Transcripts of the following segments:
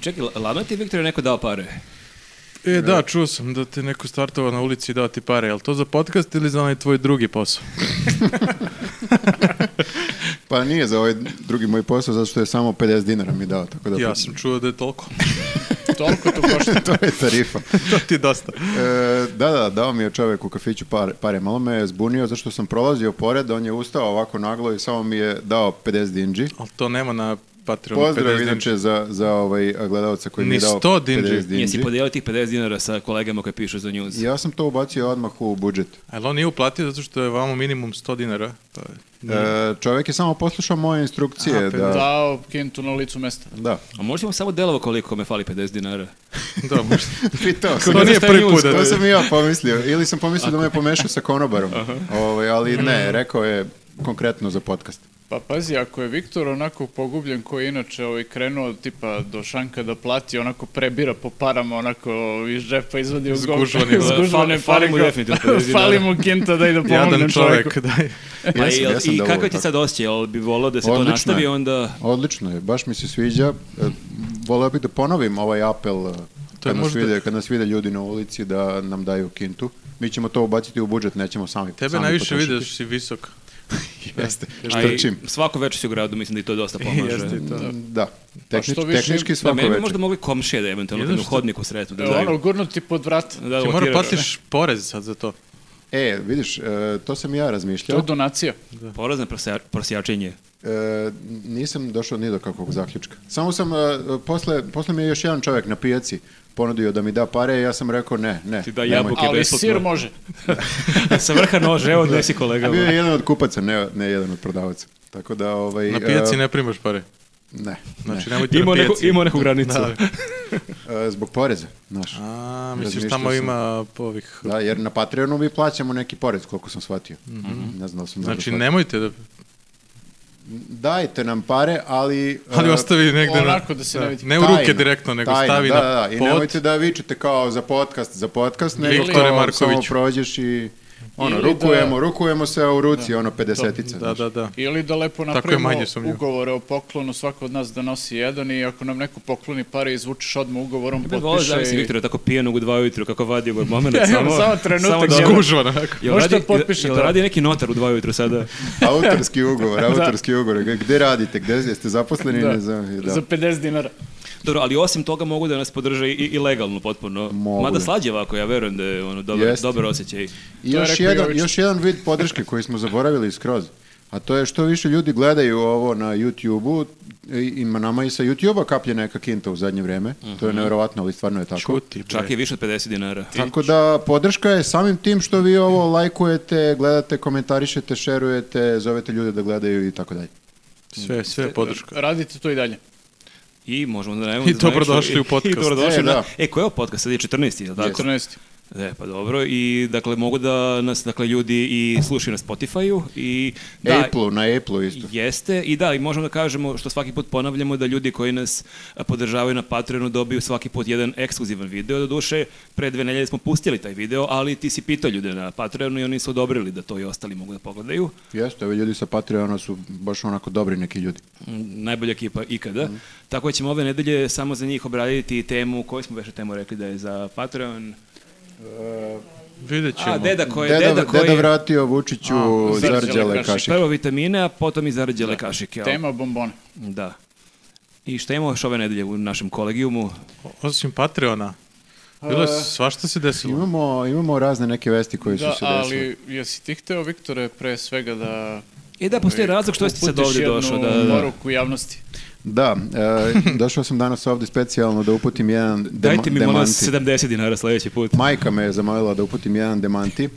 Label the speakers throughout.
Speaker 1: čekaj, ladno ti Viktor neko dao pare?
Speaker 2: E, da, čuo sam da te neko startovao na ulici i dao ti pare. Je li to za podcast ili za onaj tvoj drugi posao?
Speaker 3: Pa nije za ovaj drugi moj posao, zato što je samo 50 dinara mi dao, tako da...
Speaker 2: Ja sam čuo da je toliko.
Speaker 4: Toliko to košta.
Speaker 3: to je tarifa.
Speaker 2: to ti je dosta.
Speaker 3: E, da, da, dao mi je čovjek u kafiću pare, pare. Malo me je zbunio zašto sam prolazio pored, on je ustao ovako naglo i samo mi je dao 50 dinđi.
Speaker 2: Ali to nema na Patreonu.
Speaker 3: Pozdrav
Speaker 2: 50
Speaker 3: inače za, za ovaj gledalca koji mi je
Speaker 2: Ni
Speaker 3: dao
Speaker 2: 100 dinđi.
Speaker 3: 50
Speaker 1: Jesi
Speaker 3: dinđi.
Speaker 1: podijelio tih 50 dinara sa kolegama koji pišu za news?
Speaker 3: Ja sam to ubacio odmah u budžet.
Speaker 2: A jel on nije uplatio zato što je vamo minimum 100 dinara? Pa,
Speaker 3: E, čovjek je samo poslušao moje instrukcije
Speaker 2: A,
Speaker 3: da...
Speaker 4: Dao kintu na licu mesta.
Speaker 3: Da,
Speaker 1: A možda imam samo delovo koliko me fali 50 dinara?
Speaker 2: da, možda.
Speaker 3: pitao sam.
Speaker 2: To nije
Speaker 1: Šta je
Speaker 2: prvi
Speaker 1: news?
Speaker 2: put. da-
Speaker 3: To sam i ja pomislio. Ili sam pomislio da me pomešao sa konobarom. Ovaj, ali
Speaker 1: Mm.
Speaker 3: ne, rekao je konkretno za podcast.
Speaker 4: Pa pazi, ako je Viktor onako pogubljen koji je inače ovaj, krenuo tipa do šanka da plati, onako prebira po parama, onako iz džepa izvadi u gov-
Speaker 2: Zgužvani, da.
Speaker 4: zgužvane
Speaker 1: Fali- fali
Speaker 4: pare
Speaker 1: mu
Speaker 4: kao-
Speaker 1: definitivno 50 dinara.
Speaker 4: Fali mu kinta da ide pomogne
Speaker 2: Jadan
Speaker 4: čovjeku.
Speaker 2: čovjek, da.
Speaker 1: Pa
Speaker 3: Jesam,
Speaker 1: jel-
Speaker 3: jesam
Speaker 1: I
Speaker 3: da
Speaker 1: kako
Speaker 3: ovo-
Speaker 1: ti sad osjeća? Jel bi volao da se to
Speaker 3: Odlično
Speaker 1: nastavi
Speaker 3: je.
Speaker 1: onda...
Speaker 3: Odlično je, baš mi se sviđa. E, Voleo bih da ponovim ovaj apel e, kad, nas
Speaker 2: možda-
Speaker 3: vide, kad nas vide ljudi na ulici da nam daju kintu. Mi ćemo to ubaciti u budžet, nećemo sami
Speaker 2: Tebe
Speaker 3: sami
Speaker 2: najviše
Speaker 3: potrošiti.
Speaker 2: vidiš, si visok.
Speaker 3: Jeste,
Speaker 1: A i
Speaker 3: štrčim.
Speaker 1: Svako večer si u gradu, mislim da i to dosta
Speaker 3: E,
Speaker 1: pomaže.
Speaker 2: Jeste i to.
Speaker 3: Da, tehnič,
Speaker 4: što više-
Speaker 3: tehnički
Speaker 1: Pa Da,
Speaker 3: svako
Speaker 1: meni bi
Speaker 3: večer.
Speaker 1: možda mogli komšije da eventualno
Speaker 2: Jedno
Speaker 1: kad u
Speaker 2: što-
Speaker 1: hodniku sretnu. Da,
Speaker 4: E,
Speaker 1: da,
Speaker 4: ono, gurnuti pod vrat.
Speaker 1: da,
Speaker 2: Ti mora
Speaker 1: otjeraju.
Speaker 2: platiš porez sad za to.
Speaker 3: E, vidiš, e, to sam i ja
Speaker 4: To
Speaker 3: razmišljao.
Speaker 4: je donacija.
Speaker 1: Porezne prosja- prosjačenje.
Speaker 3: E, nisam došao ni do kakvog zaključka. Samo sam, e, posle, posle mi je još jedan čovjek na pijaci ponudio da mi da pare i ja sam rekao ne, ne.
Speaker 1: Ti da
Speaker 3: nemoj.
Speaker 1: Pa jabuke. Ok,
Speaker 4: Ali
Speaker 1: besplatno.
Speaker 4: sir može.
Speaker 1: Sa vrha nože, evo gde si kolega. ono.
Speaker 3: A bio je jedan od kupaca, ne, ne jedan od prodavaca. Tako da, ovaj...
Speaker 2: Na pijaci
Speaker 3: e,
Speaker 2: ne primaš pare.
Speaker 3: Ne,
Speaker 2: Znači, nemojte na
Speaker 1: Imao neku,
Speaker 2: pijaci.
Speaker 1: imao neku granicu.
Speaker 2: Da.
Speaker 3: E, zbog poreza, znaš.
Speaker 2: A, misliš
Speaker 3: Razmišljao
Speaker 2: tamo
Speaker 3: sam.
Speaker 2: ima ovih...
Speaker 3: Da, jer na Patreonu mi plaćamo neki porez, koliko sam shvatio. Ne znam da li sam dobro
Speaker 2: Znači,
Speaker 3: shvatio.
Speaker 2: nemojte da...
Speaker 3: Dajte nam pare, ali...
Speaker 2: Ali
Speaker 3: e,
Speaker 2: ostavi negde... na-
Speaker 4: Onako da se ne vidi.
Speaker 2: Ne u
Speaker 3: tajno,
Speaker 2: ruke direktno, nego
Speaker 3: tajno,
Speaker 2: stavi
Speaker 3: da,
Speaker 2: na
Speaker 3: da, da. I
Speaker 2: pod.
Speaker 3: nemojte da vičete kao za podcast, za podcast, nego
Speaker 2: Viktore
Speaker 3: kao samo
Speaker 2: Markoviću.
Speaker 3: prođeš i... Ono,
Speaker 4: Ili da-
Speaker 3: rukujemo, rukujemo se, a u ruci, ono, pedesetica.
Speaker 2: Da,
Speaker 3: znaš.
Speaker 2: da, da.
Speaker 4: Ili da lepo
Speaker 2: je
Speaker 4: napravimo
Speaker 2: manje sumnjivo.
Speaker 4: ugovore o poklonu, svako od nas da nosi jedan i ako nam neko pokloni pare, izvučeš odmah ugovorom,
Speaker 1: Bi volao
Speaker 4: potpiše
Speaker 1: zavisi
Speaker 4: i...
Speaker 1: Viktora tako pijenog u dva ujutru kako vadi ovaj moment.
Speaker 4: Ja imam
Speaker 1: samo,
Speaker 4: samo trenutak
Speaker 1: samo da-
Speaker 4: za-
Speaker 2: Gužvan, onako.
Speaker 1: Jel
Speaker 4: Možda
Speaker 1: radi,
Speaker 4: potpiše
Speaker 1: jel
Speaker 4: to.
Speaker 1: radi neki notar u dva ujutru sada?
Speaker 3: Autorski ugovor, autorski ugovor. Gde radite, gde jeste zaposleni?
Speaker 4: Da.
Speaker 3: Ne znam, da.
Speaker 4: Za 50 dinara.
Speaker 1: Dobro, ali osim toga mogu da nas podrže i, i legalno potpuno.
Speaker 3: Mogu.
Speaker 1: Mada slađe ovako, ja verujem da je ono dobar,
Speaker 3: Jeste.
Speaker 1: dobar osjećaj.
Speaker 3: I
Speaker 4: To je
Speaker 3: još
Speaker 4: rekao
Speaker 3: jedan,
Speaker 4: Jović.
Speaker 3: još jedan vid podrške koji smo zaboravili skroz, a to je što više ljudi gledaju ovo na YouTube-u, i- ima nama i sa YouTube-a kaplje neka kinta u zadnje vrijeme, to
Speaker 4: Mhm.
Speaker 3: je nevjerovatno, ali stvarno je tako.
Speaker 2: Čuti, bre.
Speaker 1: Čak i više od 50 dinara.
Speaker 3: Tako da podrška je samim tim što vi ovo lajkujete, gledate, komentarišete, šerujete, zovete ljude da gledaju i tako dalje.
Speaker 2: Sve, sve je podrška.
Speaker 4: Radite to i dalje.
Speaker 1: I možemo da najavimo
Speaker 2: I
Speaker 1: da zvanično-
Speaker 2: dobrodošli u
Speaker 1: i-
Speaker 2: podcast.
Speaker 1: I dobrodošli
Speaker 3: E,
Speaker 1: na-
Speaker 3: da.
Speaker 1: E, koji je ovo podcast? Sad je 14. je li tako?
Speaker 4: 14.
Speaker 1: E, pa dobro. I, dakle, mogu da nas, dakle, ljudi i slušaju na Spotify-u i... Da,
Speaker 3: Apple, na Apple isto.
Speaker 1: Jeste, i da, i možemo da kažemo, što svaki put ponavljamo, da ljudi koji nas a, podržavaju na Patreonu dobiju svaki put jedan ekskluzivan video. Doduše, pre dve nedelje smo pustili taj video, ali ti si pitao ljude na Patreonu i oni su odobrili da to i ostali mogu da pogledaju.
Speaker 3: Jeste, ovi ljudi sa Patreona su baš onako dobri neki ljudi.
Speaker 1: Mm, Najbolja ekipa ikada. Tako da ćemo ove nedelje samo za njih obraditi temu, koju smo već temu rekli da je za Patreon.
Speaker 2: Vidjet ćemo.
Speaker 1: A, deda koji je,
Speaker 3: Deda,
Speaker 1: deda, koji
Speaker 3: deda
Speaker 1: je...
Speaker 3: vratio Vučiću
Speaker 4: zarđale
Speaker 3: zarđale
Speaker 4: kašike.
Speaker 3: kašike.
Speaker 1: Prvo vitamine, a potom i zarađele kašike. jel?
Speaker 4: Tema bombone.
Speaker 1: Da. I šta imamo još ove nedelje u našem kolegijumu?
Speaker 2: Osim Patreona, bilo je
Speaker 1: E.
Speaker 2: svašta se desilo.
Speaker 3: Imamo, imamo razne neke vesti koje
Speaker 4: Da,
Speaker 3: su se desile.
Speaker 4: ali jesi ti hteo, Viktore, pre svega da...
Speaker 1: E da, postoji razlog što si sad
Speaker 4: uputiš
Speaker 1: ovdje
Speaker 4: jednu
Speaker 1: došao. Da, da.
Speaker 4: poruku javnosti.
Speaker 3: Da, e, došao sam danas ovdje specijalno da uputim jedan dema-
Speaker 1: Dajte mi molim
Speaker 3: demanti.
Speaker 1: vas 70 dinara sljedeći put.
Speaker 3: Majka me je zamolila da uputim jedan demanti,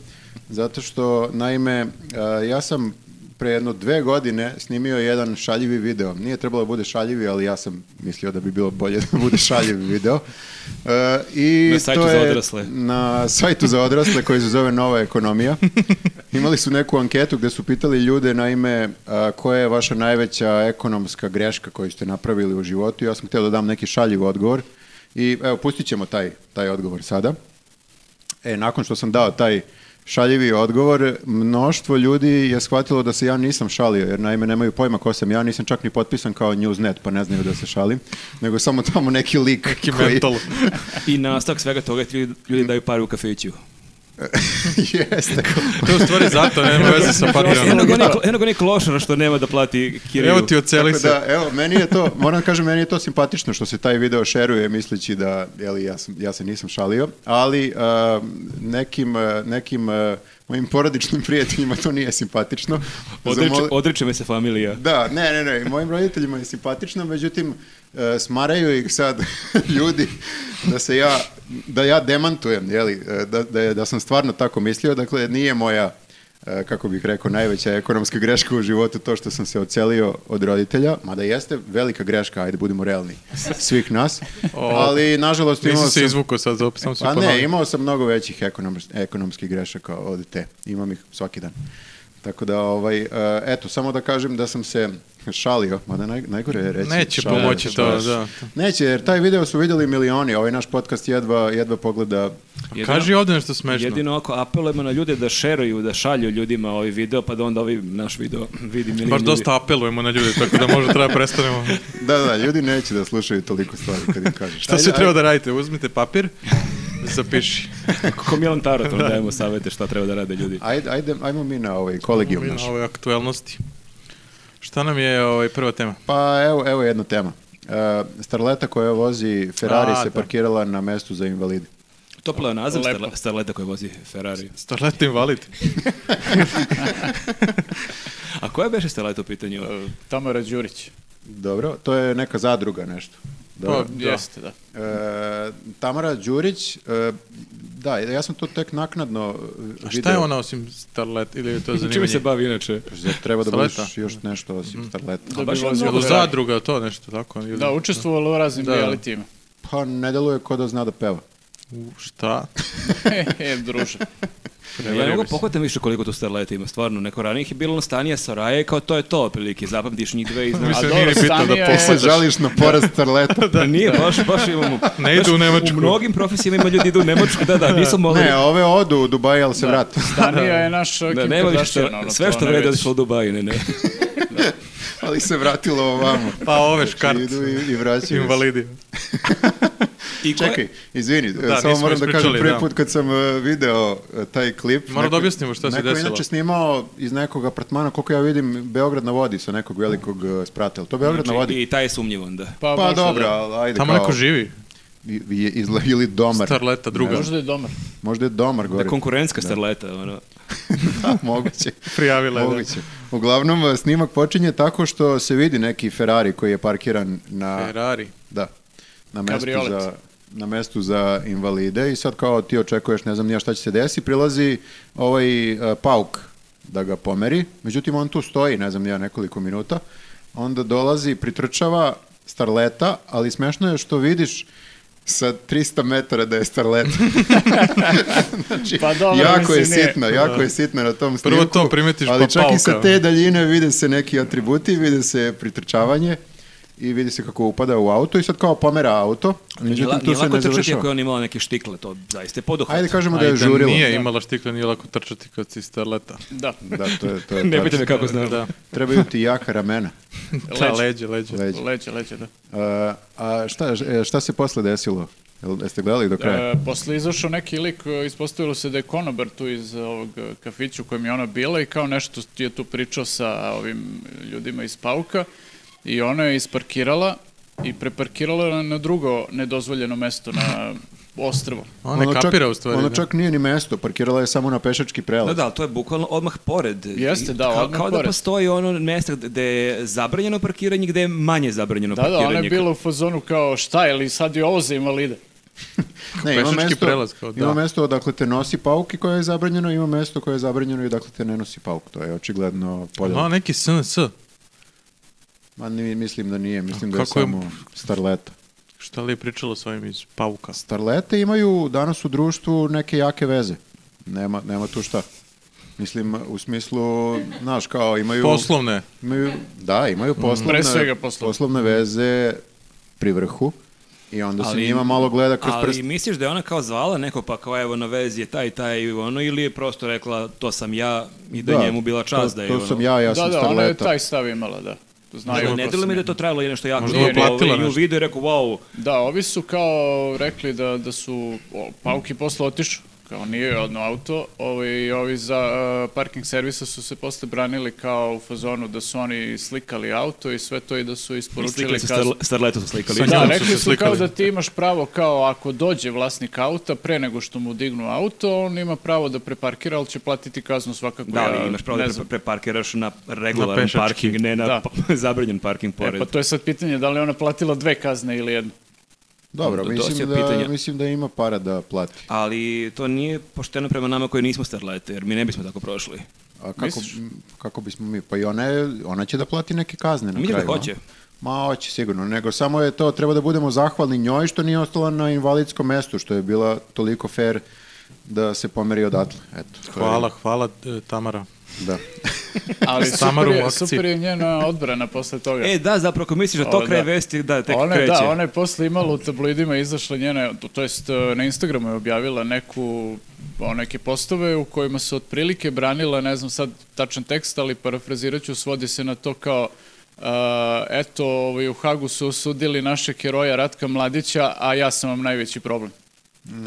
Speaker 3: zato što, naime, e, ja sam pre jedno dve godine snimio jedan šaljivi video. Nije trebalo da bude šaljivi, ali ja sam mislio da bi bilo bolje da bude šaljivi video. E, i
Speaker 1: Na sajtu
Speaker 3: to
Speaker 1: za
Speaker 3: je
Speaker 1: odrasle.
Speaker 3: Na sajtu za odrasle koji se zove Nova ekonomija. Imali su neku anketu gdje su pitali ljude naime a, koja je vaša najveća ekonomska greška koju ste napravili u životu. Ja sam htio da dam neki šaljiv odgovor i evo pustit ćemo taj, taj odgovor sada. E, nakon što sam dao taj šaljivi odgovor. Mnoštvo ljudi je shvatilo da se ja nisam šalio, jer naime nemaju pojma ko sam. Ja nisam čak ni potpisan kao Newsnet, pa ne znaju da se šalim, nego samo tamo neki lik
Speaker 2: Neki mental.
Speaker 1: I nastavak svega toga je ti ljudi, ljudi daju pare u kafiću.
Speaker 3: Jeste.
Speaker 2: To je u stvari zato, nema veze
Speaker 1: Znači,
Speaker 2: sa Patreonom.
Speaker 1: Eno ga onih- eno ga onih klošara što nema da plati kiriju.
Speaker 2: Evo ti oceli
Speaker 3: Tako
Speaker 2: se.
Speaker 3: da, evo, meni je to, moram da kažem, meni je to simpatično što se taj video šeruje misleći da, jeli, ja, sam, ja se nisam šalio, ali eh, nekim, eh, nekim eh, mojim porodičnim prijateljima to nije simpatično.
Speaker 1: Odriče,
Speaker 3: Zamoli-
Speaker 1: odriče me se familija.
Speaker 3: Da, ne, ne, ne, i mojim roditeljima je simpatično, međutim, e, smaraju ih sad ljudi da se ja, da ja demantujem, jeli, e, da, da, je- da sam stvarno tako mislio, dakle, nije moja, e, kako bih rekao, najveća ekonomska greška u životu to što sam se ocelio od roditelja, mada jeste velika greška, ajde, budemo realni, svih nas, ali, nažalost, imao
Speaker 2: Nisi se
Speaker 3: sam...
Speaker 2: izvukao sad, opet sam se
Speaker 3: Pa ne,
Speaker 2: ponovio.
Speaker 3: imao sam mnogo većih ekonom- ekonomskih grešaka od te. Imam ih svaki dan. Tako da, ovaj, e, eto, samo da kažem da sam se šalio, mada naj, najgore je reći.
Speaker 2: Neće
Speaker 3: šalio
Speaker 2: pomoći
Speaker 3: se,
Speaker 2: to,
Speaker 3: baš.
Speaker 2: da.
Speaker 3: Neće, jer taj video su vidjeli milioni, ovaj naš podcast jedva, jedva pogleda.
Speaker 1: Jedino-
Speaker 2: Kaži ovdje nešto smešno.
Speaker 1: Jedino ako apelujemo na ljude da šeruju, da šalju ljudima ovaj video, pa da onda ovi naš video vidi milion
Speaker 2: Baš
Speaker 1: ljudi.
Speaker 2: dosta apelujemo na ljude, tako da možda treba prestanemo.
Speaker 3: Da, da, ljudi neće da slušaju toliko stvari kad im kažeš.
Speaker 2: Šta
Speaker 3: Ajde,
Speaker 2: se treba da
Speaker 3: ajde.
Speaker 2: radite? Uzmite papir, zapiši.
Speaker 1: Ko Milan Tarot, ono dajemo savete šta treba da rade ljudi.
Speaker 3: Ajde, ajde, ajmo mi na ovaj kolegijum naš.
Speaker 2: Na ovoj aktuelnosti. Šta nam je ovaj, prva tema?
Speaker 3: Pa evo, evo jedna tema. E, starleta koja vozi Ferrari
Speaker 2: A, da.
Speaker 3: se parkirala na mestu za invalide.
Speaker 1: Topla je naziv
Speaker 4: Lepo.
Speaker 1: starle- starleta koja vozi Ferrari.
Speaker 2: Starleta invalid.
Speaker 1: A koja beše starleta u pitanju?
Speaker 4: E, Tamara Đurić.
Speaker 3: Dobro, to je neka zadruga nešto. Dobro.
Speaker 2: Pa,
Speaker 4: Da. Jeste, da.
Speaker 3: E, Tamara Đurić, e, da, ja sam to tek naknadno e,
Speaker 2: A
Speaker 3: video.
Speaker 2: šta je ona osim starlet ili je to
Speaker 1: Čime
Speaker 2: zanimanje?
Speaker 1: se bavi inače?
Speaker 3: Zar treba da
Speaker 2: Starleta? Mhm.
Speaker 3: budeš još nešto osim starleta?
Speaker 4: Da,
Speaker 1: baš
Speaker 4: bi
Speaker 1: je
Speaker 4: vozila
Speaker 2: Jel
Speaker 4: Ferrari.
Speaker 2: zadruga to nešto tako? Ili...
Speaker 4: Da, učestvovalo u raznim
Speaker 2: Da.
Speaker 4: realitima.
Speaker 3: Pa ne deluje ko da zna da peva.
Speaker 2: U, šta?
Speaker 4: He, he, E, druže.
Speaker 1: Ja ne
Speaker 2: Prevario
Speaker 1: mogu
Speaker 2: bi se.
Speaker 1: pohvatam više koliko tu starleta ima. Stvarno, neko ranijih je bilo ono Stanija Saraje kao to je to, otprilike. Zapamtiš njih dve i znaš.
Speaker 4: A
Speaker 2: Mislim,
Speaker 4: dobro,
Speaker 2: nije ni bitno da
Speaker 4: Stanija je-
Speaker 3: Pa se
Speaker 2: posle...
Speaker 3: žališ na porast starleta.
Speaker 1: Pa nije, baš, baš imamo.
Speaker 2: Ne idu u Nemačku.
Speaker 1: U mnogim profesijama ima ljudi idu u Nemačku, da, da, nisu mogli.
Speaker 3: Ne, ove odu u Dubaji, ali se vrate.
Speaker 4: Stanija je naš Kim
Speaker 1: da, nema više
Speaker 4: Kardashian,
Speaker 1: šta-
Speaker 4: ono,
Speaker 1: sve
Speaker 4: to
Speaker 1: što
Speaker 4: ne
Speaker 1: vredi
Speaker 4: već.
Speaker 1: otišlo u Dubaj, ne, ne.
Speaker 3: ali se vratilo ovamo.
Speaker 2: Pa ove škart.
Speaker 3: Znači, Idu i, i vraćaju se.
Speaker 2: Invalidi.
Speaker 1: I ko je-
Speaker 3: Čekaj, izvini,
Speaker 2: Da,
Speaker 3: samo
Speaker 2: nismo
Speaker 3: moram da kažem
Speaker 2: ispričali,
Speaker 3: prvi
Speaker 2: da.
Speaker 3: put kad sam e, video e, taj klip.
Speaker 2: Moram da objasnimo šta se
Speaker 3: Neko
Speaker 2: desilo.
Speaker 3: je inače snimao iz nekog apartmana, koliko ja vidim, Beograd na vodi sa nekog velikog e, sprata. Jel to Beograd na vodi?
Speaker 1: I taj je sumnjiv onda.
Speaker 3: Pa,
Speaker 4: možda
Speaker 3: dobro,
Speaker 4: da.
Speaker 3: ali ajde
Speaker 2: Znači, Tamo
Speaker 3: kao...
Speaker 2: neko živi.
Speaker 3: i- i- izla- ili domar.
Speaker 2: Starleta druga.
Speaker 4: Možda je domar.
Speaker 3: Možda je domar
Speaker 1: Da
Speaker 3: gore.
Speaker 1: je konkurentska starleta, ono.
Speaker 3: Da, moguće.
Speaker 2: Prijavila je. da.
Speaker 3: moguće. Uglavnom, e, snimak počinje tako što se vidi neki Ferrari koji je parkiran na...
Speaker 2: Ferrari.
Speaker 3: Da. Na mestu
Speaker 4: Kabriolet.
Speaker 3: za na mestu za invalide i sad kao ti očekuješ ne znam nija šta će se desiti, prilazi ovaj e, pauk da ga pomeri, međutim on tu stoji ne znam nija nekoliko minuta, onda dolazi, pritrčava starleta, ali smešno je što vidiš sa 300 metara da je starleta. znači,
Speaker 4: Pa dobro,
Speaker 3: jako je
Speaker 4: mislim, nije.
Speaker 3: sitna, jako je sitna na tom
Speaker 2: Prvo
Speaker 3: snimku.
Speaker 2: to primetiš,
Speaker 3: Ali
Speaker 2: pa
Speaker 3: čak i sa
Speaker 2: pauka.
Speaker 3: te daljine E, vide se neki atributi, vide se pritrčavanje i vidi se kako upada u auto i sad kao pomera auto. Međutim, tu
Speaker 1: nije
Speaker 3: se
Speaker 1: lako
Speaker 3: ne
Speaker 1: trčati ako je
Speaker 3: završava.
Speaker 1: on imala neke štikle, to zaista je poduhvat.
Speaker 3: Ajde kažemo da
Speaker 2: A i
Speaker 3: je žurilo.
Speaker 2: nije imala štikle, nije lako trčati kad si starleta. Znači,
Speaker 4: Da.
Speaker 3: Da, to je, to je
Speaker 1: Ne pitaj
Speaker 3: tačno.
Speaker 1: me kako znam.
Speaker 2: Da.
Speaker 3: Trebaju ti jaka ramena.
Speaker 2: Da,
Speaker 4: Leđa.
Speaker 2: leđe, leđe.
Speaker 3: Leđa.
Speaker 4: Leće, leće, da.
Speaker 3: A, a šta, e, šta se posle desilo? Jel, jeste gledali do kraja?
Speaker 4: E, posle izašao neki lik, e, ispostavilo se da je konobar tu iz ovog e, kafića u kojem je ona bila i kao nešto je tu pričao sa ovim ljudima iz Pauka i ona je isparkirala i preparkirala na- na drugo nedozvoljeno mesto na ostrvo.
Speaker 2: Ona ne kapira u stvari.
Speaker 3: Ono
Speaker 2: da.
Speaker 3: čak nije ni mesto, parkirala je samo na pešački prelaz.
Speaker 1: Da, da, ali to je bukvalno odmah pored.
Speaker 4: Jeste, da,
Speaker 1: Ka- kao,
Speaker 4: odmah
Speaker 1: da
Speaker 4: pored.
Speaker 1: postoji ono mjesto gde je zabranjeno parkiranje, gde je manje zabranjeno
Speaker 4: Da, da,
Speaker 1: parkiranje.
Speaker 4: ona je bila u fazonu kao šta, ili sad je ovo za invalide?
Speaker 3: Ne, ima
Speaker 2: Pešački
Speaker 3: mesto,
Speaker 2: prelaz, kao, da.
Speaker 3: ima mesto odakle te nosi pauk i koje je zabranjeno, ima mesto koje je zabranjeno i odakle te ne nosi pauk. To je očigledno podjelo.
Speaker 2: Ma, neki SNS.
Speaker 3: Ma ni- mislim da nije, mislim da je
Speaker 2: Kako je-
Speaker 3: samo starleta.
Speaker 2: Šta li je pričalo s ovim iz Pauka?
Speaker 3: Starlete imaju danas u društvu neke jake veze. Nema, nema tu šta. Mislim, u smislu, znaš, kao imaju...
Speaker 2: Poslovne. Mm.
Speaker 3: Imaju, da, imaju poslovne,
Speaker 4: Pre svega poslovne.
Speaker 3: veze pri vrhu I onda se njima malo gleda kroz
Speaker 1: ali
Speaker 3: prst.
Speaker 1: misliš da je ona kao zvala neko pa kao evo na vezi je taj, taj i ono ili je prosto rekla to sam ja i da, je njemu bila čast
Speaker 3: to,
Speaker 1: da je
Speaker 3: to
Speaker 1: ono.
Speaker 3: sam ja, Pa ja
Speaker 4: da,
Speaker 3: sam
Speaker 4: da, ona je
Speaker 3: starleta.
Speaker 4: taj stav imala, da. Znaju
Speaker 1: Možda
Speaker 4: ko
Speaker 1: ne
Speaker 4: sam
Speaker 1: delo mi da
Speaker 4: ja.
Speaker 1: je to trajalo i nešto jako.
Speaker 2: Možda
Speaker 1: dugo,
Speaker 4: je
Speaker 2: platila
Speaker 1: ovaj, I u
Speaker 2: nešto.
Speaker 1: videu je rekao, wow,
Speaker 4: Da, ovi su kao rekli da, da su o, pauki posle otišu, kao nije jedno auto, ovi, ovi za e, parking servisa su se posle branili kao u fazonu da su oni slikali auto i sve to i da su isporučili
Speaker 1: slikali su
Speaker 4: kaznu.
Speaker 1: starle- starletu su slikali.
Speaker 2: Sa njom
Speaker 4: Da,
Speaker 2: su
Speaker 4: rekli
Speaker 2: se
Speaker 4: su
Speaker 2: slikali.
Speaker 4: kao da ti imaš pravo kao ako dođe vlasnik auta pre nego što mu dignu auto, on ima pravo da preparkira, ali će platiti kaznu svakako.
Speaker 1: Da,
Speaker 4: ja
Speaker 1: ali imaš pravo
Speaker 4: ne
Speaker 1: da pre-
Speaker 4: znam.
Speaker 1: preparkiraš na regularan
Speaker 2: pešački.
Speaker 1: parking, ne na
Speaker 4: Da.
Speaker 1: pa- zabranjen parking
Speaker 4: E,
Speaker 1: pored.
Speaker 4: pa to je sad pitanje da li je ona platila dve kazne ili jednu.
Speaker 3: Dobro,
Speaker 1: To- to
Speaker 3: mislim
Speaker 1: su
Speaker 3: da,
Speaker 1: pitanja.
Speaker 3: mislim da ima para da plati.
Speaker 1: Ali to nije pošteno prema nama koji nismo starlete, jer mi ne bismo tako prošli.
Speaker 3: A kako,
Speaker 4: Misliš?
Speaker 3: m, kako bismo mi? Pa i ona, je, ona će da plati neke kazne na
Speaker 1: Mi da
Speaker 3: kraju. a?
Speaker 1: hoće.
Speaker 3: Ma hoće sigurno, nego samo je to, treba da budemo zahvalni njoj što nije ostala na invalidskom mestu, što je bila toliko fair da se pomeri odatle. Eto, to je-
Speaker 2: Hvala, hvala e, Tamara.
Speaker 3: Da.
Speaker 4: Ali super
Speaker 2: Samaru u
Speaker 4: je,
Speaker 2: akciji.
Speaker 4: super je njena odbrana posle toga.
Speaker 1: E, da, zapravo, ako misliš da to
Speaker 4: Ovo,
Speaker 1: kraje
Speaker 4: da.
Speaker 1: vesti, da, tek
Speaker 4: ona, je-
Speaker 1: kreće.
Speaker 4: Da, ona je posle imala u tabloidima izašla njena, to, to jest e, na Instagramu je objavila neku, o, neke postove u kojima se otprilike branila, ne znam sad tačan tekst, ali parafrazirat ću, svodi se na to kao e, eto, ovaj, u Hagu su osudili našeg heroja Ratka Mladića, a ja sam vam najveći problem.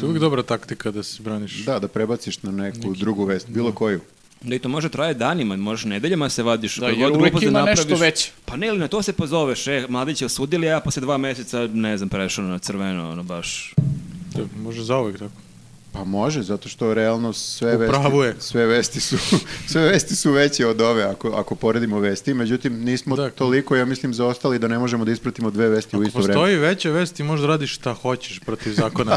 Speaker 2: To je uvijek dobra taktika da se braniš.
Speaker 3: Mm. da, da prebaciš na neku drugu vest,
Speaker 2: Mm.
Speaker 3: bilo koju.
Speaker 1: Da i to može traje danima, možeš nedeljama se vadiš.
Speaker 4: Da,
Speaker 1: koji
Speaker 4: jer
Speaker 1: god
Speaker 4: uvek
Speaker 1: glupost da
Speaker 4: ima nešto
Speaker 1: napraviš.
Speaker 4: veće.
Speaker 1: Pa ne, ili na to se pozoveš, e, mladić je osudili, a ja posle dva meseca, ne znam, prešao na crveno, ono baš.
Speaker 2: To je- Može zauvijek tako.
Speaker 3: Pa može, zato što realno sve
Speaker 2: U pravu je.
Speaker 3: vesti, sve vesti su sve vesti su veće od ove ako ako poredimo vesti. Međutim nismo
Speaker 2: Dakle.
Speaker 3: toliko ja mislim zaostali da ne možemo da ispratimo dve vesti u
Speaker 2: Ako
Speaker 3: isto vreme.
Speaker 2: postoji veća vest, ti možeš da radiš šta hoćeš protiv zakona.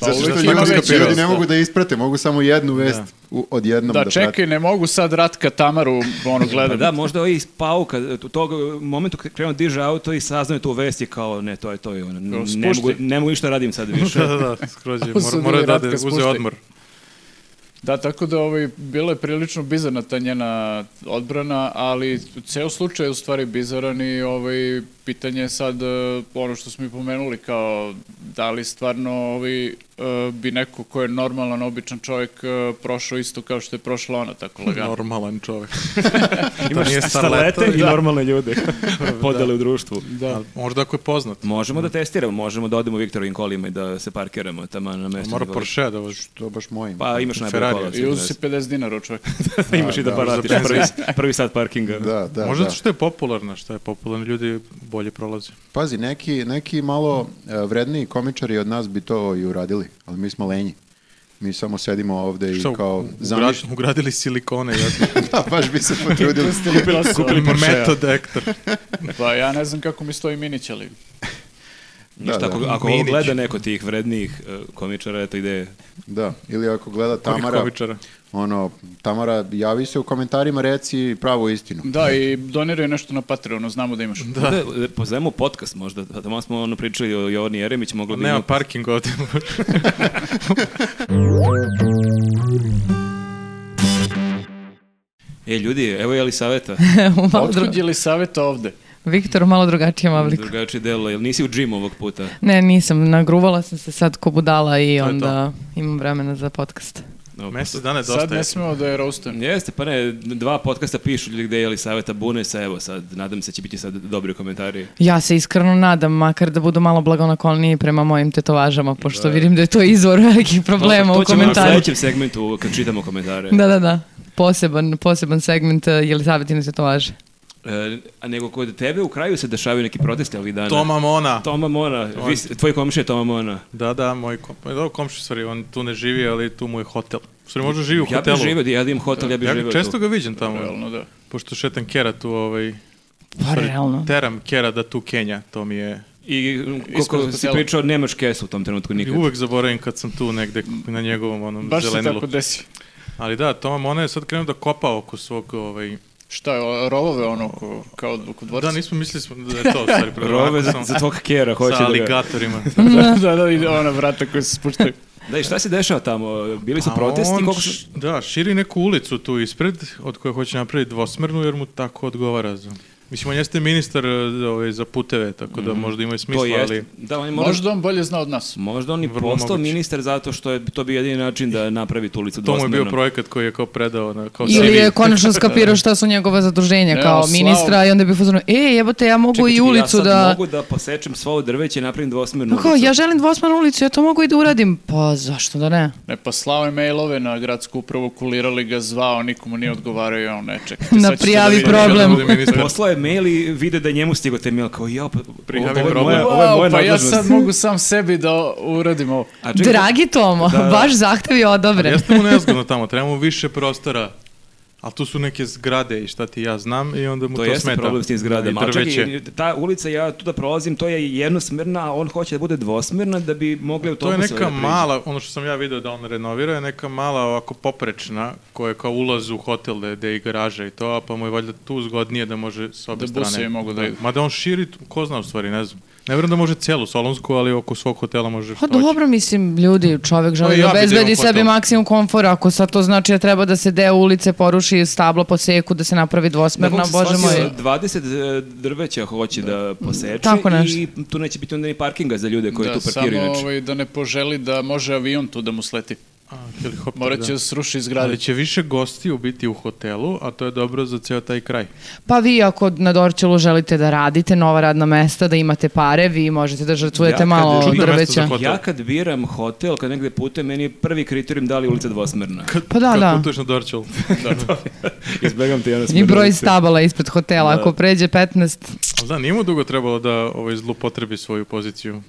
Speaker 4: Pa
Speaker 3: Zato što
Speaker 4: uvek
Speaker 3: ljudi,
Speaker 4: ima veće
Speaker 3: ljudi
Speaker 4: vesti,
Speaker 3: ne
Speaker 4: da.
Speaker 3: mogu da isprate, mogu samo jednu vest u, odjednom da,
Speaker 4: Da, čekaj, ne mogu sad Ratka Tamaru ono
Speaker 1: Pa
Speaker 4: gledam.
Speaker 1: da, možda ovaj iz pauka, u tog momentu kad krenu diže auto i saznaju tu vesti kao, ne, to je to i ono, n-
Speaker 4: Spušti.
Speaker 1: ne mogu, ne mogu ništa radim sad više.
Speaker 2: da, da, da, skroz je. Mora,
Speaker 4: Osudili
Speaker 2: mora da,
Speaker 4: Ratka,
Speaker 2: da uze
Speaker 4: spuštaj.
Speaker 2: odmor.
Speaker 4: Da, tako da ovaj, bila je prilično bizarna ta njena odbrana, ali ceo slučaj je u stvari bizaran i ovaj, pitanje je sad eh, ono što smo i pomenuli, kao da li stvarno ovaj, eh, bi neko ko je normalan, običan čovjek eh, prošao isto kao što je prošla ona, tako lagano.
Speaker 2: Normalan čovjek.
Speaker 1: Imaš
Speaker 2: nije starleta,
Speaker 1: starlete i
Speaker 2: da.
Speaker 1: normalne ljude podele u društvu.
Speaker 2: Da. Možda ako je poznat.
Speaker 1: Možemo da testiramo, možemo da odemo u Viktorovim kolima i da se parkiramo tamo na mesto.
Speaker 2: Mora
Speaker 1: za-
Speaker 2: Porsche da vozi.
Speaker 3: To baš mojim.
Speaker 1: Pa imaš najbolje
Speaker 2: Ferrari.
Speaker 1: kola.
Speaker 4: I uzu si 50 dinara od čovjeka.
Speaker 1: sigurno. imaš i da baratiš prvi, prvi sat parkinga.
Speaker 3: da, da,
Speaker 2: Možda
Speaker 3: da.
Speaker 2: zato što je popularna, što je popularna, ljudi bolje prolaze.
Speaker 3: Pazi, neki, neki malo e, vredniji komičari od nas bi to i uradili, ali mi smo lenji. Mi samo sedimo ovde i
Speaker 2: Što,
Speaker 3: kao
Speaker 2: ugra-
Speaker 3: zamišljamo.
Speaker 2: ugradili silikone, ja
Speaker 3: da, baš bi se potrudili.
Speaker 4: Kupila Pa su
Speaker 2: kupili metod ektor.
Speaker 4: Pa ja ne znam kako mi stoji Minić, ali
Speaker 1: Ništa,
Speaker 3: da.
Speaker 1: ako, ako ovo
Speaker 2: Minić.
Speaker 1: gleda neko tih vrednijih e, komičara, eto ide.
Speaker 3: Da, ili ako gleda
Speaker 2: Kojih
Speaker 3: Tamara,
Speaker 2: komičara?
Speaker 3: ono, Tamara, javi se u komentarima, reci pravu istinu.
Speaker 4: da, i doniraju nešto na Patreonu, znamo da imaš.
Speaker 1: Da. e, pozovemo podcast možda, tamo smo ono pričali o Jovani Jeremić, moglo bi...
Speaker 2: Nema
Speaker 1: ima-
Speaker 2: parking ovdje. pa-
Speaker 1: E, ljudi, evo je li saveta?
Speaker 5: malo
Speaker 4: Otkud
Speaker 5: dru-
Speaker 4: je li savjeta ovde?
Speaker 5: Viktor u malo drugačijem obliku.
Speaker 1: Drugačije delo, jel nisi u džimu ovog puta?
Speaker 5: Ne, nisam. Nagruvala sam se sad ko budala i
Speaker 2: je to.
Speaker 5: onda imam vremena za podcast.
Speaker 1: Evo,
Speaker 2: Mjesec dana je dosta.
Speaker 4: Sad ne
Speaker 2: ja.
Speaker 4: smemo da je roastujem.
Speaker 1: Jeste, pa ne, dva podcasta pišu ljudi gde je Elisaveta Bunesa, evo sad, nadam se će biti sad dobri komentari.
Speaker 5: Ja se iskreno nadam, makar da budu malo blagonakloniji prema mojim tetovažama, pošto vidim da je to izvor velikih problema
Speaker 1: to,
Speaker 5: u
Speaker 1: to ćemo na
Speaker 5: komentarima.
Speaker 1: sledećem segmentu kad čitamo komentare.
Speaker 5: Da, da, da. Poseban, poseban segment uh, Jelisavetine tetovaže.
Speaker 1: E, a nego kod tebe u kraju se dešavaju neki protesti ovih dana.
Speaker 2: Toma Mona.
Speaker 1: Toma Mona, vi, s- tvoj komšija je Toma Mona.
Speaker 2: Da, da, moj kom... pa dobro, komšija, sorry, on tu ne živi, ali tu mu je hotel. U Sorry, možda živi u
Speaker 1: Ja
Speaker 2: hotelu.
Speaker 1: bih živio, ja da imam hotel, ja bih
Speaker 2: Ja
Speaker 1: živio
Speaker 2: često
Speaker 1: tu.
Speaker 2: ga viđem tamo,
Speaker 4: Realno, da.
Speaker 2: pošto šetam kera tu, ovaj,
Speaker 5: Pa, realno.
Speaker 2: teram kera da tu Kenja, to mi je...
Speaker 1: I
Speaker 4: Ispred
Speaker 1: koliko si
Speaker 4: hotela.
Speaker 1: pričao, nemaš kesu u tom trenutku
Speaker 2: I
Speaker 1: nikad.
Speaker 2: uvek zaboravim kad sam tu negde na njegovom onom
Speaker 4: Baš se
Speaker 2: zelenilu.
Speaker 4: tako desi.
Speaker 2: Ali da, Toma Mona je sad krenuo da kopa oko svog, ovaj...
Speaker 4: Šta je, o- rovove ono ko, kao oko dvorca?
Speaker 2: Da, nismo mislili smo da je to, sorry,
Speaker 1: Rove za, za tog kjera, hoće
Speaker 2: sa
Speaker 1: da ga...
Speaker 2: aligatorima.
Speaker 4: da, da, da, ide ona vrata koja se spuštaju.
Speaker 1: Da, i šta se dešava tamo? Bili su
Speaker 2: A
Speaker 1: protesti?
Speaker 2: Pa on
Speaker 1: Koliko su...
Speaker 2: š- Da, širi neku ulicu tu ispred, od koje hoće napraviti dvosmernu, jer mu tako odgovara. za- Mislim, on jeste ministar e, za ove, za puteve, tako da možda ima i smisla,
Speaker 1: Mhm. To
Speaker 2: ali...
Speaker 1: jest, da, on je možda, možda,
Speaker 4: Možda on bolje zna od nas.
Speaker 1: on i
Speaker 2: Vrlo
Speaker 1: postao
Speaker 2: moguće.
Speaker 1: ministar zato što je to bio jedini način da napravi tu ulicu
Speaker 2: To mu je bio
Speaker 1: dvosmernom.
Speaker 2: projekat koji je kao predao na, kao
Speaker 5: Ili
Speaker 2: CV.
Speaker 5: je konačno skapirao šta su njegova zaduženja
Speaker 4: Evo,
Speaker 5: kao
Speaker 4: slavo.
Speaker 5: ministra i onda bi fuzonu, e, jebote, ja mogu
Speaker 1: Čekaj,
Speaker 5: i
Speaker 1: čekaj,
Speaker 5: ulicu
Speaker 1: ja sad
Speaker 5: da... Pa
Speaker 1: mogu da posečem svo ovo drveće i napravim dvosmernu
Speaker 5: Kao,
Speaker 1: ulicu.
Speaker 5: ja želim dvosmenu ulicu, ja to mogu i da uradim. Pa zašto da ne?
Speaker 4: Ne, pa slao je mailove na gradsku upravu, kulirali ga, zvao, nikomu nije odgovarao i on ne čekaj.
Speaker 5: Na
Speaker 4: sad ćete
Speaker 5: prijavi
Speaker 4: vidite
Speaker 5: problem.
Speaker 4: kad bude
Speaker 2: Bude ministar.
Speaker 1: Poslao je mail i vide da je njemu stigo te mail, kao ja, pa,
Speaker 2: Prijavi
Speaker 1: ovo je
Speaker 2: problem.
Speaker 1: moja, ovo je
Speaker 4: Wow,
Speaker 1: moja
Speaker 4: pa ja
Speaker 1: nadležnost.
Speaker 4: sad mogu sam sebi da uradim ovo.
Speaker 1: A čekaj,
Speaker 5: Dragi Tomo,
Speaker 1: Da, da.
Speaker 5: vaš zahtev je odobren.
Speaker 2: Jeste mu nezgodno tamo, treba mu više prostora. Ali tu su neke zgrade i šta ti ja znam i onda mu
Speaker 1: To,
Speaker 2: to,
Speaker 1: jeste
Speaker 2: smeta.
Speaker 1: problem s tim zgradama.
Speaker 2: I
Speaker 1: A čekaj,
Speaker 2: drveće.
Speaker 1: ta ulica, ja tu da prolazim, to je jednosmerna, a on hoće da bude dvosmerna da bi mogli
Speaker 2: To je
Speaker 1: autobusove da
Speaker 2: neka
Speaker 1: priđu.
Speaker 2: mala, ono što sam ja video da on renovira, je neka mala ovako poprečna koja je kao ulaz u hotel da, da je i garaža i to, a pa mu je valjda tu zgodnije da može s
Speaker 4: Da
Speaker 2: obe
Speaker 4: busevi
Speaker 2: strane.
Speaker 4: mogu da idu.
Speaker 2: Mada on širi, tu- ko zna u stvari, ne znam. Ne vjerujem da može celu Solonsku, ali oko svog hotela može
Speaker 5: Pa
Speaker 2: što hoće.
Speaker 5: dobro, mislim, ljudi, čovjek
Speaker 2: Pa
Speaker 5: želi
Speaker 2: i ja
Speaker 5: da
Speaker 2: bi da
Speaker 5: obezbedi
Speaker 2: imam
Speaker 5: sebi
Speaker 2: hotel.
Speaker 5: maksimum komfora, ako sad to znači da treba da se deo ulice poruši, stablo poseku, da se napravi
Speaker 1: Nakon
Speaker 5: dvosmerna,
Speaker 1: se
Speaker 5: bože
Speaker 1: shvatio
Speaker 5: moj.
Speaker 1: da 20 e, drveća hoće da poseče
Speaker 5: Tako
Speaker 1: i
Speaker 5: nešto.
Speaker 1: tu neće biti onda ni parkinga za ljude koji
Speaker 4: da,
Speaker 1: tu parkiraju. Znači,
Speaker 4: samo
Speaker 1: inače.
Speaker 4: ovaj, da ne poželi da može avion tu da mu sleti.
Speaker 2: A, helikopter,
Speaker 4: Morat
Speaker 2: da.
Speaker 4: će da sruši iz
Speaker 2: Ali će više gostiju biti u hotelu, a to je dobro za ceo taj kraj.
Speaker 5: Pa vi ako na Dorčelu želite da radite nova radna mesta, da imate pare, vi možete da
Speaker 1: Ja
Speaker 5: žrtvujete
Speaker 1: kad
Speaker 5: malo
Speaker 1: želim-
Speaker 5: drveća.
Speaker 2: Čudno mesto hotel.
Speaker 1: Ja kad biram hotel, kad negde putujem, meni je prvi kriterijum da li je ulica dvosmerna.
Speaker 5: Pa da,
Speaker 2: Kad
Speaker 5: da.
Speaker 2: putuješ na Dorčel.
Speaker 1: Izbegam te
Speaker 5: I broj stabala ispred hotela, ako pređe 15,
Speaker 2: Ali da, nije mu dugo trebalo da ovaj, zlupotrebi svoju poziciju.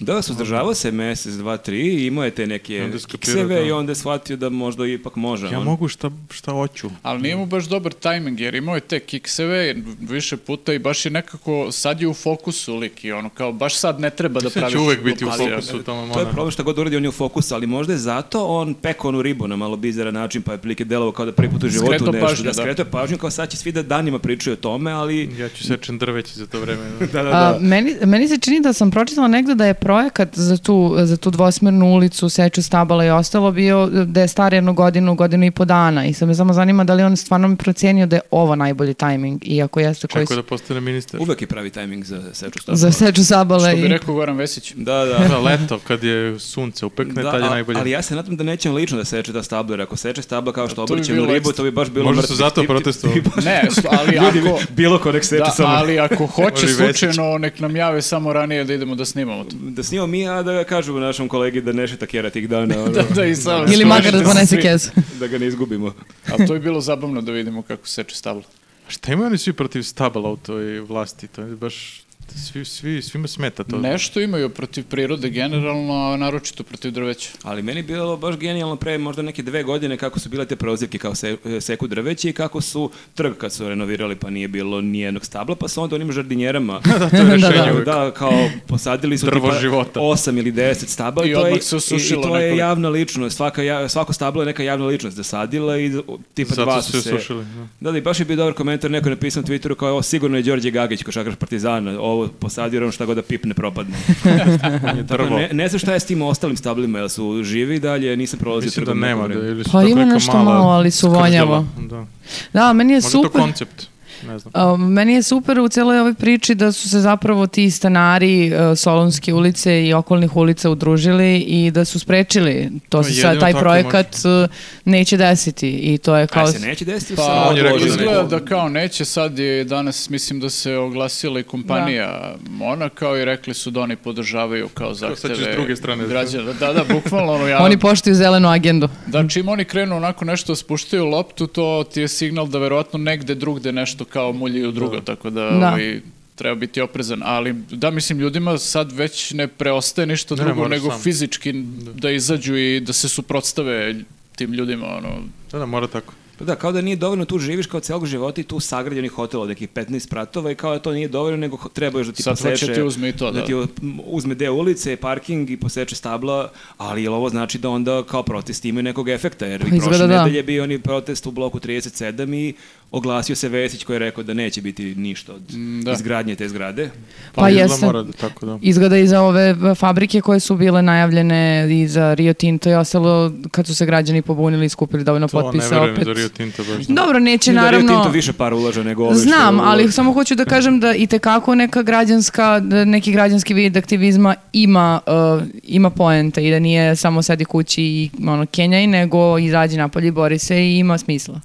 Speaker 1: Da, suzdržavao se mesec, dva, tri i imao je te neke
Speaker 2: Onda je skapirao,
Speaker 1: kikseve
Speaker 2: da.
Speaker 1: i onda je shvatio da možda ipak može. ono.
Speaker 2: Ja
Speaker 1: on.
Speaker 2: mogu šta, šta hoću.
Speaker 4: Ali nije mu baš dobar tajming, jer imao je te kikseve više puta i baš je nekako, sad je u fokusu lik i ono, kao baš sad ne treba da
Speaker 2: Sve
Speaker 4: praviš.
Speaker 2: će uvek biti u
Speaker 4: lokacije.
Speaker 2: fokusu tamo ono.
Speaker 1: To je
Speaker 2: mona.
Speaker 1: problem šta god uradi, on je u fokusu, ali možda je zato on pekao onu ribu na malo bizaran način, pa je prilike delovo kao da prvi put u životu
Speaker 4: Skretao
Speaker 1: nešto.
Speaker 4: pažnju,
Speaker 1: da,
Speaker 4: da.
Speaker 1: skretao je pažnju, kao sad će svi da danima pričaju o tome, ali...
Speaker 2: Ja ću sečen drveće za to vreme.
Speaker 1: Da, da,
Speaker 5: A,
Speaker 1: da.
Speaker 5: meni, meni se čini da sam pročitala negde da je projekat za tu, za tu dvosmernu ulicu, seču stabala i ostalo bio da je star jednu godinu, godinu i po dana i sad me samo zanima da li on stvarno mi procenio da je ovo najbolji tajming i ako jeste koji
Speaker 2: Čekao
Speaker 5: su
Speaker 2: da postane ministar.
Speaker 1: Uvek je pravi tajming za seču stabla.
Speaker 5: za seču stabala
Speaker 4: Što bi
Speaker 5: i...
Speaker 4: rekao Goran Vesić.
Speaker 1: Da, da.
Speaker 2: Da, leto, kad je sunce upekne,
Speaker 1: Da,
Speaker 2: tad je
Speaker 1: a-
Speaker 2: najbolje.
Speaker 1: ali ja se nadam da nećem lično da seče ta stabla, jer ako seče stabla kao što
Speaker 4: To bi
Speaker 1: obrćem
Speaker 4: bilo
Speaker 1: ribu,
Speaker 4: ekstra.
Speaker 1: to bi baš bilo
Speaker 2: Možda su
Speaker 1: mrtvi.
Speaker 2: zato
Speaker 1: Ti- ti-
Speaker 2: protestovali.
Speaker 1: ti-
Speaker 4: Ne, sl- ali
Speaker 1: Ljudi,
Speaker 4: ako...
Speaker 1: bilo ko nek seče
Speaker 4: Da,
Speaker 1: samo.
Speaker 4: ali ako hoće
Speaker 2: Može i Vesić.
Speaker 4: slučajno, nek nam jave samo ranije da idemo da snimamo to.
Speaker 1: Da snimamo mi, a da ga kažemo našom kolegi da ne šeta kjera tih dana, ono,
Speaker 4: Da, da, i sam,
Speaker 5: Ili makar da
Speaker 4: Svi-
Speaker 5: ponese kesu.
Speaker 1: da ga ne izgubimo.
Speaker 4: A to je bilo zabavno da vidimo kako seče stablo.
Speaker 2: Šta imaju oni svi protiv stabala u toj vlasti? To je baš... Svi, svi, svima smeta to.
Speaker 4: Nešto imaju protiv prirode generalno, a naročito protiv drveća.
Speaker 1: Ali meni je bilo baš genijalno pre možda neke dve godine kako su bile te prozivke kao se, e, seku drveće i kako su trg kad su renovirali pa nije bilo nijednog stabla, pa su onda onim žardinjerama
Speaker 2: da, to je rešenje
Speaker 5: da.
Speaker 2: uvek.
Speaker 1: da, kao posadili su
Speaker 2: Drvo života.
Speaker 1: 8 ili 10 stabla
Speaker 4: I
Speaker 1: to je-
Speaker 4: odmah
Speaker 1: i,
Speaker 4: se osušilo
Speaker 1: to je
Speaker 4: nekoliko.
Speaker 1: javna ličnost, svaka, ja- svako stablo je neka javna ličnost zasadila i o, tipa
Speaker 2: Zato
Speaker 1: dva
Speaker 2: su
Speaker 1: su
Speaker 2: se
Speaker 1: se
Speaker 2: osušili, da.
Speaker 1: Da, da, i baš je bio dobar komentar, neko je napisao na Twitteru kao, ovo sigurno je Đorđe Gagić, košarkaš Partizana, ovo posadio, jer on šta god da pipne propadne.
Speaker 2: On je drvo.
Speaker 1: Dakle, Ne, ne znam šta je s tim ostalim stablima, jel su živi i dalje, nisam prolazio
Speaker 2: Mislim da
Speaker 1: trgom neko
Speaker 2: nema. Da,
Speaker 1: vreme.
Speaker 2: ili su
Speaker 5: Pa
Speaker 2: tako
Speaker 5: ima
Speaker 2: neka
Speaker 5: nešto
Speaker 2: mala
Speaker 5: malo, ali su
Speaker 2: skrzela.
Speaker 5: vonjavo.
Speaker 2: Da.
Speaker 5: Da, meni je
Speaker 2: Možda
Speaker 5: super...
Speaker 2: to koncept. Ne znam.
Speaker 5: A, Meni je super u cijeloj ovoj priči da su se zapravo ti stanari e, Solonske ulice i okolnih ulica udružili i da su sprečili. To
Speaker 2: Pa
Speaker 5: se sad,
Speaker 2: jedino
Speaker 5: taj
Speaker 2: tako
Speaker 5: projekat e, neće desiti i to je kao...
Speaker 1: A se neće desiti u
Speaker 4: Pa,
Speaker 1: samo
Speaker 2: on je rekao da
Speaker 1: odloženo.
Speaker 4: izgleda da kao neće, sad je danas, mislim da se oglasila i kompanija Mona, kao i rekli su da oni podržavaju kao
Speaker 2: sad ćeš
Speaker 4: zahteve
Speaker 2: s druge strane da-
Speaker 4: građana. Da, da, bukvalno ono, ja,
Speaker 5: Oni poštuju zelenu agendu.
Speaker 4: da čim oni krenu onako nešto da spuštaju loptu, to ti je signal da verovatno negde drugde nešto kao muljaju drugo, tako da,
Speaker 5: Da.
Speaker 4: ovaj, treba biti oprezan, ali da mislim ljudima sad već ne preostaje ništa
Speaker 2: Ne,
Speaker 4: drugo
Speaker 2: moraš
Speaker 4: nego
Speaker 2: sam.
Speaker 4: fizički da izađu i da se suprotstave tim ljudima, ono,
Speaker 2: Da, da, mora tako.
Speaker 1: Pa da, kao da nije dovoljno, tu živiš kao celog života i tu sagrađeni hotel od nekih 15 pratova i kao da to nije dovoljno, nego ho- treba još da ti
Speaker 4: Sad hoće
Speaker 1: poseče...
Speaker 4: ti uzme i to, da.
Speaker 1: ti o- m, uzme deo ulice, parking i poseče stabla, ali jel ovo znači da onda kao protest imaju nekog efekta, jer
Speaker 5: Pa
Speaker 1: i prošle
Speaker 5: izgleda da.
Speaker 1: nedelje bio oni protest u bloku 37 i oglasio se Vesić koji je rekao da neće biti ništa od
Speaker 4: da.
Speaker 1: izgradnje te zgrade.
Speaker 2: Pa,
Speaker 5: Pa
Speaker 2: izgleda
Speaker 5: jeste.
Speaker 2: mora da tako, da.
Speaker 5: Izgleda i za ove e, fabrike koje su bile uh, najavljene i za Rio Tinto i ostalo kad su se građani pobunili i skupili dovoljno
Speaker 2: To ne
Speaker 5: potpisa
Speaker 2: verujem
Speaker 5: opet.
Speaker 2: za Rio Rio Tinto baš.
Speaker 5: Dobro, neće
Speaker 1: Mislim da Rio
Speaker 5: Znači, naravno...
Speaker 1: Tinto više para ulaže nego ove što-
Speaker 5: Znam, ali samo hoću da kažem da i tekako neka građanska, da neki građanski vid aktivizma ima, uh, ima poenta i da nije samo sedi kući i ono, kenjaj, nego izađi napolje i bori se i ima smisla.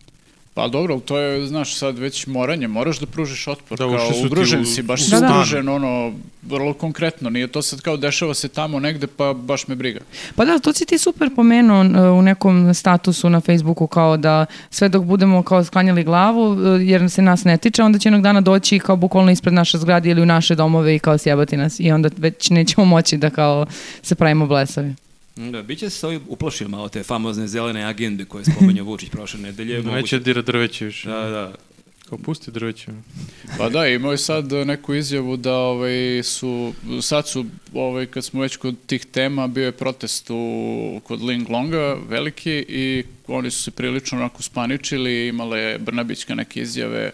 Speaker 4: Pa dobro, ali to je, znaš, sad već moranje, moraš da pružiš otpor,
Speaker 2: Da,
Speaker 4: kao
Speaker 2: ušli su ti
Speaker 4: ugrožen
Speaker 2: u-
Speaker 4: si,
Speaker 2: u
Speaker 4: baš si
Speaker 5: stan.
Speaker 4: ugrožen, ono, vrlo konkretno, nije to sad kao dešava se tamo negde, pa baš me briga.
Speaker 5: Pa da, to si ti super pomenuo e, u nekom statusu na Facebooku kao da sve dok budemo kao sklanjali glavu e, jer se nas ne tiče, onda će jednog dana doći kao bukvalno ispred naše zgrade ili u naše domove i kao sjebati nas i onda već nećemo moći da kao se pravimo blesavi.
Speaker 1: Da, bit će se ovi uplašio malo te famozne zelene agende koje je spomenuo Vučić prošle nedelje.
Speaker 2: Da
Speaker 1: Moguće-
Speaker 2: neće dira drveće više.
Speaker 1: Da, da. Znači,
Speaker 2: Kao pusti drveće.
Speaker 4: Pa da, imao je sad e, neku izjavu da ovaj, su, sad su, ovaj, kad smo već kod tih tema, bio je protest u, kod Ling Longa, veliki, i oni su se prilično onako spaničili, imala je Brnabićka neke izjave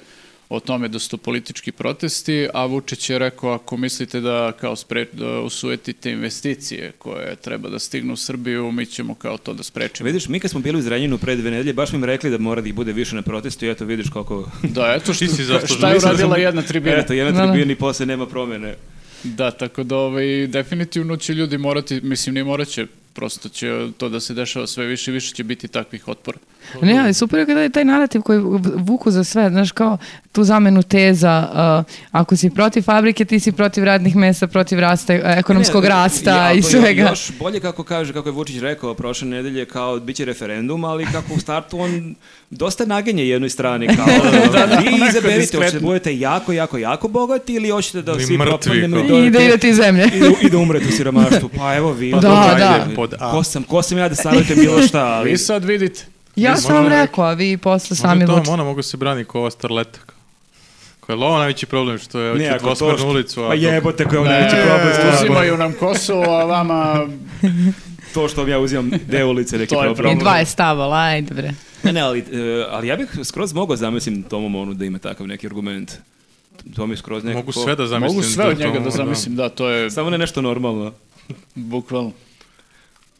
Speaker 4: o tome da su to politički protesti, a Vučić je rekao ako mislite da kao spre, da usujetite investicije koje treba da stignu u Srbiju, mi ćemo kao to da sprečimo.
Speaker 1: Vidiš, mi kad smo bili u Zrenjinu pre dve nedelje, baš mi im rekli da mora da ih bude više na protestu i eto vidiš koliko...
Speaker 4: Da, eto što,
Speaker 2: Ti si zaslužen.
Speaker 4: šta je
Speaker 2: Mislim E, da
Speaker 4: uradila
Speaker 2: sam-
Speaker 4: jedna tribina.
Speaker 1: Eto, jedna
Speaker 5: Da, da.
Speaker 1: tribina i posle nema promene.
Speaker 4: Da, tako da ovaj, definitivno će ljudi morati, mislim ne moraće, prosto će to da se dešava sve više i više će biti takvih otpora.
Speaker 5: Ne, ali super je kada je taj narativ koji vuku za sve, znaš, kao tu zamenu teza, uh, ako si protiv fabrike, ti si protiv radnih mesta, protiv rasta, uh, ekonomskog
Speaker 1: Ne,
Speaker 5: rasta
Speaker 1: ja,
Speaker 5: i
Speaker 1: to je
Speaker 5: svega.
Speaker 1: Još bolje kako kaže, kako je Vučić rekao prošle nedelje, kao bit će referendum, ali kako u startu on dosta nagenje jednoj strani, kao ono, vi izaberite, hoćete da budete jako, jako, jako bogati ili hoćete da
Speaker 2: Ili
Speaker 1: svi
Speaker 2: mrtvi,
Speaker 1: propadnemo
Speaker 2: kao.
Speaker 1: i
Speaker 5: I da
Speaker 1: dođete-
Speaker 5: idete iz zemlje.
Speaker 1: i da- i da umrete u siromaštvu. Pa evo vi.
Speaker 5: Da, dobro, ajde, da.
Speaker 2: pod A.
Speaker 1: Ko sam, ko sam ja da savjetujem bilo šta, ali...
Speaker 4: Vi sad vidite.
Speaker 5: ja
Speaker 2: Možda
Speaker 5: sam vam
Speaker 2: neki-
Speaker 5: rekao, a vi posle sami
Speaker 2: Možda to
Speaker 5: odlučite.
Speaker 2: ona mogu se brani kao ova starleta. Koja je lova najveći problem što je
Speaker 1: Ne,
Speaker 2: hoće
Speaker 1: ako to
Speaker 2: dvosmernu
Speaker 1: što-
Speaker 2: ulicu. a
Speaker 1: Pa
Speaker 2: dok-
Speaker 1: jebote koji je
Speaker 4: Ne,
Speaker 1: ovdje neće problem. s tim.
Speaker 4: E, uzimaju nam Kosovo, a vama
Speaker 1: To što vam ja uzimam deo ulice neki
Speaker 4: To je
Speaker 1: problem.
Speaker 5: I
Speaker 4: problem.
Speaker 5: dva je stavala, ajde bre.
Speaker 1: Ne, ne, ali, e, ali ja bih skroz mogao zamislim Tomu Monu da ima takav neki argument. To mi je skroz nekako...
Speaker 2: Mogu sve da zamislim.
Speaker 4: mogu sve od
Speaker 2: to- ono,
Speaker 4: njega da zamislim, da, to je
Speaker 1: Samo ne nešto normalno.
Speaker 4: bukvalno.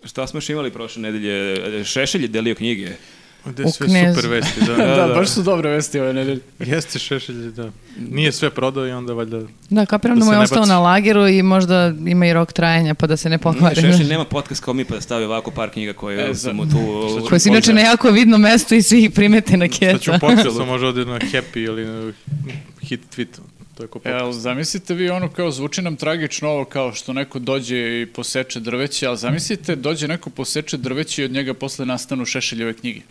Speaker 1: Šta smo još imali prošle nedelje? E, Šešelj je delio knjige.
Speaker 5: Hm,
Speaker 2: Ovde
Speaker 5: U
Speaker 2: sve
Speaker 5: knez.
Speaker 2: super vesti, da.
Speaker 4: Da, baš su dobre vesti ove nedelje.
Speaker 2: Jeste šešelj, da. Nije sve prodao i onda valjda...
Speaker 5: Da,
Speaker 2: Da
Speaker 5: kapiram da mu
Speaker 2: se
Speaker 5: je
Speaker 2: ne
Speaker 5: ostao
Speaker 2: baci.
Speaker 5: na lageru i možda ima i rok trajanja pa da se ne pokvari.
Speaker 1: Ovaj, Šešelj nema podcast kao mi pa da stavi ovako par knjiga koje
Speaker 4: E,
Speaker 1: su
Speaker 4: za-
Speaker 1: mu tu...
Speaker 5: Koji su inače na jako vidnom mestu i svi ih primete na
Speaker 2: Sad ću
Speaker 5: keca.
Speaker 2: početi, sam može ovdje na Happy ili na hit tweet. To je ko podcast.
Speaker 4: Jel, E, zamislite vi ono kao zvuči nam tragično ovo kao što neko dođe i poseče drveće, ali zamislite dođe neko poseče drveće i od njega posle nastanu šešeljeve knjige.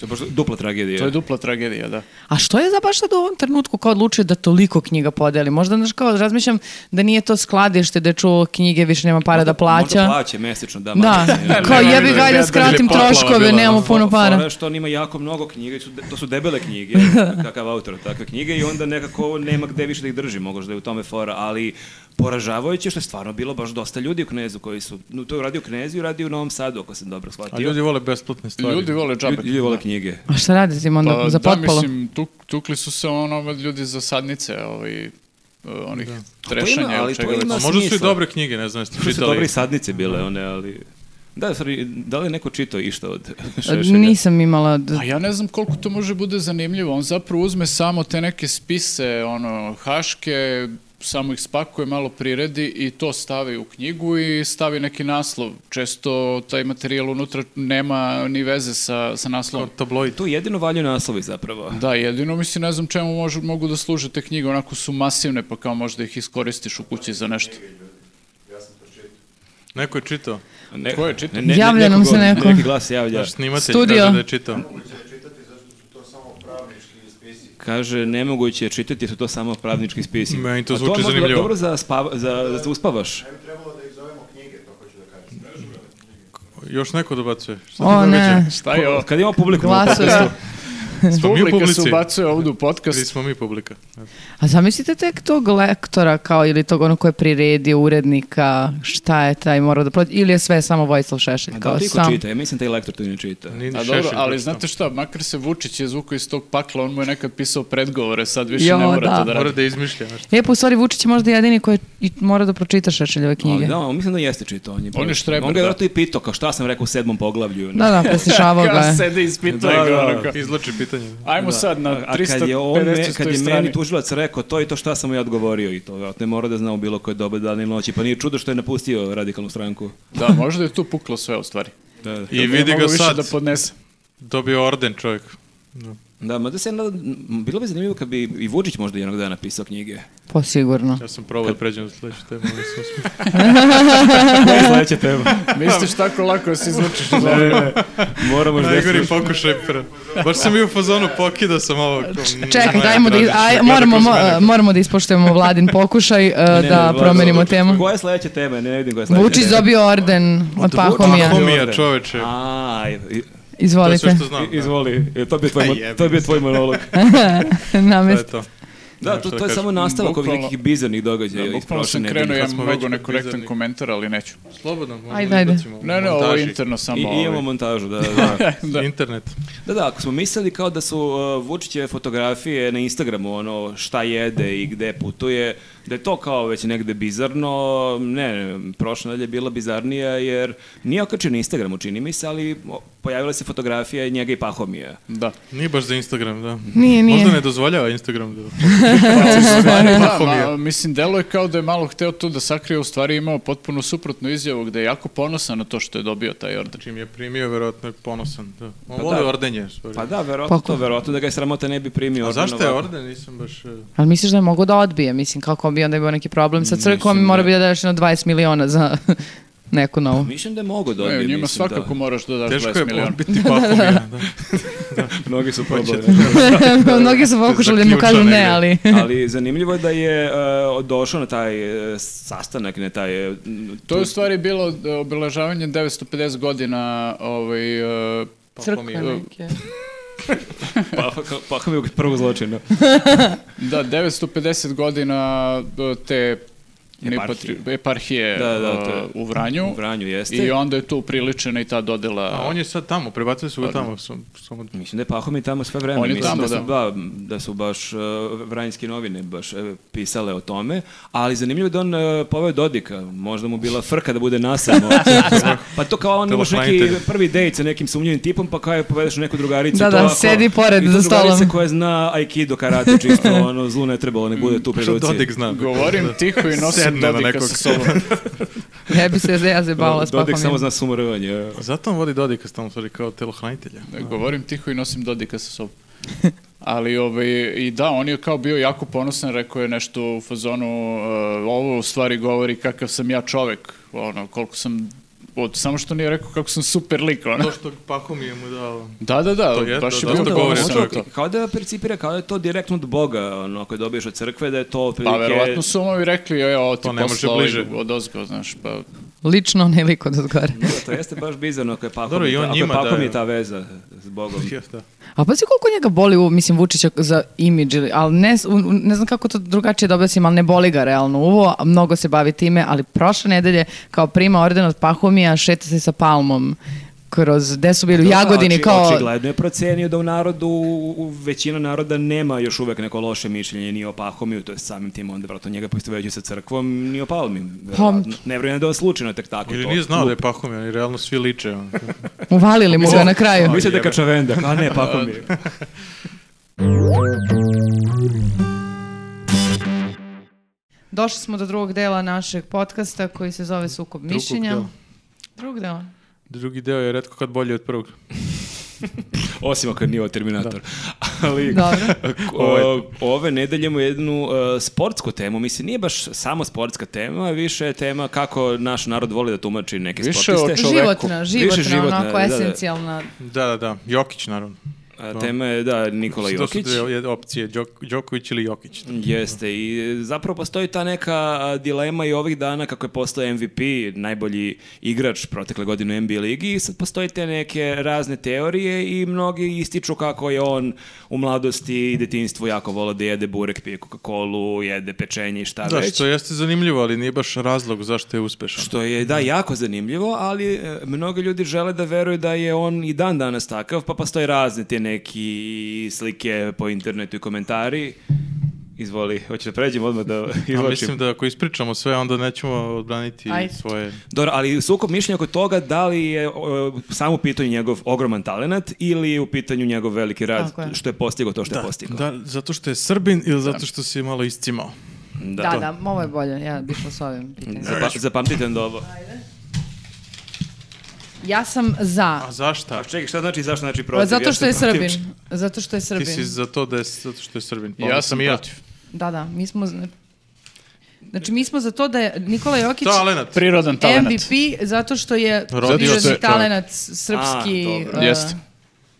Speaker 1: To je baš dupla tragedija.
Speaker 4: To je dupla tragedija, da.
Speaker 5: A što je za baš sad u ovom trenutku kao odlučio da toliko knjiga podeli? Možda, znaš, kao razmišljam da nije to skladište da je čuo knjige, više nema para da
Speaker 1: Možda
Speaker 5: plaća.
Speaker 1: plaće mesečno, da.
Speaker 5: Da,
Speaker 1: manje, ne,
Speaker 5: kao
Speaker 1: ne,
Speaker 5: jebi
Speaker 1: ne,
Speaker 5: ga, ajde
Speaker 4: ne,
Speaker 5: skratim
Speaker 2: ne, poplava bila,
Speaker 5: troškove,
Speaker 2: da.
Speaker 5: nemamo puno
Speaker 1: Fora
Speaker 5: para.
Speaker 1: je što on ima jako mnogo knjiga, i su de- to su debele knjige, kakav autor takve knjige i onda nekako nema gde više da ih drži, mogoš da je u tome fora, ali poražavajuće što je stvarno bilo baš dosta ljudi u Knezu koji su, no to je radio u Knezu i radio u Novom Sadu, ako sam dobro shvatio.
Speaker 2: A ljudi vole besplatne stvari.
Speaker 4: Ljudi vole džabe.
Speaker 1: Ljudi- ljudi vole knjige.
Speaker 5: A šta radi s im onda
Speaker 4: Pa,
Speaker 5: za potpalo?
Speaker 4: Da, mislim, tuk, tukli su se ono ljudi za sadnice, ovaj, eh, onih
Speaker 1: To
Speaker 4: trešanja
Speaker 1: ima, ali
Speaker 4: ili čega
Speaker 1: to
Speaker 4: već.
Speaker 1: ima-
Speaker 2: A možda su i
Speaker 1: smisla.
Speaker 2: dobre knjige, ne znam, jeste
Speaker 1: Što su
Speaker 2: čitali.
Speaker 1: dobre i sadnice bile one, ali... Da, sorry, da li je neko čitao išta od Šešelja?
Speaker 5: Nisam imala... d-
Speaker 4: A ja ne znam koliko to može bude zanimljivo. On zapravo uzme samo te neke spise, ono, haške, samo ih spakuje, malo priredi i to stavi u knjigu i stavi neki naslov. Često taj materijal unutra nema ni veze sa, sa
Speaker 2: Kao
Speaker 4: naslovom.
Speaker 2: Ono, tabloid.
Speaker 1: Tu jedino valju naslovi zapravo.
Speaker 4: Da, jedino mislim ne znam čemu možu, mogu da služe te knjige, onako su masivne, pa kao možda ih iskoristiš u kući za nešto.
Speaker 2: Neko je čitao.
Speaker 1: Ne-
Speaker 4: Ko je čitao?
Speaker 5: Javlja nam
Speaker 1: neko
Speaker 5: se
Speaker 1: go-
Speaker 5: neko.
Speaker 1: Neki glas se javlja.
Speaker 2: Naš snimatelj
Speaker 5: Studio.
Speaker 2: kaže da je čitao.
Speaker 1: Kaže, nemoguće je čitati jer su to samo pravnički spisi.
Speaker 2: Meni to
Speaker 1: A
Speaker 2: zvuči
Speaker 1: možda
Speaker 2: zanimljivo.
Speaker 1: Dobro za, spava, za, za uspavaš.
Speaker 2: Još neko dobacuje. Šta se
Speaker 5: O
Speaker 2: događa?
Speaker 5: ne,
Speaker 4: Šta je ovo?
Speaker 5: Eh,
Speaker 1: Kad imamo publiku na
Speaker 5: glasuju.
Speaker 1: podcastu,
Speaker 2: Smo mi u
Speaker 4: Publika se
Speaker 2: publici.
Speaker 4: ubacuje ovdje u
Speaker 2: Ili
Speaker 4: podcast.
Speaker 2: smo mi publika?
Speaker 5: A zamislite tek tog lektora kao ili tog ono koje je priredio urednika, šta je taj morao da prođe, ili je sve samo Vojislav
Speaker 1: A
Speaker 5: Šešelj
Speaker 1: Pa da
Speaker 5: kao
Speaker 1: li ti ko
Speaker 5: sam.
Speaker 1: čita? Ja mislim taj lektor to i ne čita.
Speaker 2: Ni, ni
Speaker 4: A dobro,
Speaker 2: Šešelj
Speaker 4: ali
Speaker 2: pročitao.
Speaker 4: znate šta, makar se Vučić je zvukao iz tog pakla, on mu je nekad pisao predgovore, sad više
Speaker 5: Jo,
Speaker 4: ne mora
Speaker 5: da.
Speaker 4: to da
Speaker 2: Mora
Speaker 4: radi.
Speaker 2: da izmišlja nešto.
Speaker 5: E, pa u stvari Vučić je možda jedini koji i mora da pročita Šešeljeve knjige.
Speaker 1: Ali da, on mislim da jeste čitao. On je,
Speaker 4: On je štreber,
Speaker 1: On ga
Speaker 4: da.
Speaker 1: je vjerojatno i pitao, kao šta sam rekao u sedmom poglavlju.
Speaker 5: Da, da, preslišavao ga
Speaker 4: Kao
Speaker 5: je.
Speaker 4: sede
Speaker 1: Da,
Speaker 4: ispitao je
Speaker 1: da.
Speaker 4: ga, ono kao,
Speaker 2: Izlači pitanje.
Speaker 4: Ajmo sad na
Speaker 1: A kad je,
Speaker 4: 350.
Speaker 1: on me, kad je
Speaker 4: strani.
Speaker 1: meni tužilac rekao to i to šta sam mu ja odgovorio i to, vjerojatno je morao da zna u bilo koje dobe dana ili noći, pa nije čudo što je napustio radikalnu stranku.
Speaker 4: Da, možda je tu puklo sve u stvari.
Speaker 1: Da, da.
Speaker 2: I
Speaker 4: Nije
Speaker 2: vidi
Speaker 4: mogao
Speaker 2: ga
Speaker 4: više
Speaker 2: sad.
Speaker 4: da podnese.
Speaker 2: Dobio orden čovjek.
Speaker 1: Da, mada se, jedna- m, bilo bi zanimljivo kad bi i Vučić možda jednog dana napisao knjige.
Speaker 5: Pa sigurno.
Speaker 2: Ja sam probao da pređem na sljedeću temu. ali sam uspio.
Speaker 1: Sljedeća tema.
Speaker 4: Misliš tako lako da se izvučeš iz ovoga?
Speaker 5: E,
Speaker 1: Moramo još
Speaker 2: Najgori pokušaj. pre- Baš sam i u fazonu pokida sam ovo.
Speaker 5: Čekaj, dajmo da, iz- aj, moramo, mo- e, moramo da ispoštujemo vladin pokušaj e, da promenimo temu.
Speaker 1: Koja je sljedeća tema? Ne, ne vidim koja je sljedeća
Speaker 5: Vučić
Speaker 1: tema.
Speaker 5: dobio orden od Pahomija.
Speaker 2: Pahomija. čoveče.
Speaker 1: A, i- i-
Speaker 2: To je sve
Speaker 5: Izvolite,
Speaker 2: što znam. da.
Speaker 1: izvoli, e, to bi tvoj, mo- to bi tvoj monolog.
Speaker 2: To je
Speaker 5: namest.
Speaker 2: to.
Speaker 1: Da, to,
Speaker 2: šta
Speaker 1: to je
Speaker 2: kažem.
Speaker 1: samo nastavak ovih
Speaker 4: Bukvalno-
Speaker 1: nekih bizarnih događaja iz
Speaker 4: Bukvalno
Speaker 1: prošle
Speaker 4: sam
Speaker 1: nedelje.
Speaker 4: krenuo, ja
Speaker 2: smo
Speaker 4: mnogo
Speaker 2: već
Speaker 4: nekorektan
Speaker 2: bizarni.
Speaker 4: komentar, ali neću.
Speaker 2: Slobodno. možemo
Speaker 5: Ajde, ajde.
Speaker 2: izbacimo
Speaker 4: Ne, ne, ovo
Speaker 2: montaži.
Speaker 4: je interno samo.
Speaker 1: I, i imamo
Speaker 4: ovaj.
Speaker 1: montažu, da, da.
Speaker 4: Da.
Speaker 2: Internet.
Speaker 1: Da, da, ako smo mislili kao da su uh, Vučićeve fotografije na Instagramu, ono, šta jede i gde putuje, da je to kao već negde bizarno, ne, prošla nedelja je bila bizarnija jer nije okačio na Instagramu, čini mi se, ali o, pojavila se fotografija njega i Pahomija.
Speaker 4: Da.
Speaker 2: Nije baš za Instagram, da.
Speaker 5: Nije, nije.
Speaker 2: Možda ne dozvoljava Instagram da...
Speaker 4: Da,
Speaker 2: Pahom je.
Speaker 4: ma, mislim, delo je kao da je malo hteo to da sakrije, u stvari je imao potpuno suprotnu izjavu gde je jako ponosan na to što je dobio taj order.
Speaker 2: Čim je primio, verovatno je ponosan. Da. On
Speaker 1: Pa
Speaker 2: voli
Speaker 1: da.
Speaker 2: ordenje. sorry.
Speaker 1: Pa da, verovatno,
Speaker 5: Pa ko-
Speaker 1: verovatno da ga je sramota ne bi primio.
Speaker 2: A
Speaker 1: orden
Speaker 2: zašto je
Speaker 1: ovako.
Speaker 2: orden? Nisam baš... eh,
Speaker 5: Ali misliš da je mogo da odbije? Mislim, kako bi onda bio neki problem sa crkvom i
Speaker 1: Mislim
Speaker 5: mora
Speaker 1: da-
Speaker 5: bi da daš jedno 20 miliona za neku novu.
Speaker 1: Mislim da je mogo da
Speaker 4: E,
Speaker 1: odbije,
Speaker 4: njima
Speaker 1: mislim da.
Speaker 4: svakako moraš da daš
Speaker 2: Teško je
Speaker 4: 20 miliona.
Speaker 2: pobiti Pahomija. da.
Speaker 1: Mnogi su probali.
Speaker 5: Mnogi su pokušali da mu
Speaker 2: Zaključa
Speaker 5: kažu ne,
Speaker 2: negde.
Speaker 5: ali...
Speaker 1: Ali zanimljivo je da je uh, došao na taj uh, sastanak, na taj... uh,
Speaker 4: To je u stvari bilo e, obeležavanje 950 godina ovaj, e,
Speaker 2: pa
Speaker 5: Crkve neke.
Speaker 1: Pa, pa, pa mi je prvo zločina.
Speaker 4: da, 950 godina e, te
Speaker 1: Eparhije.
Speaker 4: nepatri- eparhije
Speaker 1: Da, da,
Speaker 4: e,
Speaker 1: to je-
Speaker 4: u Vranju.
Speaker 1: U Vranju jeste.
Speaker 4: I onda je tu upriličena i ta dodela.
Speaker 2: A on je sad tamo, prebacili su ga tamo. Sam, samo
Speaker 1: Mislim da je Pahom i tamo sve vreme.
Speaker 4: On je
Speaker 1: Mislim
Speaker 4: tamo,
Speaker 1: da, su, da. da su baš uh, vranjske novine baš e, pisale o tome, ali zanimljivo je da on uh, poveo Dodika, možda mu bila frka da bude nasamo. pa to kao on imaš neki
Speaker 2: Teleflanite.
Speaker 1: prvi dejt sa nekim sumnjivim tipom, pa kao je povedeš u neku drugaricu.
Speaker 5: Da,
Speaker 1: i to
Speaker 5: da,
Speaker 1: ovako-
Speaker 5: sedi pored
Speaker 1: i to
Speaker 5: za stolom.
Speaker 1: drugarica koja zna Aikido, karate, čisto ono, zlu ne trebalo, ne bude tu
Speaker 4: Pa
Speaker 1: pri
Speaker 2: Što
Speaker 1: ruci.
Speaker 2: Dodik zna?
Speaker 4: Govorim tiho i nosim
Speaker 2: Sedne na
Speaker 4: Dodika
Speaker 2: nekog.
Speaker 4: sa sobom.
Speaker 5: Ne bi se ja zajebala s
Speaker 1: Dodik samo
Speaker 5: papom.
Speaker 1: zna e. sumorovanje.
Speaker 2: Zato on vodi Dodika stalno, sorry, kao telohranitelja.
Speaker 4: Govorim tiho i nosim Dodika sa sobom. Ali ovaj, i da, on je kao bio jako ponosan, rekao je nešto u fazonu, e, ovo u stvari govori kakav sam ja čovek, ono, koliko sam, od, samo što nije rekao kako sam super lik, ono.
Speaker 2: To što Pahom je mu dao...
Speaker 4: Da, da, da,
Speaker 2: To je-
Speaker 4: baš je
Speaker 2: da,
Speaker 4: bio
Speaker 2: da,
Speaker 4: govori
Speaker 2: da,
Speaker 4: sa
Speaker 2: da,
Speaker 4: na
Speaker 2: da,
Speaker 4: to.
Speaker 1: Kao da percipira, kao da je to direktno od Boga, ono, ako je dobiješ od crkve, da je to
Speaker 4: Pa
Speaker 1: otprilike-
Speaker 4: verovatno su ovi rekli, e, ovo ti
Speaker 2: To ne može
Speaker 4: posla ovaj
Speaker 2: bliže.
Speaker 4: od ozgo, znaš, pa
Speaker 5: Lično onaj lik od odgore.
Speaker 1: Da, to jeste baš bizarno ako je pakom,
Speaker 2: Dobro, i on
Speaker 1: ako je
Speaker 2: njima
Speaker 1: pakom
Speaker 2: daje.
Speaker 1: je ta veza s Bogom.
Speaker 2: Ja, da.
Speaker 5: A pa si koliko njega boli, u, mislim, Vučića za imidž, ili- ali ne, s- u- u- ne znam kako to drugačije da objasnim, ali ne boli ga realno uvo, a mnogo se bavi time, ali prošle nedelje kao prima orden od Pahomija, šeta se sa palmom kroz, gde su bili u Jagodini,
Speaker 1: Oči-
Speaker 5: kao...
Speaker 1: Znači, Očigledno je procenio da u narodu, u- u- većina naroda nema još uvek neko loše mišljenje ni o Pahomiju, to je samim tim onda vratno njega poistoveđuje sa crkvom, ni o Palmi.
Speaker 5: Pa-
Speaker 1: verovatno. Ne vjerujem da je slučajno tek tako
Speaker 2: Ili
Speaker 1: to.
Speaker 2: nije znao da je Pahom, ali realno svi liče. ono. on.
Speaker 5: Uvalili mu ga na kraju.
Speaker 1: Mislim da je kačavenda, a ne Pahomije.
Speaker 5: Došli smo do drugog dela našeg podcasta koji se zove Sukob mišljenja.
Speaker 2: dela.
Speaker 5: Drug deo.
Speaker 2: Drugi deo je redko kad bolji od prvog.
Speaker 1: Osim ako nije ovo Terminator. Ali,
Speaker 5: Dobro.
Speaker 1: o, ove nedelje imamo jednu e, sportsku temu. Mislim, nije baš samo sportska tema, više je tema kako naš narod voli da tumači neke
Speaker 4: Više
Speaker 1: sportiste.
Speaker 4: o čoveku.
Speaker 5: Životna, životna,
Speaker 1: Više životna,
Speaker 5: onako
Speaker 1: da, da.
Speaker 5: esencijalna.
Speaker 2: Da, da, da. Jokić, naravno.
Speaker 1: A, tema je, da, Nikola
Speaker 2: To su
Speaker 1: Jokić.
Speaker 2: dve jed- opcije, Đok- Đoković ili Jokić.
Speaker 1: Jeste i e, zapravo postoji ta neka a, dilema i ovih dana kako je postao MVP, najbolji igrač protekle godine u NBA ligi i sad postoje te neke razne teorije i mnogi ističu kako je on u mladosti i detinjstvu jako volao da jede burek, pije Coca-Colu, jede pečenje i šta
Speaker 2: Da,
Speaker 1: već.
Speaker 2: što jeste zanimljivo, ali nije baš razlog zašto je uspešan.
Speaker 1: Što je, da, jako zanimljivo, ali e, mnogi ljudi žele da veruju da je on i dan danas takav, pa postoje razne te neki slike po internetu i komentari. Izvoli, hoćeš da pređemo odmah da
Speaker 2: A
Speaker 1: izvlačim?
Speaker 2: mislim da ako ispričamo sve, onda nećemo odbraniti
Speaker 5: Ajde.
Speaker 2: svoje...
Speaker 1: Dobro, ali sukob mišljenja oko toga da li je o, samo u pitanju njegov ogroman talenat ili je u pitanju njegov veliki rad,
Speaker 5: Tako je.
Speaker 1: što je postigao to što je postigao.
Speaker 2: Da, zato što je Srbin ili zato što si malo iscimao?
Speaker 1: Da.
Speaker 5: Da, da, ovo je bolje, ja bih išla s ovim pitanjem.
Speaker 1: Zapa- zapamtite onda ovo.
Speaker 5: Ja sam za.
Speaker 2: A zašta?
Speaker 1: A čekaj, šta znači, zašto znači
Speaker 5: Pa
Speaker 1: protiv?
Speaker 5: zato što je
Speaker 1: Jeste protiv.
Speaker 5: Srbin. Zato što je Srbin.
Speaker 2: Ti si za to da je, zato što je Srbin. Pa
Speaker 4: Ja
Speaker 2: onda
Speaker 4: sam
Speaker 2: i ja.
Speaker 4: protiv.
Speaker 5: Da, da, mi smo... Znači, mi smo za to da je Nikola Jokić
Speaker 2: To, Alenat.
Speaker 4: Prirodan talent.
Speaker 5: MVP zato što je
Speaker 2: Rodio se
Speaker 5: prirodni
Speaker 2: čovjek.
Speaker 5: talenat srpski.
Speaker 1: A, dobro.
Speaker 5: uh,
Speaker 4: Jeste.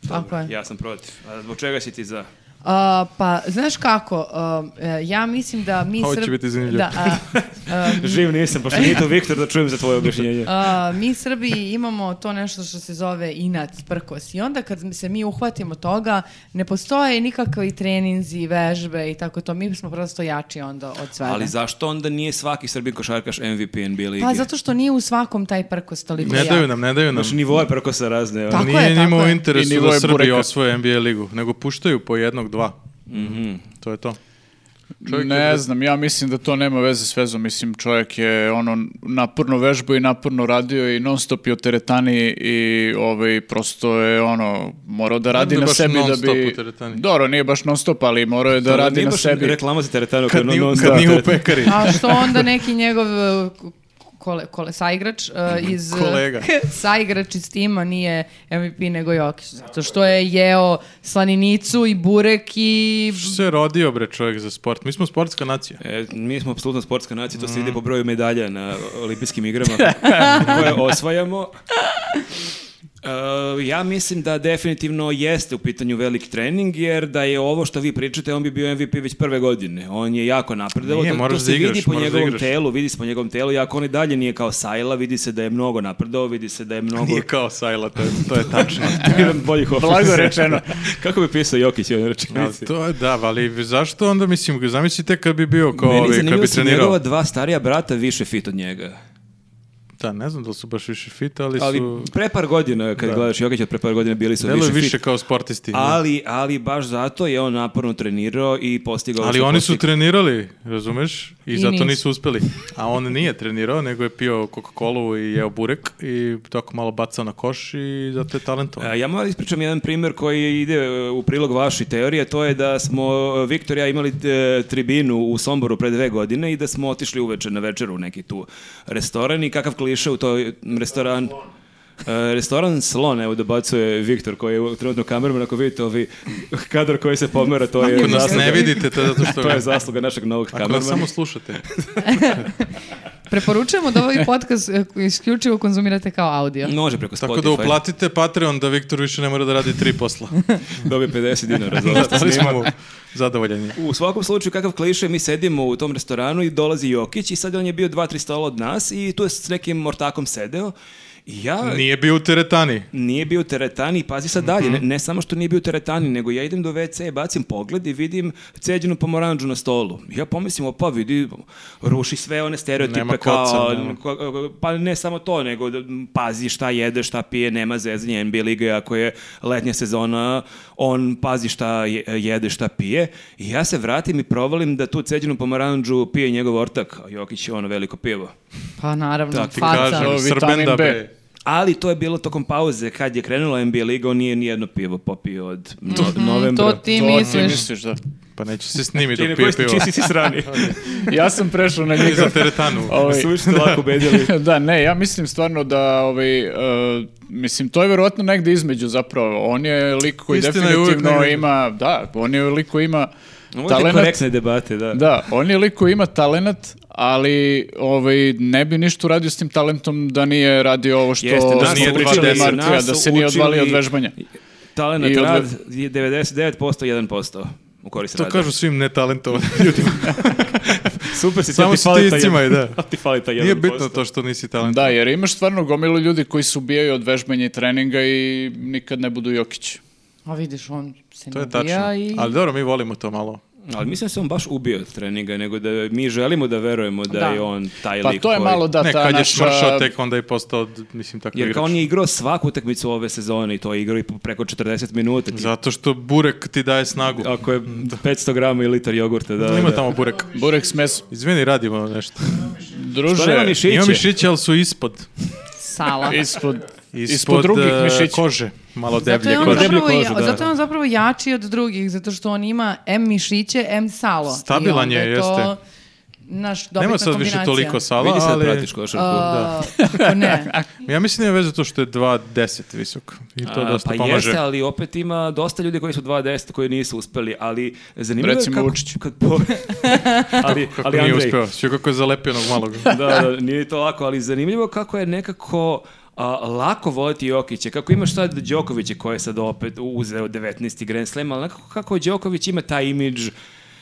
Speaker 5: Tako je.
Speaker 1: Ja sam protiv. A zbog čega si ti za?
Speaker 5: A, pa, znaš kako, um, e, ja mislim da mi...
Speaker 2: Ovo će
Speaker 5: Srb-
Speaker 2: biti zanimljivo.
Speaker 5: Da, a,
Speaker 1: Živ nisam, pošto nije to Viktor da čujem za tvoje objašnjenje.
Speaker 5: a, mi Srbi imamo to nešto što se zove inat, prkos. I onda kad se mi uhvatimo toga, ne postoje nikakvi treninzi, vežbe i tako to. Mi smo prosto jači onda od svega.
Speaker 1: Ali zašto onda nije svaki Srbin košarkaš MVP NBA ligi?
Speaker 5: Pa zato što nije u svakom taj prkos toliko
Speaker 2: Ne
Speaker 5: jak.
Speaker 2: daju nam, ne daju nam.
Speaker 1: Znači nivoje preko sa razne.
Speaker 5: Tako
Speaker 2: Nije
Speaker 5: je, tako
Speaker 2: njima u
Speaker 5: je.
Speaker 2: interesu
Speaker 4: I nivo
Speaker 2: da
Speaker 4: je
Speaker 2: Srbi
Speaker 4: bureka.
Speaker 2: osvoje NBA ligu, nego puštaju po jednog, dva. To je to. Čovjek
Speaker 4: ne
Speaker 2: je-
Speaker 4: znam, ja mislim da to nema veze s vezom. Mislim, čovjek je ono naporno vežbao i naporno radio i non stop je u teretani i ovaj, prosto je ono, morao da radi
Speaker 2: bi
Speaker 4: na
Speaker 2: baš
Speaker 4: sebi
Speaker 2: non
Speaker 4: da
Speaker 2: stop
Speaker 4: bi...
Speaker 2: u teretani.
Speaker 4: Dobro, nije baš non stop, ali morao je da
Speaker 1: Ono,
Speaker 4: radi
Speaker 1: nije
Speaker 4: na
Speaker 1: baš
Speaker 4: sebi.
Speaker 1: Reklama za teretanu. ono
Speaker 2: Kad
Speaker 1: koja
Speaker 2: nije,
Speaker 1: non-stop
Speaker 2: kad nije u
Speaker 1: teretana.
Speaker 2: pekari.
Speaker 5: A što onda neki njegov e, kole, kole, saigrač e, iz... e,
Speaker 2: Kolega.
Speaker 5: saigrač iz tima nije MVP nego Jokić. Zato što je jeo slaninicu i burek i...
Speaker 2: Se rodio bre čovjek za sport. Mi smo sportska nacija.
Speaker 1: E, mi smo apsolutno sportska nacija,
Speaker 2: Mm.
Speaker 1: to se vidi po broju medalja na olimpijskim igrama koje osvajamo. E, ja mislim da definitivno jeste u pitanju veliki trening, jer da je ovo što vi pričate, on bi bio MVP već prve godine. On je jako napredovao,
Speaker 2: Nije,
Speaker 1: to- to,
Speaker 2: moraš
Speaker 1: se
Speaker 2: da igraš,
Speaker 1: vidi po
Speaker 2: moraš da
Speaker 1: njegovom
Speaker 2: igraš.
Speaker 1: telu, vidi se po njegovom telu, i ako on i dalje nije kao Sajla, vidi se da je mnogo napredovao, vidi se da je mnogo...
Speaker 2: Nije kao Sajla, to je, to je tačno.
Speaker 1: Biram boljih opisa.
Speaker 4: Blago rečeno.
Speaker 1: Kako bi pisao Jokić u jednoj
Speaker 2: A
Speaker 1: rečenici?
Speaker 2: to je, da, ali zašto onda, mislim, zamislite kad bi bio kao
Speaker 1: Meni
Speaker 2: ovi, kad
Speaker 1: zanimljivo
Speaker 2: bi
Speaker 1: su njegova
Speaker 2: trenirao.
Speaker 1: dva starija brata više fit od njega.
Speaker 2: Da, ne znam da li su baš više fit, ali,
Speaker 1: Ali
Speaker 2: su...
Speaker 1: pre par godina, kad gledaš Jokić od pre par godina, bili su
Speaker 2: Delo
Speaker 1: više,
Speaker 2: je više
Speaker 1: fit.
Speaker 2: kao sportisti.
Speaker 1: Ali, ali baš zato je on naporno trenirao i postigao... ovo
Speaker 2: Ali
Speaker 1: što
Speaker 2: oni su
Speaker 1: postigao.
Speaker 2: trenirali, razumeš? I, zato
Speaker 5: nisu.
Speaker 2: nisu uspeli. A on nije trenirao, nego je pio Coca-Colu i jeo burek i tako malo bacao na koš i zato je talentovan.
Speaker 1: E, Ja moram da ispričam jedan primjer koji ide e, u prilog vašoj teoriji, a to je da smo e, Viktor i ja imali e, tribinu u Somboru pre dve godine i da smo otišli uveče na večeru u neki tu restoran i kakav kliše u toj restoran... E, restoran Slon, evo dobacuje Viktor koji je trenutno kamerman, ako vidite ovi kadar koji se pomera, to je...
Speaker 2: Ako nas
Speaker 1: zasluga-
Speaker 2: ne vidite, to je zato što...
Speaker 1: To je zasluga našeg novog
Speaker 2: Ako nas
Speaker 1: kamermana.
Speaker 2: samo slušate.
Speaker 5: Preporučujemo da ovaj podcast e, isključivo konzumirate kao audio.
Speaker 1: Može preko Spotify.
Speaker 2: Tako da uplatite Patreon da Viktor više ne mora da radi tri posla.
Speaker 1: Dobije 50 dinara za ovo.
Speaker 2: Zato smo mu zadovoljeni.
Speaker 1: U svakom slučaju, kakav kliše, mi sedimo u tom restoranu i dolazi Jokić i sad on je bio dva, tri stola od nas i tu je s nekim ortakom sedeo. I ja...
Speaker 2: Nije bio u teretani.
Speaker 1: Nije bio u teretani, pazi sad dalje,
Speaker 2: Mhm.
Speaker 1: ne, ne samo što nije bio u teretani, nego ja idem do WC, bacim pogled i vidim ceđenu pomoranđu na stolu. Ja pomislim, opa, vidi, ruši sve one stereotipe
Speaker 2: Nema
Speaker 1: kao,
Speaker 2: koca, nema.
Speaker 1: ko- pa ne samo to, nego da, m, pazi šta jede, šta pije, nema zezanja NBA lige, ako je letnja sezona, on pazi šta je- jede, šta pije. I ja se vratim i provalim da tu ceđenu pomoranđu pije njegov ortak, a Jokić je ono veliko pivo.
Speaker 5: Pa naravno,
Speaker 2: Da ti
Speaker 5: faca. Mm,
Speaker 2: kažem,
Speaker 4: Ovo,
Speaker 2: Srben
Speaker 4: vitamin
Speaker 2: da
Speaker 4: B.
Speaker 2: bre.
Speaker 1: Ali to je bilo tokom pauze, kad je krenula NBA liga, on nije nijedno pivo popio od no- novembra.
Speaker 5: Mhm. To ti
Speaker 4: To ti
Speaker 5: misliš.
Speaker 4: misliš, da.
Speaker 2: Pa neće se snimi
Speaker 1: Ti
Speaker 2: dok
Speaker 1: na
Speaker 2: pije
Speaker 1: koji ste
Speaker 2: pivo.
Speaker 1: čisi si srani.
Speaker 4: Ja sam prešao na
Speaker 2: Nije za
Speaker 4: njega.
Speaker 2: teretanu.
Speaker 4: Ovaj,
Speaker 1: Suviše ste lako ubedili.
Speaker 4: da, ne, ja mislim stvarno da, ovaj, e, mislim, to je verovatno negde između zapravo. On je lik koji
Speaker 2: Istina je uvek
Speaker 4: definitivno
Speaker 2: negde.
Speaker 4: ima, da, on je lik koji ima
Speaker 1: Ovo je
Speaker 4: talenat.
Speaker 1: korektne debate, da.
Speaker 4: Da, on je lik koji ima talenat, ali ovaj, ne bi ništa uradio s tim talentom da nije radio ovo što
Speaker 1: Jeste,
Speaker 4: smo
Speaker 1: nas
Speaker 2: nije
Speaker 4: pričali
Speaker 1: učili,
Speaker 2: dva
Speaker 4: Martija,
Speaker 1: nas
Speaker 4: da se nije
Speaker 1: učili-
Speaker 4: odvalio od vežbanja.
Speaker 1: Talenat
Speaker 4: I odve-
Speaker 1: rad je 99%, 1% u korist
Speaker 2: To
Speaker 1: rada.
Speaker 2: kažu svim netalentovanim ljudima.
Speaker 1: Super si,
Speaker 2: Samo
Speaker 1: ti
Speaker 2: su
Speaker 1: fali
Speaker 2: ti
Speaker 1: taj
Speaker 2: iscimaj,
Speaker 1: jedan-
Speaker 2: da.
Speaker 1: ti fali taj
Speaker 2: Nije
Speaker 1: 1%.
Speaker 2: bitno to što nisi talentovan.
Speaker 4: Da, jer imaš stvarno gomilu ljudi koji se ubijaju od vežbanja i treninga i nikad ne budu Jokić.
Speaker 5: A vidiš, on se
Speaker 2: To
Speaker 5: ne
Speaker 2: je tačno.
Speaker 5: ubija i...
Speaker 2: Ali dobro, mi volimo to malo.
Speaker 1: Ali mislim da se on baš ubio od treninga, nego da mi želimo da verujemo da,
Speaker 5: Da.
Speaker 1: je on taj
Speaker 4: Pa
Speaker 1: lik
Speaker 4: to je
Speaker 1: koji-
Speaker 4: malo da
Speaker 2: ne,
Speaker 4: ta
Speaker 2: kad je
Speaker 4: naša...
Speaker 2: smršao, tek onda je postao, mislim, tako
Speaker 1: Jer
Speaker 2: igrač.
Speaker 1: kao on je igrao svaku utakmicu ove sezone i to je igrao i po- preko 40 minuta. Ti-
Speaker 2: Zato što burek ti daje snagu.
Speaker 1: Ako je 500 grama i litar jogurta, da.
Speaker 2: Ima
Speaker 1: da.
Speaker 2: tamo burek.
Speaker 4: Burek s mesom.
Speaker 2: Izvini, radimo nešto.
Speaker 1: To Pa nema
Speaker 4: Druže,
Speaker 1: mišiće.
Speaker 2: Ima mišiće, ali su ispod.
Speaker 5: Sala.
Speaker 4: ispod,
Speaker 2: Ispod,
Speaker 4: ispod drugih
Speaker 2: e,
Speaker 4: mišića.
Speaker 2: kože. Malo
Speaker 5: Zato je,
Speaker 2: deblje
Speaker 5: on
Speaker 2: kože.
Speaker 5: zapravo,
Speaker 1: Deblju
Speaker 5: ja-
Speaker 1: kožu, da.
Speaker 5: zato je ono on zapravo jači od drugih, zato što on ima M mišiće, M salo. I
Speaker 2: Stabilan
Speaker 5: onda
Speaker 2: je,
Speaker 5: To
Speaker 2: jeste.
Speaker 5: naš dobitna
Speaker 2: Nema sad više
Speaker 5: kombinacija.
Speaker 2: toliko sala,
Speaker 1: Vidi se da
Speaker 2: ali...
Speaker 1: pratiš košarku.
Speaker 5: A, kako ne.
Speaker 2: Ja mislim da je veze to što je 2.10 visok. I to
Speaker 1: A,
Speaker 2: dosta
Speaker 1: pa
Speaker 2: pomaže.
Speaker 1: jeste, ali opet ima dosta ljudi koji su 2.10 koji nisu uspeli, ali zanimljivo
Speaker 4: Recimo
Speaker 1: je kako...
Speaker 4: Vučić.
Speaker 1: Kad po... ali,
Speaker 2: Kako
Speaker 1: ali
Speaker 2: nije
Speaker 1: Andrej,
Speaker 2: uspeo. Sve kako je zalepio onog malog.
Speaker 1: da, da, nije to lako, ali zanimljivo kako je nekako a, lako voliti Jokića, kako imaš sad Đokovića koji je sad opet uzeo 19. Grand Slam, ali nekako kako Đoković ima taj imidž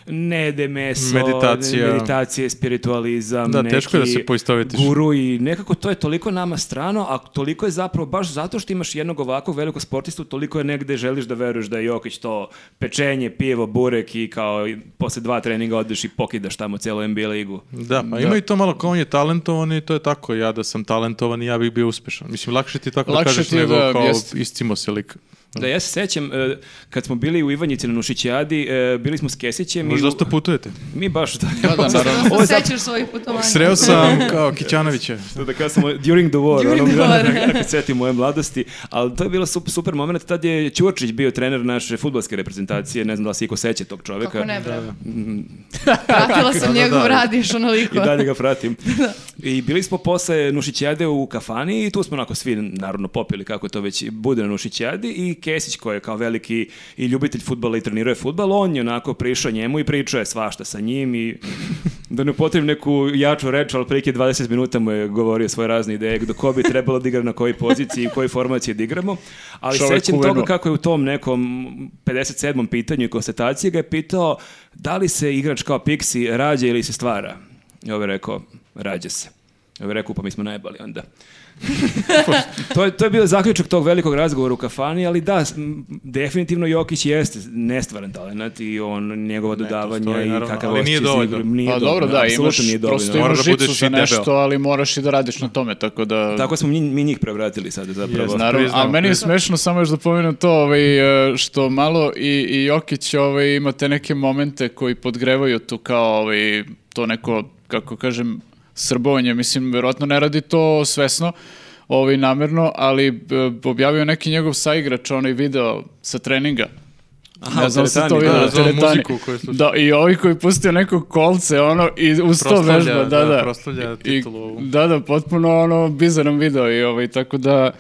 Speaker 1: ne jede meso,
Speaker 2: Meditacija.
Speaker 1: ne- meditacije, spiritualizam,
Speaker 2: Da, teško je da
Speaker 1: neki
Speaker 2: se poistovetiš.
Speaker 1: Guru i nekako to je toliko nama strano, a toliko je zapravo baš zato što imaš jednog ovakvog velikog sportistu, toliko je negde želiš da veruješ da je Jokić to pečenje, pijevo, burek i kao i posle dva treninga odeš i pokidaš tamo celu NBA ligu.
Speaker 2: Da, pa ima i to malo kao on je talentovan i to je tako. Ja da sam talentovan i ja bih bio uspešan. Mislim, lakše ti tako
Speaker 4: Lakše
Speaker 2: da kažeš
Speaker 4: ti je
Speaker 2: nego
Speaker 4: da,
Speaker 2: kao
Speaker 4: jeste.
Speaker 2: iscimo se lik.
Speaker 1: Da, ja se sećam, e, kad smo bili u Ivanjici na Nušićijadi, e, bili smo s Kesićem i...
Speaker 2: Možda
Speaker 1: u-
Speaker 2: dosta putujete.
Speaker 1: Mi baš, da.
Speaker 4: Da, da, naravno.
Speaker 1: Ovo je
Speaker 5: se sećaš svojih putovanja.
Speaker 2: Sreo sam kao Kićanovića.
Speaker 1: Da, da kasamo, during the war,
Speaker 5: During
Speaker 1: onog
Speaker 5: the
Speaker 1: dana,
Speaker 5: war.
Speaker 1: kako se setim moje mladosti, ali to je bilo sup- super moment, tad je Ćurčić bio trener naše futbolske reprezentacije, ne znam da li se iko seća tog čoveka.
Speaker 5: Kako ne, bre.
Speaker 2: Mm.
Speaker 5: Pratila sam njegov radiš onoliko.
Speaker 1: I dalje ga pratim. I bili smo posle Nušićijade u kafani i tu smo onako svi naravno popili kako to već bude na Nušićijadi i Kesić koji je kao veliki i ljubitelj futbala i treniruje futbal, on je onako prišao njemu i pričao je svašta sa njim i da ne potrebim neku jaču reč, ali prilike 20 minuta mu je govorio svoje razne ideje do ko bi trebalo da igra na kojoj poziciji i u kojoj formaciji da igramo. Ali
Speaker 4: Čovek
Speaker 1: sećam
Speaker 4: uverno.
Speaker 1: toga kako je u tom nekom 57. pitanju i konstataciji ga je pitao da li se igrač kao Pixi rađa ili se stvara. I ovaj rekao, rađa se. I ovaj rekao, pa mi smo najbali onda. to, je, to je bio zaključak tog velikog razgovora u kafani, ali da, s- m, definitivno Jokić jeste nestvaran talent i on, njegova dodavanja
Speaker 2: stoji,
Speaker 1: i
Speaker 2: naravno,
Speaker 1: kakav
Speaker 2: ali nije
Speaker 1: osjećaj za
Speaker 2: dovoljno.
Speaker 1: igru, nije
Speaker 4: Pa dobro, da,
Speaker 1: apsolutno
Speaker 4: imaš,
Speaker 1: nije dovoljno.
Speaker 4: prosto
Speaker 2: Moraš
Speaker 4: imaš
Speaker 2: da
Speaker 4: žicu
Speaker 2: budeš
Speaker 4: za
Speaker 2: i debel.
Speaker 4: nešto, ali moraš i da radiš na tome, tako da...
Speaker 1: Tako smo mi, mi njih prevratili sad zapravo.
Speaker 2: Jeste.
Speaker 4: Naravno,
Speaker 2: Priznamo,
Speaker 4: ali meni je
Speaker 2: priznamo.
Speaker 4: smešno samo još da pomenem to ovaj, e, što malo i, i Jokić ovaj, ima te neke momente koji podgrevaju tu kao ovaj, to neko, kako kažem, srbovanje. Mislim, verovatno ne radi to svesno, ovaj, namerno, ali e, objavio je neki njegov saigrač, onaj video sa treninga.
Speaker 1: Aha,
Speaker 4: ne znam
Speaker 1: u
Speaker 4: se to
Speaker 1: teretani, da,
Speaker 4: vidio na
Speaker 2: za ovu
Speaker 4: teretani.
Speaker 2: muziku koju slušam.
Speaker 4: Da, i ovaj koji je pustio neko kolce, ono, i uz to
Speaker 2: Proslavlja,
Speaker 4: vežba, da,
Speaker 2: da,
Speaker 4: da.
Speaker 2: proslavlja
Speaker 4: I-
Speaker 2: titulu ovu.
Speaker 4: Da, da, potpuno ono bizaran video i ovaj, tako da...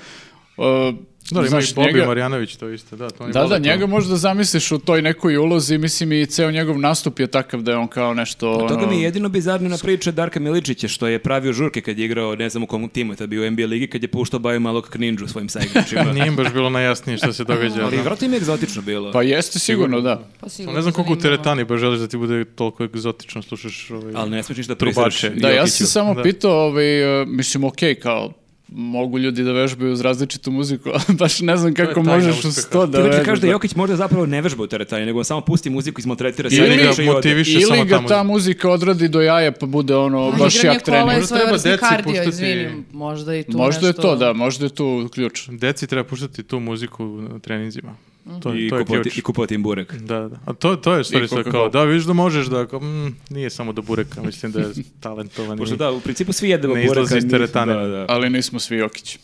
Speaker 4: o,
Speaker 2: Da, ima i
Speaker 4: znaš,
Speaker 2: Bobi
Speaker 4: njega-
Speaker 2: Marjanović to isto, da. To oni
Speaker 4: Da,
Speaker 2: vole
Speaker 4: da,
Speaker 2: to.
Speaker 4: njega možda zamisliš u toj nekoj ulozi, mislim i ceo njegov nastup je takav da je on kao nešto...
Speaker 1: Od Pa toga
Speaker 4: ono,
Speaker 1: mi je jedino bizarno na priča Darka Miličića što je pravio žurke kad je igrao, ne znam u kom timu, je tad bio u NBA ligi, kad je puštao Baju malog kninđu svojim saigračima.
Speaker 2: Nije im baš bilo najjasnije što se događa.
Speaker 1: Ali
Speaker 2: da.
Speaker 1: vratno im je egzotično bilo.
Speaker 4: Pa jeste sigurno, da.
Speaker 5: Pa sigurno,
Speaker 2: Ne znam koliko u
Speaker 5: zanimljivo.
Speaker 2: teretani baš želiš da ti bude toliko egzotično slušaš ovaj...
Speaker 1: ali ne smiješ ništa
Speaker 2: Trubače.
Speaker 1: prisreć.
Speaker 4: Da, ja sam se samo
Speaker 2: da.
Speaker 4: pitao, ovaj, e, mislim, okej, kao, mogu ljudi da vežbaju uz različitu muziku, ali baš ne znam kako
Speaker 2: tajna
Speaker 4: možeš uz
Speaker 2: uspeha.
Speaker 4: to da
Speaker 1: Ti hoćeš
Speaker 4: vežbaš.
Speaker 1: da kažeš da Jokić možda zapravo ne vežba u teretani, nego on samo pusti muziku, izmaltretira se.
Speaker 4: Ili
Speaker 1: igrače
Speaker 4: ga
Speaker 1: i ode.
Speaker 2: motiviš. Više samo
Speaker 4: Ili
Speaker 2: ta
Speaker 4: ga
Speaker 2: muzika.
Speaker 4: ta muzika odradi do jaja pa bude ono
Speaker 5: Pa
Speaker 4: baš
Speaker 5: igranje
Speaker 4: jak trening.
Speaker 5: kola je
Speaker 2: Možda treba
Speaker 5: svojevrsni
Speaker 2: deci
Speaker 5: kardio,
Speaker 2: puštati-
Speaker 5: izvinim. Možda i tu
Speaker 4: Možda je
Speaker 5: nešto-
Speaker 4: to, da, možda je tu ključ.
Speaker 2: Deci treba puštati tu muziku na treninzima.
Speaker 4: Mhm.
Speaker 2: To,
Speaker 1: I
Speaker 2: to je
Speaker 1: kupovati-
Speaker 2: ključ.
Speaker 1: I kupovati im burek.
Speaker 2: Da, da. A to, to je stvari
Speaker 4: I
Speaker 2: što je kao,
Speaker 4: Coca-Cola.
Speaker 2: da vidiš da možeš da, kao, mm, nije samo do bureka, mislim da je talentovan. i
Speaker 1: Pošto da, u principu svi jedemo
Speaker 2: Ne
Speaker 1: burek.
Speaker 2: izlazi iz teretane.
Speaker 1: Da, da.
Speaker 4: Ali nismo svi Jokići.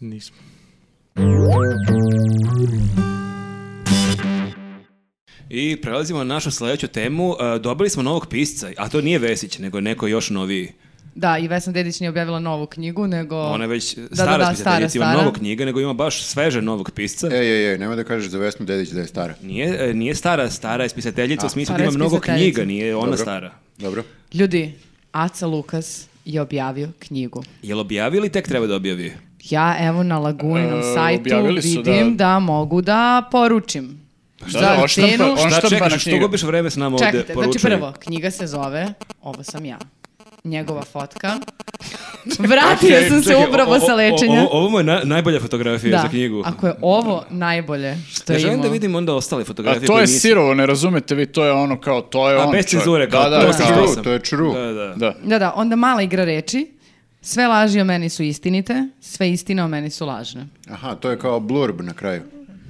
Speaker 2: Nismo.
Speaker 1: I prelazimo na našu sledeću temu. E, Dobili smo novog pisca, a to nije Vesić, nego neko još noviji.
Speaker 5: Da, i Vesna Dedić nije objavila novu knjigu, nego...
Speaker 1: Ona je već
Speaker 5: Da,
Speaker 1: stara
Speaker 5: da, da,
Speaker 1: spisateljica,
Speaker 5: stara,
Speaker 1: ima
Speaker 5: stara. E.
Speaker 1: mnogo knjiga, nego ima baš sveže novog pisca.
Speaker 3: Ej, ej, ej, nemoj da kažeš za Vesnu Dedić da je stara.
Speaker 1: Nije, e, nije stara, stara je spisateljica, u smislu da
Speaker 5: Stara
Speaker 1: ima
Speaker 5: je
Speaker 1: mnogo
Speaker 5: spisateljica.
Speaker 1: knjiga, nije ona
Speaker 3: Dobro.
Speaker 1: stara.
Speaker 3: Dobro.
Speaker 5: Ljudi, Aca Lukas je objavio knjigu.
Speaker 1: Je li objavio ili tek treba da objavi?
Speaker 5: Ja evo na Laguninom
Speaker 4: E,
Speaker 5: sajtu
Speaker 4: objavili su
Speaker 5: vidim da... mogu da poručim.
Speaker 4: Da, da, odštampa-
Speaker 5: cenu-
Speaker 4: On
Speaker 1: Šta
Speaker 4: štampa na
Speaker 1: čekaš, što
Speaker 4: knjigu.
Speaker 1: gubiš vreme s nama ovde
Speaker 5: Čekajte, znači
Speaker 1: poručuje?
Speaker 5: prvo, knjiga se zove Ovo sam ja. Njegova fotka. Vratio sam se
Speaker 1: Čekaj,
Speaker 5: upravo
Speaker 1: o- o-
Speaker 5: sa
Speaker 1: o-
Speaker 5: lečenja.
Speaker 1: o- Ovo mu je na- najbolja fotografija za knjigu.
Speaker 5: ako je ovo najbolje što
Speaker 1: Ja
Speaker 5: je
Speaker 1: želim
Speaker 5: imao.
Speaker 1: da vidim onda ostale
Speaker 4: A
Speaker 1: fotografije
Speaker 4: to
Speaker 1: koje
Speaker 4: je
Speaker 1: nisu.
Speaker 4: sirovo, ne razumete vi, to je ono kao, to je
Speaker 1: A
Speaker 4: ono.
Speaker 1: bez
Speaker 4: čovjek.
Speaker 1: cenzure, kao,
Speaker 4: da, da,
Speaker 1: to
Speaker 4: da,
Speaker 1: sam
Speaker 4: kao-
Speaker 1: htio
Speaker 3: True, to je true.
Speaker 1: Da, da.
Speaker 4: da.
Speaker 5: Da, da, onda mala igra reči. Sve laži o meni su istinite, sve istine o meni su lažne.
Speaker 3: Aha, to je kao blurb na kraju.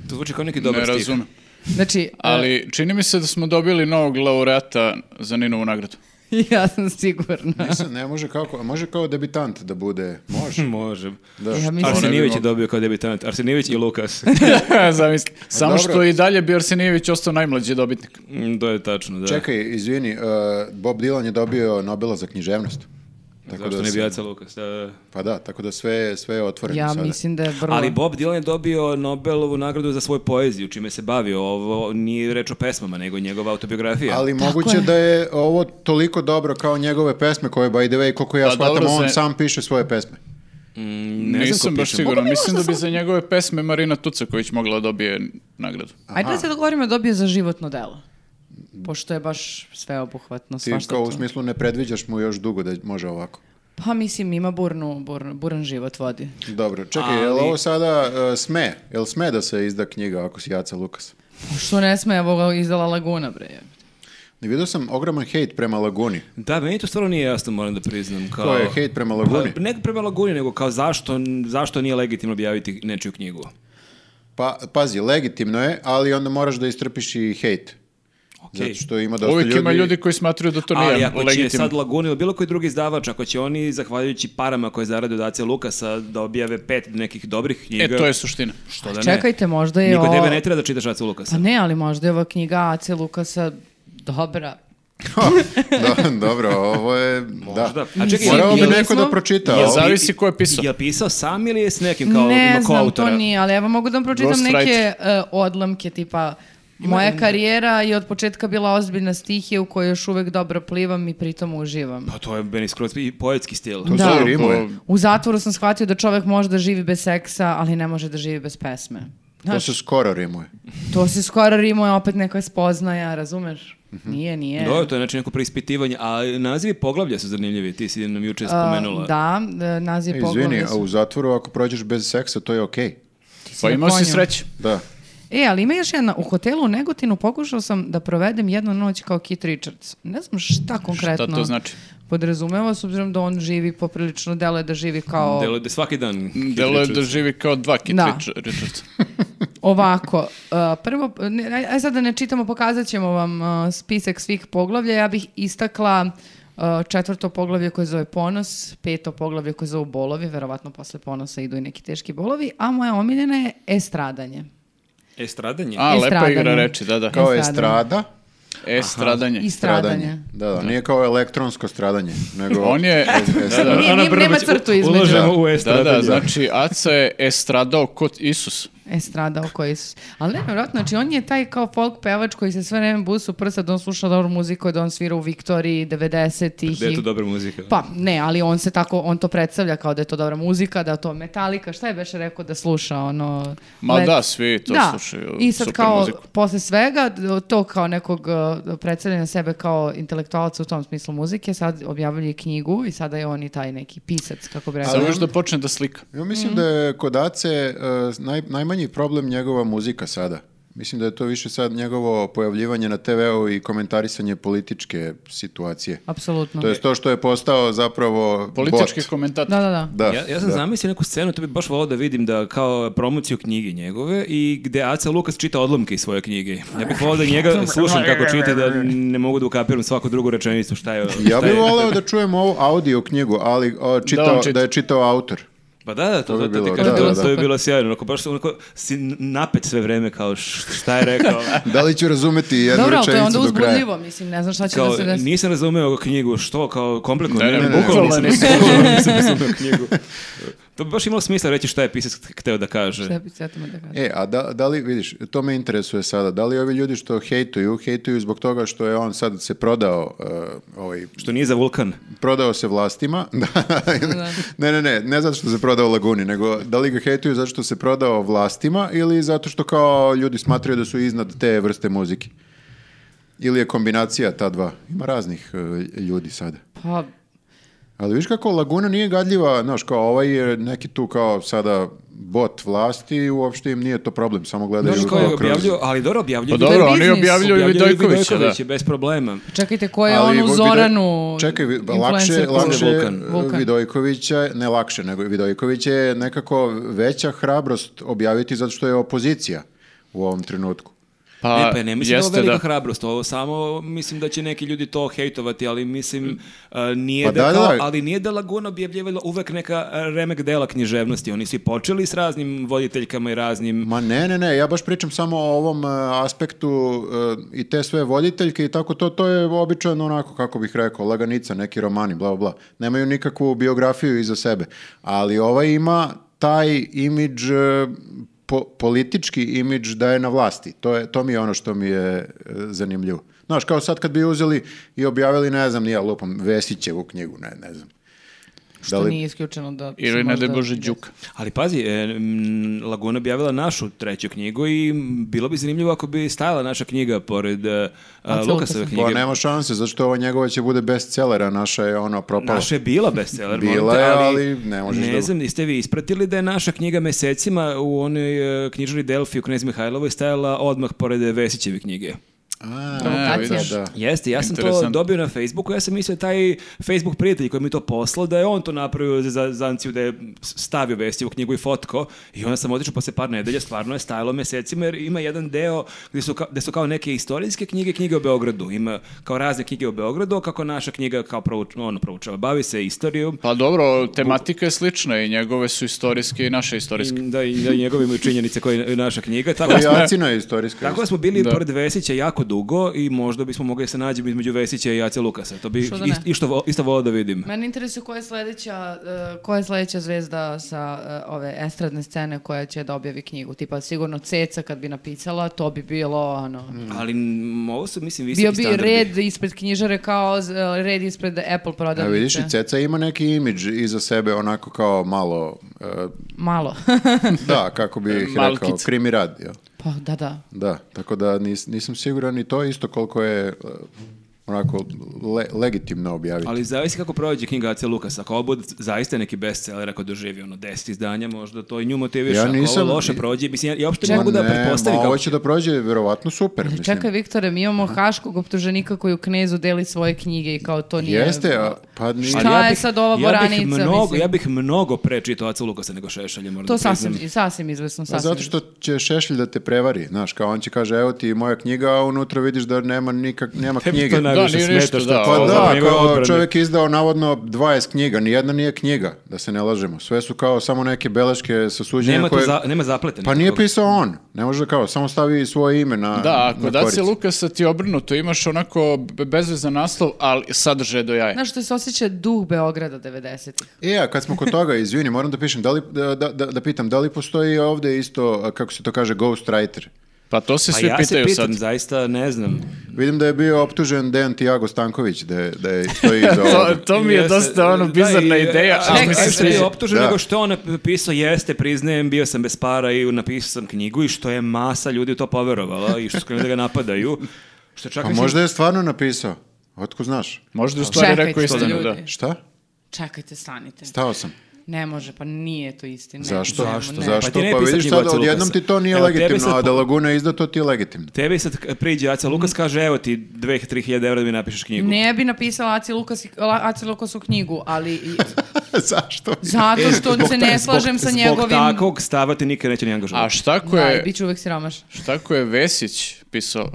Speaker 1: To zvuči kao neki dobar
Speaker 4: ne
Speaker 1: stih.
Speaker 4: razumem.
Speaker 5: Znači,
Speaker 4: Ali čini mi se da smo dobili novog laureata za Ninovu nagradu.
Speaker 5: ja sam sigurna.
Speaker 3: Mislim, ne može kao, a može kao debitant da bude. Može.
Speaker 1: Može.
Speaker 3: Da.
Speaker 5: Ja mislim,
Speaker 1: Arsenijević
Speaker 4: bi
Speaker 1: je dobio kao debitant. Arsenijević i Lukas.
Speaker 4: Zamisli. Samo
Speaker 3: dobro.
Speaker 4: što i dalje bi Arsenijević ostao najmlađi dobitnik.
Speaker 1: Mm, to je tačno, da.
Speaker 3: Čekaj, izvini, e, Bob Dylan je dobio Nobela za književnost. Tako
Speaker 1: Zašto ne
Speaker 3: da
Speaker 1: bi
Speaker 3: se-
Speaker 1: Aca Lukas? Da, da.
Speaker 3: Pa da, tako da sve, sve je otvoreno
Speaker 5: ja
Speaker 3: sada.
Speaker 5: mislim da je vrlo...
Speaker 1: Ali Bob Dylan je dobio Nobelovu nagradu za svoju poeziju, čime se bavio. Ovo nije reč o pesmama, nego njegova autobiografija.
Speaker 3: Ali moguće
Speaker 5: je.
Speaker 3: da je ovo toliko dobro kao njegove pesme koje, by the way, koliko ja
Speaker 4: Pa
Speaker 3: shvatam,
Speaker 4: dobro,
Speaker 3: on
Speaker 4: sve-
Speaker 3: sam piše svoje pesme.
Speaker 1: znam ko
Speaker 4: Nisam baš
Speaker 1: Mm, piše.
Speaker 4: siguran. Mislim da bi za njegove pesme Marina Tucaković mogla da dobije nagradu.
Speaker 5: Ajde da se dogovorimo da dobije za životno delo. Pošto je baš sveobuhvatno
Speaker 3: Ti
Speaker 5: svašta
Speaker 3: kao
Speaker 5: tu.
Speaker 3: u smislu ne predviđaš mu još dugo da može ovako.
Speaker 5: Pa mislim ima burnu, burn, buran život vodi.
Speaker 3: Dobro, čekaj, je
Speaker 1: Ali-
Speaker 3: li ovo sada e, sme? Je li sme da se izda knjiga ako si Jaca Lukas?
Speaker 5: Pa Što ne sme, evo ga izdala Laguna, bre. jebote.
Speaker 3: Ne vidio sam ogroman hejt prema Laguni.
Speaker 1: Da, meni to stvarno nije jasno, moram da priznam. Kao...
Speaker 3: To je hejt prema Laguni.
Speaker 1: Pa, ne prema Laguni, nego kao zašto, zašto nije legitimno objaviti nečiju knjigu.
Speaker 3: Pa, pazi, legitimno je, ali onda moraš da istrpiš i hejt.
Speaker 1: Okej.
Speaker 3: Zato što ima Pa dosta
Speaker 4: Uvijek
Speaker 3: ljudi...
Speaker 4: ima ljudi koji smatruju da to
Speaker 1: Ali
Speaker 4: nije
Speaker 1: ako će
Speaker 4: legitimno.
Speaker 1: sad Laguna ili bilo koji drugi izdavač, ako će oni, zahvaljujući parama koje zarade od Ace Lukasa, da objave pet nekih dobrih knjiga,
Speaker 4: E, to je suština.
Speaker 1: što da ne.
Speaker 5: Čekajte, možda je
Speaker 1: Niko
Speaker 5: ovo...
Speaker 1: tebe ne treba da čitaš Ace Lukasa.
Speaker 5: Pa ne, ali možda je ova knjiga Ace Lukasa dobra.
Speaker 3: Da, dobro, ovo je...
Speaker 1: Možda.
Speaker 3: Da.
Speaker 1: A čekaj,
Speaker 3: Morao bi
Speaker 1: jel-
Speaker 3: neko da
Speaker 5: Nismo-
Speaker 3: pročita.
Speaker 4: Jel
Speaker 3: ovo.
Speaker 1: Jel-
Speaker 4: zavisi ko je pisao.
Speaker 1: Jel pisao sam ili je s nekim kao
Speaker 5: ne
Speaker 1: ima
Speaker 5: znam,
Speaker 1: koautora?
Speaker 5: to nije, ali evo mogu da vam pročitam
Speaker 4: Ghostwriter.
Speaker 5: neke e, odlamke, tipa Moja karijera je od početka bila ozbiljna stihija u kojoj još uvek dobro plivam i pritom uživam.
Speaker 1: Pa to je meni skroz i poetski stil.
Speaker 3: To
Speaker 5: Da.
Speaker 3: su rimove.
Speaker 5: U zatvoru sam shvatio da čovek može da živi bez seksa, ali ne može da živi bez pesme.
Speaker 3: To
Speaker 5: Znaš,
Speaker 3: su skoro rimuje.
Speaker 5: to se skoro rimuje opet neka spoznaja, razumeš? Nije, nije.
Speaker 1: Dobro, to je znači neko preispitivanje, a nazivi poglavlja su zanimljivi, ti si nam juče spomenula.
Speaker 5: A, Da, e, naziv
Speaker 3: E,
Speaker 5: poglavlja
Speaker 3: Izvini,
Speaker 5: su-
Speaker 3: a u zatvoru ako prođeš bez seksa, to je okej.
Speaker 4: Pa
Speaker 5: na
Speaker 4: imao si
Speaker 5: konju.
Speaker 4: sreće.
Speaker 3: Da.
Speaker 5: E, ali ima još jedna. U hotelu u Negotinu pokušao sam da provedem jednu noć kao Kit Richards. Ne znam šta konkretno
Speaker 4: to znači?
Speaker 5: podrazumeva, s obzirom da on živi poprilično, delo je da živi kao
Speaker 1: Delo je da svaki dan...
Speaker 4: Delo je da živi kao dva Kit
Speaker 5: Da.
Speaker 4: Richard- Richards.
Speaker 5: ovako. Uh, prvo, ne, aj- aj sad da ne čitamo, pokazat ćemo vam uh, spisak svih poglavlja. Ja bih istakla uh, četvrto poglavlje koje zove ponos, peto poglavlje koje zove bolovi, verovatno posle ponosa idu i neki teški bolovi, a moja omiljena je estradanje.
Speaker 1: E, Estradanje?
Speaker 5: E,
Speaker 4: A, lepa
Speaker 5: Estradanje.
Speaker 4: igra reči, da, da.
Speaker 3: Kao
Speaker 5: Estradanje.
Speaker 3: estrada,
Speaker 4: E, stradanje.
Speaker 5: I stradanje.
Speaker 3: Da, da, nije kao elektronsko stradanje, nego...
Speaker 4: On je...
Speaker 3: E,
Speaker 4: Da, da.
Speaker 5: Nije, nije- nema crtu između.
Speaker 1: Uložemo u
Speaker 4: Da,
Speaker 1: estradanje.
Speaker 4: da, znači Aca je estradao kod Isus.
Speaker 5: Estrada oko Isus. Ali ne, vjerojatno, znači on je taj kao folk pevač koji se sve vreme busu prsa da on sluša dobru muziku, da on svira u Viktoriji 90-ih.
Speaker 1: Da je
Speaker 5: i-
Speaker 1: to dobra muzika.
Speaker 5: Pa ne, ali on se tako, on to predstavlja kao da je to dobra muzika, da je to metalika, šta je Beše rekao da sluša ono...
Speaker 4: Ma
Speaker 5: Led-
Speaker 4: da, svi to
Speaker 5: da.
Speaker 4: slušaju,
Speaker 5: I sad
Speaker 4: super
Speaker 5: kao,
Speaker 4: muziku.
Speaker 5: posle svega, d- to kao nekog uh, predstavljanja sebe kao intelektualca u tom smislu muzike, sad objavljuje knjigu i sada je on i taj neki pisac, kako bi rekao.
Speaker 4: Samo još da počne da slika.
Speaker 3: Ja mislim da
Speaker 5: Mhm.
Speaker 3: je kod Ace e, naj, najmanji problem njegova muzika sada. Mislim da je to više sad njegovo pojavljivanje na TV-u i komentarisanje političke situacije.
Speaker 5: Apsolutno.
Speaker 3: To je to što je postao zapravo
Speaker 4: Politički
Speaker 3: bot.
Speaker 4: komentator.
Speaker 5: Da, da, da.
Speaker 3: Da,
Speaker 1: ja, ja sam
Speaker 3: da.
Speaker 1: zamislio neku scenu, to bi baš volao da vidim da kao promociju knjige njegove i gde Aca Lukas čita odlomke iz svoje knjige. Ja bih volao da njega slušam kako čita da ne mogu da ukapiram svaku drugu rečenicu šta je.
Speaker 3: Ja
Speaker 1: šta
Speaker 3: bih
Speaker 1: je-
Speaker 3: voleo da čujem ovu audio knjigu, ali o, čitao, da,
Speaker 4: on čita.
Speaker 3: je čitao autor.
Speaker 1: Pa da, da, to,
Speaker 3: To bi
Speaker 1: to, to ti
Speaker 3: bilo,
Speaker 1: kažem,
Speaker 3: da,
Speaker 1: to-
Speaker 3: da,
Speaker 1: to
Speaker 5: da.
Speaker 1: bi bilo sjajno. Onako, baš onako si napet sve vreme kao š- šta je rekao.
Speaker 3: Da li ću razumeti jednu
Speaker 5: Dobro, ali to je
Speaker 3: rečenicu
Speaker 5: onda
Speaker 3: do kraja?
Speaker 5: uzbudljivo, mislim, ne znam šta će da
Speaker 1: Kao,
Speaker 5: se desi.
Speaker 1: nisam razumeo knjigu, što, kao kompletno,
Speaker 4: Ne, ne,
Speaker 1: ne,
Speaker 4: ne,
Speaker 1: bukvalno
Speaker 4: ne,
Speaker 1: nisam
Speaker 4: ne, ne.
Speaker 1: bukvalno nisam razumeo knjigu. To bi baš imalo smisla reći šta je pisac hteo da kaže.
Speaker 5: Šta bi cvetama da kažem?
Speaker 3: E, a da, da li, vidiš, to me interesuje sada, da li ovi ljudi što hejtuju, hejtuju zbog toga što je on sad se prodao, e, ovaj,
Speaker 1: Što nije za vulkan.
Speaker 3: prodao se vlastima, da, ne, ne, ne, ne zato što se prodao Laguni, nego da li ga hejtuju zato što se prodao vlastima ili zato što kao ljudi smatraju da su iznad te vrste muzike. Ili je kombinacija ta dva. Ima raznih e, ljudi sada.
Speaker 5: Pa,
Speaker 3: Ali viš kako Laguna nije gadljiva, znaš, kao ovaj je neki tu kao sada bot vlasti i uopšte im nije to problem, samo gledaju
Speaker 1: Dobro, ko je
Speaker 3: to kroz-
Speaker 1: objavljuju, ali dobro objavljuju.
Speaker 4: Pa dobro, oni
Speaker 5: biznis.
Speaker 4: objavljuju
Speaker 1: Objavljuju
Speaker 4: Vidojkovića, da.
Speaker 1: Vidojkovića, bez problema.
Speaker 5: čekajte, ko je
Speaker 3: Ali
Speaker 5: on u
Speaker 3: Vidoj-
Speaker 5: Zoranu?
Speaker 3: Čekaj, vi- pa lakše,
Speaker 5: influencer koji-
Speaker 3: lakše
Speaker 1: Vulkan.
Speaker 5: Vulkan.
Speaker 3: Vidojkovića, ne lakše, nego Vidojković je nekako veća hrabrost objaviti zato što je opozicija u ovom trenutku.
Speaker 4: Pa,
Speaker 1: ne, pa ja ne mislim da je ovo
Speaker 4: jeste
Speaker 1: velika hrabrost, ovo samo mislim da će neki ljudi to hejtovati, ali mislim a, nije
Speaker 3: Pa
Speaker 1: da,
Speaker 3: da,
Speaker 1: kao-
Speaker 3: da.
Speaker 1: ali nije da Laguna objavljivala uvek neka a, remek dela književnosti, oni su i počeli s raznim voditeljkama i raznim
Speaker 3: Ma ne, ne, ne, ja baš pričam samo o ovom e, aspektu e, i te sve voditeljke i tako to, to je običan onako, kako bih rekao, laganica, neki romani, bla, bla, bla. Nemaju nikakvu biografiju iza sebe. Ali ovaj ima taj imidž, e, po- politički imidž da je na vlasti. To, je, to mi je ono što mi je e, zanimljivo. Znaš, kao sad kad bi uzeli i objavili, ne znam, nije lupam, Vesićevu knjigu, ne, ne znam.
Speaker 5: Što
Speaker 3: li-
Speaker 5: nije isključeno da... se
Speaker 4: Ili ne
Speaker 5: možda
Speaker 4: daj Bože
Speaker 5: desi.
Speaker 4: Đuka.
Speaker 1: Ali pazi, e, m, Laguna objavila našu treću knjigu i m, bilo bi zanimljivo ako bi stajala naša knjiga pored e, a,
Speaker 5: Lukasa.
Speaker 1: Lukasove
Speaker 3: Pa
Speaker 1: knjige.
Speaker 3: nema šanse, zato što ova njegova će bude bestsellera, naša je ono propala.
Speaker 1: Naša je bila bestseller,
Speaker 3: Bila
Speaker 1: molim te,
Speaker 3: je,
Speaker 1: ali,
Speaker 3: ali ne možeš da-
Speaker 1: znam, jeste vi ispratili da je naša knjiga mesecima u onoj e, knjižari Delfi u Knez Mihajlovoj stajala odmah pored Vesićeve knjige.
Speaker 3: A,
Speaker 5: Provokacija.
Speaker 3: vidiš, da.
Speaker 1: Jeste, ja sam to
Speaker 4: Interesantno.
Speaker 1: dobio na Facebooku, ja sam mislio taj Facebook prijatelj koji mi to poslao, da je on to napravio za zanciju, da je stavio vesti u knjigu i fotko i onda sam otišao posle par nedelja, stvarno je stajalo mesecima jer ima jedan deo gde su, ka, gde su kao neke istorijske knjige, knjige o Beogradu, ima kao razne knjige o Beogradu, kako naša knjiga kao prouč, ono, proučava, bavi se istorijom,
Speaker 4: Pa dobro, tematika je slična i njegove su istorijske i naše istorijske.
Speaker 1: Mm, da i da i njegove imaju činjenice koje je naša knjiga, tako da
Speaker 3: Pa
Speaker 1: smo-
Speaker 3: i Acina je istorijska.
Speaker 1: Tako da smo bili pored Vesića jako dugo i možda bismo mogli da se nađemo između Vesića i Ace Lukasa. To bi
Speaker 5: Što da ne?
Speaker 1: ist, išto, vo- isto volao da vidim.
Speaker 5: Mene interesuje koja je sledeća, eh, koja je sledeća zvezda sa eh, ove estradne scene koja će da objavi knjigu. Tipa sigurno Ceca kad bi napisala, to bi bilo ono...
Speaker 3: Mm.
Speaker 1: Ali m, ovo su, mislim, visoki
Speaker 5: Bio bi
Speaker 1: standardi.
Speaker 5: red ispred knjižare kao z- eh, red ispred Apple
Speaker 3: A
Speaker 5: prodavnice.
Speaker 3: vidiš i Ceca ima neki imidž iza sebe onako kao malo, e,
Speaker 5: Malo.
Speaker 3: da, kako bi ih rekao,
Speaker 4: Malkice.
Speaker 3: krimi rad, jel?
Speaker 5: pa da, da.
Speaker 3: Da, tako da nis- nisam siguran i to je isto koliko je e, onako le- legitimno objaviti.
Speaker 1: Ali zavisi kako prođe knjiga Ace Lukasa. Ako ovo bude zaista neki bestseller, ako doživi ono 10 izdanja, možda to i nju motiviše.
Speaker 3: Ja
Speaker 1: Ako
Speaker 3: nisam-
Speaker 1: ovo loše prođe, mislim, ja, ja uopšte ne
Speaker 3: Ma
Speaker 1: mogu da
Speaker 3: ne,
Speaker 1: pretpostavim
Speaker 3: ma
Speaker 1: kako...
Speaker 3: ovo će da prođe verovatno super, mislim.
Speaker 5: Čekaj, Viktore, mi imamo haškog optuženika koji u knezu deli svoje knjige i kao to
Speaker 1: e,
Speaker 5: nije...
Speaker 3: Jeste, a, pa nije-
Speaker 5: Šta? je sad ova
Speaker 1: Ja bih
Speaker 5: boranica,
Speaker 1: mnogo,
Speaker 5: mislim?
Speaker 1: ja bih mnogo prečitao Ace Lukasa nego Šešelja, moram
Speaker 5: To
Speaker 1: da priznam.
Speaker 5: sasvim, sasvim izvesno,
Speaker 3: Pa
Speaker 5: sasvim.
Speaker 3: zato što će Šešelj da te prevari, znaš, kao on će kaže, evo ti moja knjiga, a unutra vidiš da nema, nikak, nema
Speaker 1: Tebi
Speaker 3: knjige.
Speaker 1: to najviše
Speaker 4: nije
Speaker 1: smeta
Speaker 4: ništa,
Speaker 1: što
Speaker 4: da,
Speaker 1: je
Speaker 3: Pa
Speaker 1: ovo zapravo
Speaker 3: da,
Speaker 1: njegova
Speaker 3: kao
Speaker 1: odbrana.
Speaker 3: čovjek je izdao navodno 20 knjiga, nijedna nije knjiga, da se ne lažemo. Sve su kao samo neke beleške sa suđenja
Speaker 1: Nema, to
Speaker 3: koje...
Speaker 1: za, nema zapleta.
Speaker 3: Pa nije
Speaker 1: nikakvog.
Speaker 3: pisao on, ne može kao, samo stavi svoje ime na
Speaker 4: Da, ako
Speaker 3: na
Speaker 4: da se
Speaker 3: koricu.
Speaker 4: Lukasa ti obrnuto, imaš onako be- bezvezan naslov, ali sadržaj do jaja.
Speaker 5: Znaš što se osjeća duh Beograda 90-ih.
Speaker 3: E, a kad smo kod toga, izvini, moram da pišem, da, li, da, da, da pitam, da li postoji ovdje isto, a, kako se to kaže, ghostwriter?
Speaker 4: Pa to se
Speaker 1: Pa
Speaker 4: svi
Speaker 1: ja se
Speaker 4: pitaju
Speaker 1: pitam,
Speaker 4: sad.
Speaker 1: zaista ne znam.
Speaker 3: Vidim da je bio optužen Dejan Tiago Stanković, da je, da je stoji iza
Speaker 4: To,
Speaker 3: ovoga.
Speaker 4: to mi je
Speaker 1: Jeste,
Speaker 4: dosta ono
Speaker 1: da,
Speaker 4: bizarna
Speaker 1: i, e,
Speaker 4: ideja,
Speaker 1: a,
Speaker 4: ali
Speaker 5: ne,
Speaker 4: mi se
Speaker 5: a,
Speaker 1: što
Speaker 5: sviđa.
Speaker 1: je
Speaker 4: sviđa.
Speaker 1: optužen,
Speaker 3: Da.
Speaker 1: nego što je on napisao, jeste, priznajem, bio sam bez para i napisao sam knjigu i što je masa ljudi u to poverovala i što su krenuli da ga napadaju. Što čak
Speaker 3: Pa
Speaker 1: mislim-
Speaker 3: možda je stvarno napisao, otko znaš?
Speaker 4: Možda u stvari
Speaker 5: Čekajte,
Speaker 4: rekao istinu, da.
Speaker 5: ljudi.
Speaker 3: Šta?
Speaker 5: Čekajte, stanite.
Speaker 3: Stao sam.
Speaker 5: Ne može, pa nije to istina. Ne,
Speaker 3: Zašto?
Speaker 5: ne,
Speaker 3: Zašto?
Speaker 5: ne.
Speaker 1: Pa
Speaker 3: Zašto?
Speaker 1: ti ne
Speaker 3: Pa,
Speaker 1: pisaš
Speaker 3: vidiš
Speaker 1: knjigu
Speaker 3: sad,
Speaker 1: Ace
Speaker 3: odjednom
Speaker 1: Lukasa.
Speaker 3: ti to nije
Speaker 1: Evo, tebe
Speaker 3: legitimno,
Speaker 1: sad
Speaker 3: a da
Speaker 1: po-
Speaker 3: Laguna izda, to ti je legitimno.
Speaker 1: Tebi sad k- priđe Aca Lukas, kaže, evo ti 2000-3000 evra da mi napišeš knjigu.
Speaker 5: Ne bi napisala Aci, Lukas, Aci Lukasu knjigu, ali i-
Speaker 3: Zašto?
Speaker 5: zato što se ne slažem sa
Speaker 1: Zbog
Speaker 5: njegovim...
Speaker 1: takvog stava te nikad neće ni angažovati.
Speaker 4: A šta ko
Speaker 5: Da, i
Speaker 4: je,
Speaker 5: bit ću uvek siromaš.
Speaker 4: šta ko je Vesić pisao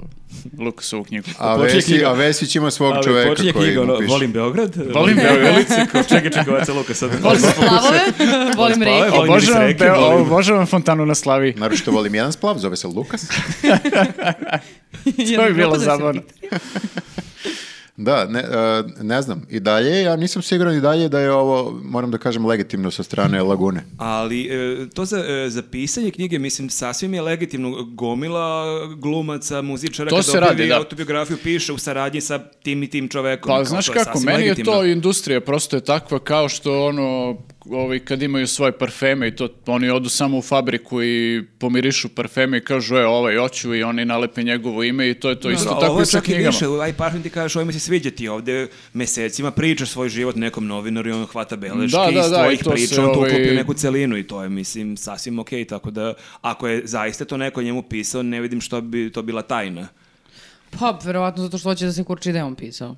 Speaker 4: Lukasovu knjigu?
Speaker 3: A,
Speaker 1: Počinje
Speaker 3: Vesi,
Speaker 1: knjiga-
Speaker 3: a Vesić ima svog
Speaker 1: Ali
Speaker 3: čoveka
Speaker 1: počinje
Speaker 3: koji
Speaker 1: knjiga,
Speaker 3: mu
Speaker 1: ono,
Speaker 3: piše.
Speaker 1: volim Beograd.
Speaker 4: Volim Beograd.
Speaker 1: Lice, čekaj, čekaj, Aca Lukas sad.
Speaker 5: Volim splavove, volim
Speaker 1: splavove,
Speaker 5: reke.
Speaker 1: volim-
Speaker 4: Obožavam,
Speaker 1: reke,
Speaker 4: Beo-
Speaker 1: volim.
Speaker 4: obožavam fontanu na slavi.
Speaker 3: Naravno što volim jedan splav, zove se Lukas.
Speaker 5: Ja
Speaker 4: To
Speaker 5: ne
Speaker 4: bi bilo
Speaker 5: propadam se.
Speaker 4: zabavno.
Speaker 3: Da, ne, e, ne znam. I dalje, ja nisam siguran i dalje da je ovo, moram da kažem, legitimno sa strane Lagune.
Speaker 1: Ali e, to za, e, za pisanje knjige, mislim, sasvim je legitimno gomila glumaca, muzičara,
Speaker 4: To
Speaker 1: kad
Speaker 4: se
Speaker 1: objavi
Speaker 4: radi, da.
Speaker 1: autobiografiju, piše u saradnji sa tim i tim čovekom.
Speaker 4: Pa
Speaker 1: Kao,
Speaker 4: znaš
Speaker 1: to je
Speaker 4: kako,
Speaker 1: sasvim
Speaker 4: meni je
Speaker 1: legitimno.
Speaker 4: to industrija, prosto je takva kao što ono, ovi kad imaju svoje parfeme i to, oni odu samo u fabriku i pomirišu parfeme i kažu, e, ovaj hoću i oni nalepe njegovo ime i to je to isto
Speaker 1: Dobro, a
Speaker 4: tako
Speaker 1: ovo
Speaker 4: i
Speaker 1: je
Speaker 4: sa
Speaker 1: čak i
Speaker 4: knjigama.
Speaker 1: više, ovaj parfum ti kažeš, ovo mi se sviđa ti ovde mesecima, pričaš svoj život nekom novinaru i on hvata beleške
Speaker 4: Da, da,
Speaker 1: iz
Speaker 4: da,
Speaker 1: tvojih
Speaker 4: i to se,
Speaker 1: priča, on to
Speaker 4: ovaj,
Speaker 1: uklopi u neku celinu i to je, mislim, sasvim okej, tako da ako je zaista to neko njemu pisao, ne vidim što bi to bila tajna.
Speaker 5: Pa, verovatno zato što hoće da se kurči da je on pisao.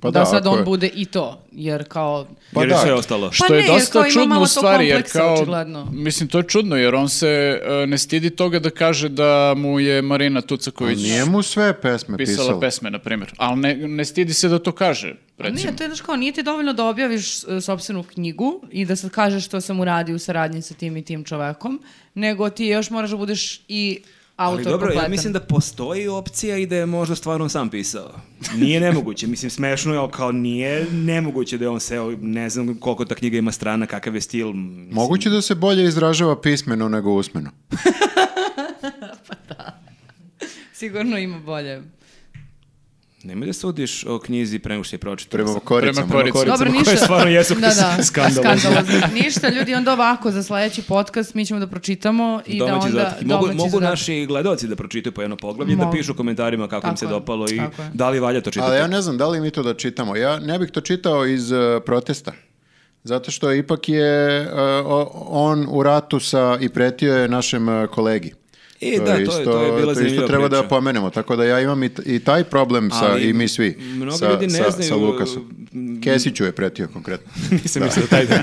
Speaker 3: Pa
Speaker 5: da, sad
Speaker 3: ako
Speaker 5: on
Speaker 3: je-
Speaker 5: bude i to, jer kao...
Speaker 3: Pa
Speaker 1: jer
Speaker 3: da.
Speaker 1: je sve ostalo.
Speaker 5: Pa
Speaker 4: Što
Speaker 5: ne,
Speaker 4: je
Speaker 5: jer
Speaker 4: dosta
Speaker 5: kao ima
Speaker 4: čudno
Speaker 5: malo
Speaker 4: u
Speaker 5: to
Speaker 4: stvari, jer
Speaker 5: kompleksa,
Speaker 4: kao,
Speaker 5: očigledno.
Speaker 4: mislim, to je čudno, jer on se e, ne stidi toga da kaže da mu je Marina Tucaković
Speaker 3: Nije mu sve pesme
Speaker 4: pisala
Speaker 3: pisala.
Speaker 4: pesme, na primjer, ali ne, ne stidi se da to kaže, recimo.
Speaker 5: Nije, to je znaš kao, nije ti dovoljno da objaviš e, sopstvenu knjigu i da sad kažeš što sam uradio u saradnji sa tim i tim čovekom, nego ti još moraš da budeš i autor
Speaker 1: Ali dobro, ja
Speaker 5: kompletan.
Speaker 1: mislim da postoji opcija i da je možda stvarno sam pisao. Nije nemoguće, mislim smešno je, ali kao nije nemoguće da je on seo, ne znam koliko ta knjiga ima strana, kakav je stil. mislim.
Speaker 3: Moguće da se bolje izražava pismeno nego usmeno.
Speaker 5: Sigurno ima bolje.
Speaker 1: Nemoj da sudiš o knjizi pre nego što je pročitao.
Speaker 3: Prema koricama.
Speaker 4: Prema koricama.
Speaker 5: Dobro,
Speaker 1: koje
Speaker 5: ništa.
Speaker 1: stvarno jesu
Speaker 5: da, da,
Speaker 1: skandalozne.
Speaker 5: skandalozne. Ništa, ljudi, onda ovako, za sledeći podcast mi ćemo da pročitamo i da
Speaker 1: domaći
Speaker 5: onda...
Speaker 1: zadatak. Mogu,
Speaker 5: domaći
Speaker 1: mogu
Speaker 5: zadatak.
Speaker 1: naši gledaoci da pročitaju po jedno poglavlje, da
Speaker 5: Mogu.
Speaker 1: pišu u komentarima kako im
Speaker 5: Tako
Speaker 1: se
Speaker 5: je,
Speaker 1: dopalo i
Speaker 5: tako je.
Speaker 1: da li valja to čitati.
Speaker 3: Ali ja ne znam da li mi to da čitamo. Ja ne bih to čitao iz e, protesta. Zato što ipak je e, o- on u ratu sa i pretio je našem e, kolegi.
Speaker 1: E, da, to je- to je bila zanimljiva
Speaker 3: isto treba da
Speaker 1: priča.
Speaker 3: pomenemo. Tako da ja imam i, t- i taj problem sa,
Speaker 1: Ali
Speaker 3: i mi svi.
Speaker 1: mnogi
Speaker 3: sa,
Speaker 1: ljudi ne
Speaker 3: sa,
Speaker 1: znaju,
Speaker 3: Sa Lukasom.
Speaker 1: m,
Speaker 3: Kesiću je pretio konkretno.
Speaker 1: Nisam mislio taj dan.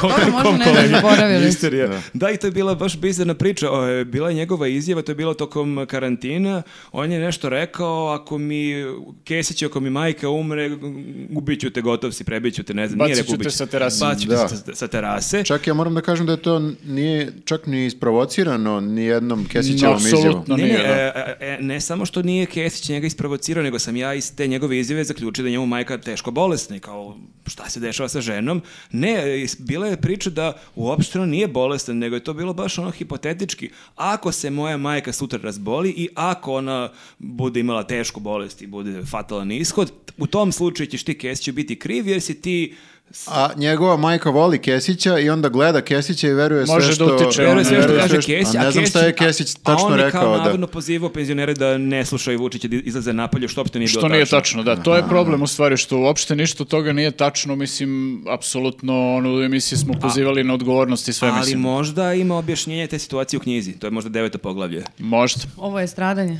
Speaker 1: Kom-
Speaker 5: Dobro, možda
Speaker 1: kom
Speaker 5: ne znam,
Speaker 1: kolegi?
Speaker 5: zaboravili.
Speaker 1: Misterija. Da. i to je bila baš bizarna priča. O, e, Bila je njegova izjava, to je bilo tokom karantina. On je nešto rekao, ako mi Kesić, ako mi majka umre, g- ubit ću te, gotov si, prebit ću te, ne znam. nije
Speaker 4: Bacit
Speaker 1: rekao
Speaker 4: ću te
Speaker 1: ubit ću-
Speaker 4: sa terase.
Speaker 1: Bacit ću te
Speaker 3: Da.
Speaker 1: sa, sa terase.
Speaker 3: Čak ja moram da kažem da je to n- nije čak ni isprovocirano ni jednom
Speaker 4: No,
Speaker 3: Kesićevom izjavom.
Speaker 4: apsolutno.
Speaker 1: ne,
Speaker 4: nije, ono.
Speaker 1: ne,
Speaker 4: da.
Speaker 1: e, e, e, ne samo što nije Kesić njega isprovocirao, nego sam ja iz te njegove izjave zaključio da je njemu majka teško bolesna i kao šta se dešava sa ženom. Ne, e, is- bila je priča da uopšte on nije bolestan, nego je to bilo baš ono hipotetički. Ako se moja majka sutra razboli i ako ona bude imala tešku bolest i bude fatalan ishod, u tom slučaju ćeš ti Kesiću biti kriv jer si ti
Speaker 3: A njegova majka voli Kesića i onda gleda Kesića i veruje sve
Speaker 4: Može da
Speaker 3: što...
Speaker 4: utiče,
Speaker 1: Veruje
Speaker 4: Veruje
Speaker 1: ono sve što
Speaker 3: veruje
Speaker 1: kaže
Speaker 3: sve
Speaker 1: Kesić,
Speaker 3: A ne znam šta je Kesić tačno
Speaker 1: A on je
Speaker 3: rekao.
Speaker 1: kao
Speaker 3: Da.
Speaker 1: navodno pozivao penzionere da ne slušaju Vučića, da izlaze napolje, što opšte nije bilo
Speaker 4: Što nije tačno, da. To je problem u stvari, što uopšte ništa od toga nije tačno, mislim, apsolutno, ono, u emisiji smo pozivali na odgovornost i sve,
Speaker 1: Ali
Speaker 4: mislim.
Speaker 1: možda ima objašnjenje te situacije u knjizi. To je možda deveto poglavlje.
Speaker 4: Možda.
Speaker 5: Ovo je stradanje.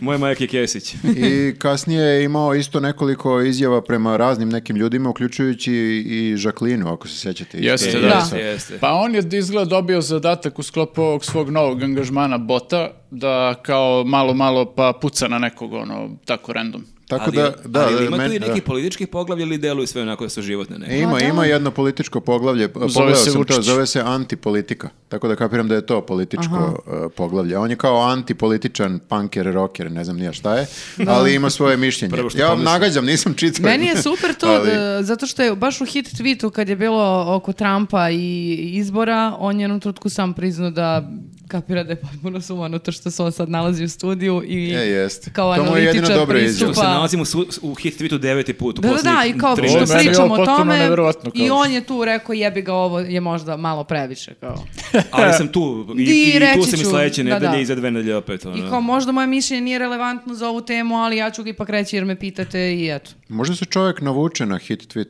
Speaker 1: Moje majak je Kesić.
Speaker 3: I kasnije je imao isto nekoliko izjava prema raznim nekim ljudima, uključujući i Žaklinu, ako se sjećate. iz
Speaker 4: Jeste,
Speaker 3: te
Speaker 4: da.
Speaker 3: izjave.
Speaker 1: Jeste, jeste.
Speaker 4: Pa on je izgleda dobio zadatak u sklopu ovog svog novog angažmana bota, da kao malo, malo pa puca na nekog, ono, tako random.
Speaker 3: Tako
Speaker 1: ali,
Speaker 3: da, da, e,
Speaker 1: ali ima
Speaker 3: meni-
Speaker 1: tu i neki
Speaker 3: da.
Speaker 1: politički poglavlje ili deluju sve onako da su životne neke?
Speaker 3: E, Ima,
Speaker 5: Pa da.
Speaker 3: ima jedno političko poglavlje, e, pogledao
Speaker 4: se
Speaker 3: sam to,
Speaker 4: Vučić.
Speaker 3: zove se antipolitika, tako da kapiram da je to političko e, poglavlje. On je kao antipolitičan punker, rocker, ne znam nija šta je, ali ima svoje mišljenje.
Speaker 1: Prvo što
Speaker 3: Ja vam
Speaker 1: pomislim.
Speaker 3: nagađam, nisam čitao.
Speaker 5: Meni je super to,
Speaker 3: Ali-
Speaker 5: da- zato što je baš u hit tweetu kad je bilo oko Trumpa i izbora, on je u jednom trutku sam priznao da kapira da je potpuno sumano to što se on sad nalazi u studiju i
Speaker 3: E, jeste.
Speaker 5: kao
Speaker 3: To mu je jedino
Speaker 5: analitičar
Speaker 3: dobro izjava.
Speaker 1: Što se
Speaker 3: pa-
Speaker 1: nalazimo su, u hit tweetu deveti put u
Speaker 5: Da, da, da,
Speaker 1: poslednjih
Speaker 5: i kao
Speaker 1: tri
Speaker 5: što
Speaker 1: meseca.
Speaker 4: meni je
Speaker 5: pričamo
Speaker 4: ovo
Speaker 5: o
Speaker 4: potpuno
Speaker 5: tome
Speaker 4: neverovatno, kao-
Speaker 5: i on je tu rekao jebi ga ovo je možda malo previše kao.
Speaker 1: Ali sam tu i,
Speaker 5: Di,
Speaker 1: i, tu
Speaker 5: reći
Speaker 1: sam i
Speaker 5: ću,
Speaker 1: sledeće
Speaker 5: da, da.
Speaker 1: nedelje i za dve nedelje opet. Ono.
Speaker 5: I kao možda moje mišljenje nije relevantno za ovu temu, ali ja ću ga ipak reći jer me pitate i eto.
Speaker 3: Možda se čovjek navuče na hit tweet.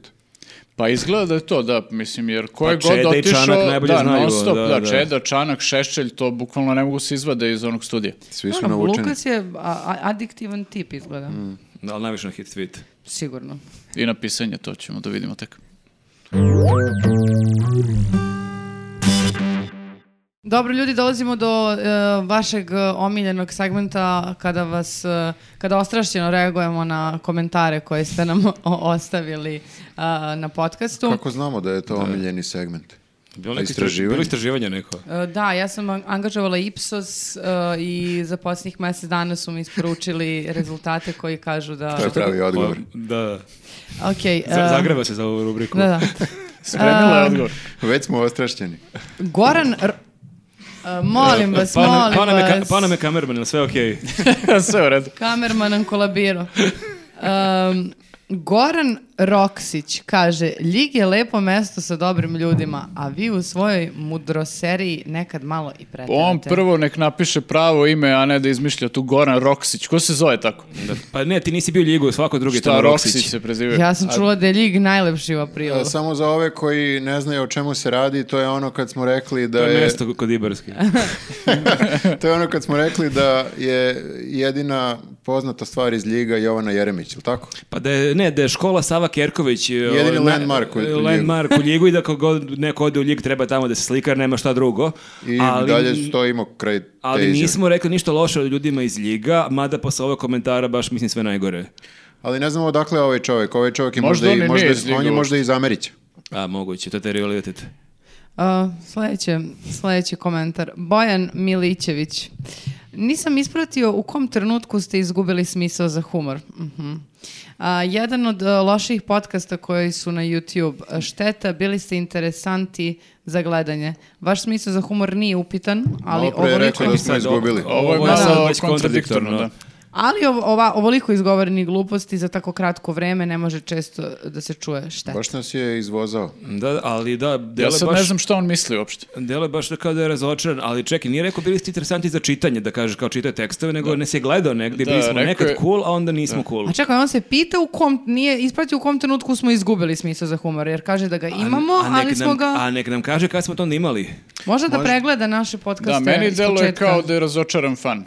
Speaker 4: Pa izgleda da je to, da, mislim, jer ko je
Speaker 1: Pa
Speaker 4: god
Speaker 1: Čeda i
Speaker 4: otišao,
Speaker 1: Čanak najbolje
Speaker 4: da,
Speaker 1: znaju,
Speaker 4: non stop,
Speaker 1: da,
Speaker 4: da,
Speaker 1: da.
Speaker 4: Čeda, Čanak, Šešćelj, to bukvalno ne mogu se izvade iz onog studija.
Speaker 3: Svi su
Speaker 5: Ono,
Speaker 3: navučeni.
Speaker 5: Lukas je a- a- adiktivan tip izgleda,
Speaker 3: Mm.
Speaker 1: Da, ali najviše na hit tweet.
Speaker 5: sigurno.
Speaker 4: I na pisanje, to ćemo da vidimo tek.
Speaker 5: Dobro ljudi, dolazimo do e, vašeg e, omiljenog segmenta kada vas, e, kada ostrašćeno reagujemo na komentare koje ste nam o- ostavili e, na podcastu.
Speaker 3: Kako znamo da je to omiljeni segment?
Speaker 1: Bilo
Speaker 3: A
Speaker 1: neko
Speaker 3: istraživanje?
Speaker 1: istraživanje? Bilo istraživanje neko.
Speaker 5: E, Da, ja sam an- angažovala Ipsos e, i za posljednjih mjesec dana su mi isporučili rezultate koji kažu da...
Speaker 3: To je pravi odgovor.
Speaker 1: Pa, Da,
Speaker 5: Ok.
Speaker 1: Za-
Speaker 5: e,
Speaker 1: zagreva se za ovu rubriku.
Speaker 5: Da, da.
Speaker 4: Spremila je odgovor.
Speaker 3: Već smo ostrašćeni.
Speaker 5: Goran... R- e, molim vas,
Speaker 1: Pa nam-
Speaker 5: molim
Speaker 1: pa nam je ka-
Speaker 5: vas.
Speaker 1: Pa nam je kamerman, jel sve okej?
Speaker 4: Sve u redu.
Speaker 5: Kamerman nam kolabirao. Um, Goran Roksić kaže Ljig je lepo mesto sa dobrim ljudima, a vi u svojoj mudroseriji nekad malo i pretjerate.
Speaker 4: On prvo nek napiše pravo ime, a ne da izmišlja tu Goran Roksić. Ko se zove tako?
Speaker 1: Da. Pa ne, ti nisi bio ljigu, svako drugi je
Speaker 4: Šta,
Speaker 1: tamo
Speaker 4: Roksić se preziva?
Speaker 5: Ja sam čula da je Ljig najlepši u aprilu.
Speaker 3: A, Samo za ove koji ne znaju o čemu se radi, to je ono kad smo rekli da
Speaker 1: To je
Speaker 3: je...
Speaker 1: mesto kod Ibarske.
Speaker 3: to je ono kad smo rekli da je jedina poznata stvar iz Ljiga Jovana Jeremić, ili tako?
Speaker 1: Pa da je, ne, da je škola Sava Kerković. e, ovaj,
Speaker 3: Jedini landmark u- u Ljigu.
Speaker 1: Landmark u Ljigu i da kog god neko ode u Ljig treba tamo da se slika jer nema šta drugo.
Speaker 3: I
Speaker 1: ali,
Speaker 3: dalje stojimo kraj te
Speaker 1: Ali
Speaker 3: izjave.
Speaker 1: nismo rekli ništa loše o ljudima iz Ljiga, mada posle ovog komentara baš mislim sve najgore.
Speaker 3: Ali ne znamo odakle je ovaj čovjek. Ovaj čovjek je
Speaker 4: Možda
Speaker 3: možda,
Speaker 4: on i
Speaker 3: i, možda,
Speaker 4: nije iz Ljiga
Speaker 3: on je možda
Speaker 4: uopšte.
Speaker 3: iz Amerića.
Speaker 1: A moguće, to je realitet.
Speaker 5: Uh, sledeće, sledeći komentar. Bojan Milićević. Nisam ispratio u kom trenutku ste izgubili smisao za humor. Mhm. A, jedan od e, loših podcasta koji su na YouTube. Šteta, bili ste interesanti za gledanje. Vaš smisao za humor nije upitan, ali
Speaker 3: Malo pre je
Speaker 5: ovoliko,
Speaker 3: rekao da smo
Speaker 1: Sad,
Speaker 3: izgubili.
Speaker 4: Ovo je
Speaker 1: ovo je
Speaker 4: malo
Speaker 1: sad već
Speaker 4: kontradiktorno,
Speaker 1: kontradiktorno,
Speaker 4: da.
Speaker 5: ali ov- ova, ovoliko izgovorenih gluposti za tako kratko vreme ne može često da se čuje šteta.
Speaker 3: Baš nas je izvozao.
Speaker 1: Da, ali da,
Speaker 4: Ja
Speaker 1: delo je
Speaker 4: sad
Speaker 1: baš...
Speaker 4: ne znam šta on misli uopšte.
Speaker 1: Delo je baš da kao da je razočaran, ali čekaj, nije rekao bili ste interesanti za čitanje, da kažeš kao čitaj tekstove, nego nas je gledao negdje,
Speaker 4: Da,
Speaker 1: bili smo
Speaker 4: rekao
Speaker 1: nekad
Speaker 4: je-
Speaker 1: cool, a onda nismo cool.
Speaker 5: A čekaj, on se pita u kom, nije ispratio u kom trenutku smo izgubili smisao za humor, jer kaže da ga imamo,
Speaker 1: nek
Speaker 5: ali smo
Speaker 1: nam,
Speaker 5: ga...
Speaker 1: A nek nam kaže kada smo to onda imali.
Speaker 5: Možda da pregleda naše podcaste
Speaker 4: Da, meni
Speaker 5: iz
Speaker 4: deluje
Speaker 5: početka.
Speaker 4: kao da je razočaran fan.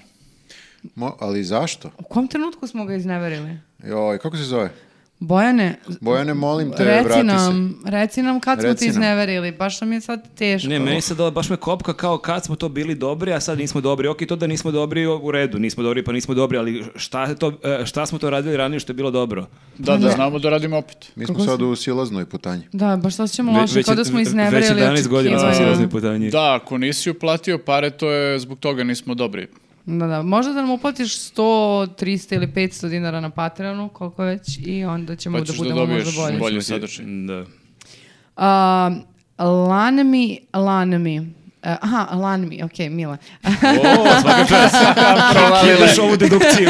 Speaker 3: Mo, ali zašto?
Speaker 5: U kom trenutku smo ga izneverili?
Speaker 3: Joj, kako se zove?
Speaker 5: Bojane,
Speaker 3: Bojane, molim te,
Speaker 5: reci
Speaker 3: vrati se.
Speaker 5: nam, reci nam kad smo
Speaker 3: Reci
Speaker 5: ti
Speaker 3: nam.
Speaker 5: izneverili, baš nam je sad teško.
Speaker 1: Ne, meni sad dala- baš me kopka kao kad smo to bili dobri, a sad nismo dobri. Ok, to da nismo dobri o- u redu, nismo dobri pa nismo dobri, ali šta, je to, e, šta smo to radili ranije što je bilo dobro?
Speaker 4: Da, da znamo da radimo opet.
Speaker 3: Mi smo sad u silaznoj putanji.
Speaker 5: Da, baš se osjećamo
Speaker 1: Ve-
Speaker 5: loše, kao da smo
Speaker 1: ve-
Speaker 5: izneverili
Speaker 1: Već 11 godina smo
Speaker 5: očekivanja.
Speaker 1: silazni putanji.
Speaker 4: Da, ako nisi uplatio pare, to je zbog toga nismo dobri. Pa
Speaker 5: Da, da, možda da nam uplatiš 100, 300 ili 500 dinara na Patreonu, koliko već, i onda ćemo
Speaker 4: Pa
Speaker 5: da
Speaker 4: ćeš da
Speaker 5: budemo
Speaker 4: dobiješ
Speaker 5: možda bolji.
Speaker 4: bolje.
Speaker 1: Mislim,
Speaker 4: sadržaj.
Speaker 1: Da.
Speaker 5: A, Ehm, lanmi, lanmi. E, aha, lanmi, okej, Mila.
Speaker 1: Kidaš ovu dedukciju.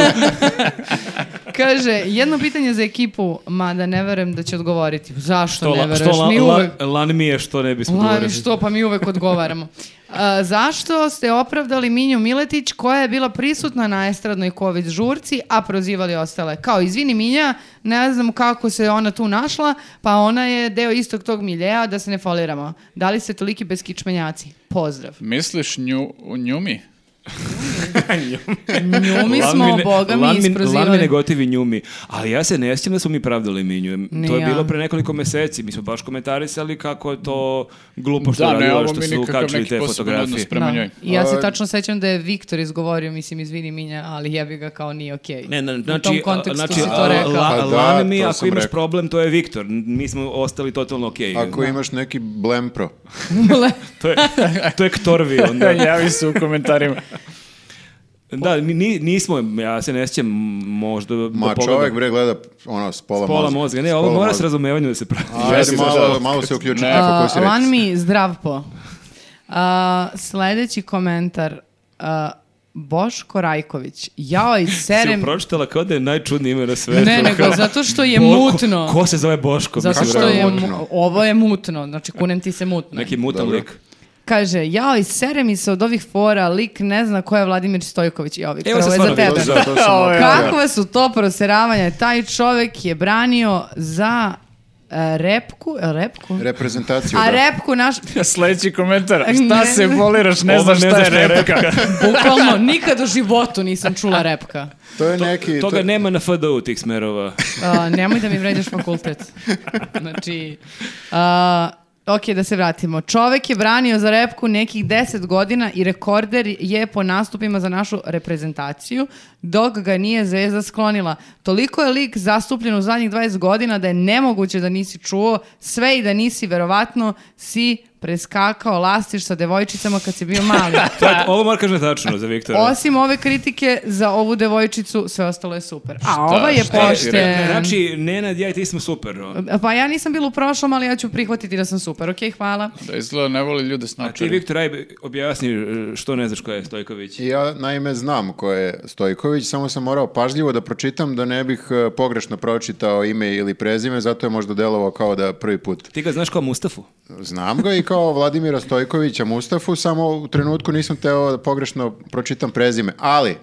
Speaker 5: Kaže, jedno pitanje za ekipu, mada ne verujem da će odgovoriti. Zašto
Speaker 1: što
Speaker 5: ne
Speaker 1: la,
Speaker 5: veruješ?
Speaker 1: što
Speaker 5: mi
Speaker 1: la,
Speaker 5: uvek...
Speaker 1: la, lan mi je što ne bismo
Speaker 5: La,
Speaker 1: govorili.
Speaker 5: što, pa mi uvek odgovaramo. A, zašto ste opravdali Minju Miletić koja je bila prisutna na estradnoj COVID žurci, a prozivali ostale? Kao, izvini Minja, ne znam kako se ona tu našla, pa ona je deo istog tog miljeja, da se ne foliramo. Da li ste toliki beskičmenjaci? Pozdrav.
Speaker 4: Misliš nju, njumi?
Speaker 5: Njumi
Speaker 1: Lan
Speaker 5: smo,
Speaker 1: mi ne-
Speaker 5: boga mi,
Speaker 1: lan ne-
Speaker 5: isprozivali.
Speaker 1: Lan mi ne gotivi njumi. Ali ja se ne sjećam da smo mi pravdali minju.
Speaker 5: Ni
Speaker 1: to je
Speaker 5: ja.
Speaker 1: bilo pre nekoliko meseci. Mi smo baš komentarisali kako je to glupo što
Speaker 4: Da, ne,
Speaker 1: radila,
Speaker 4: ovo
Speaker 1: što
Speaker 4: mi
Speaker 1: su
Speaker 4: nikakav
Speaker 1: ukačili
Speaker 4: neki
Speaker 1: te
Speaker 4: poseban
Speaker 1: fotografije.
Speaker 4: odnos prema
Speaker 5: Da.
Speaker 4: njoj.
Speaker 5: I Ja se
Speaker 3: A-
Speaker 5: tačno sećam da je Viktor izgovorio, mislim, izvini Minja, ali jebi ga kao nije okej.
Speaker 1: Ne, ne,
Speaker 5: U tom
Speaker 1: znači,
Speaker 5: kontekstu
Speaker 1: znači
Speaker 5: si to
Speaker 1: a,
Speaker 5: rekao.
Speaker 1: la-
Speaker 3: Pa da,
Speaker 1: lan mi,
Speaker 3: to
Speaker 1: ako
Speaker 3: sam
Speaker 1: imaš
Speaker 3: rekao.
Speaker 1: problem, to je Viktor. Mi smo ostali totalno okej.
Speaker 3: Ako imaš neki blempro,
Speaker 1: To je, to je Ktorvi onda.
Speaker 4: Javi se u komentarima.
Speaker 1: Da, ni- ni- nismo, ja se ne sjećam, možda... da
Speaker 3: ma
Speaker 1: pogledam.
Speaker 3: čovjek bre gleda ono s pola,
Speaker 1: Pola mozga. Ne,
Speaker 3: S
Speaker 1: ovo
Speaker 3: pola
Speaker 1: mora s
Speaker 3: mozga.
Speaker 1: razumevanjem da se pravi.
Speaker 3: Ajde,
Speaker 4: Ja sam
Speaker 3: malo,
Speaker 4: zažalio.
Speaker 3: malo se uključi.
Speaker 4: Ne.
Speaker 3: neko ko si
Speaker 5: A,
Speaker 3: reći.
Speaker 5: Lanmi, zdrav po. A, sledeći komentar. A, Boško Rajković. Joj,
Speaker 1: Si
Speaker 5: serem...
Speaker 1: pročitala kao da je najčudnije ime na svetu.
Speaker 5: Ne, nego
Speaker 1: Kao-
Speaker 5: zato što je
Speaker 1: Bo-
Speaker 5: mutno.
Speaker 1: Ko, ko se zove Boško?
Speaker 5: Zato
Speaker 1: mislim,
Speaker 5: što
Speaker 1: bravo.
Speaker 5: je... mu-
Speaker 3: mutno.
Speaker 5: Ovo je mutno, znači kunem ti se mutno.
Speaker 1: Neki mutan
Speaker 3: Dobro.
Speaker 1: lik.
Speaker 5: Kaže, joj, sere mi se od ovih fora, lik ne zna ko je Vladimir Stojković. Joj, Viktor,
Speaker 1: Evo se
Speaker 5: ovo je za
Speaker 1: stvarno
Speaker 5: tebe.
Speaker 1: bilo
Speaker 3: To- za- to sam
Speaker 4: Ovo je-
Speaker 3: opet ja.
Speaker 5: Kakva su to proseravanja? Taj čovek je branio za e, repku, e, repku?
Speaker 3: Reprezentaciju.
Speaker 5: A
Speaker 3: da.
Speaker 5: repku naš,
Speaker 4: Sljedeći komentar.
Speaker 5: Ne.
Speaker 4: Šta se voliraš, ne
Speaker 1: Ovo
Speaker 4: znaš
Speaker 1: ne
Speaker 4: šta je
Speaker 1: znaš šta je
Speaker 4: repka.
Speaker 5: bukvalno nikad u životu nisam čula repka.
Speaker 3: To je neki...
Speaker 1: Toga
Speaker 3: to-
Speaker 1: nema na FDU tih smerova.
Speaker 5: A, nemoj da mi vređaš fakultet. Znači, a, ok, da se vratimo. Čovek je branio za repku nekih 10 godina i rekorder je po nastupima za našu reprezentaciju. dok ga nije zvezda sklonila. Toliko je lik zastupljen u zadnjih 20 godina da je nemoguće da nisi čuo sve i da nisi verovatno si preskakao lastiš sa devojčicama kad si bio mali.
Speaker 1: To je- ovo mora kažem tačno za Viktora.
Speaker 5: Pa- Osim ove kritike za ovu devojčicu, sve ostalo je super. A ova je
Speaker 4: šta ti
Speaker 5: pošten.
Speaker 1: Znači, Nenad, ja i ti smo super. ono.
Speaker 5: Pa ja nisam bila u prošlom, ali ja ću prihvatiti da sam super. Ok, hvala.
Speaker 4: Da izgleda ne voli ljude
Speaker 1: A ti,
Speaker 4: snočari.
Speaker 1: Znači, Viktor, aj objasni e, što ne znaš ko je Stojković.
Speaker 3: I Ja naime znam ko je Stojković, samo sam morao pažljivo da pročitam da ne bih e, pogrešno pročitao ime ili prezime, zato je možda delovao kao da prvi put
Speaker 1: Ti ga znaš kao Mustafu?
Speaker 3: znam ga i kao Vladimira Stojkovića Mustafu, samo u trenutku nisam teo da pogrešno pročitam prezime, ali e,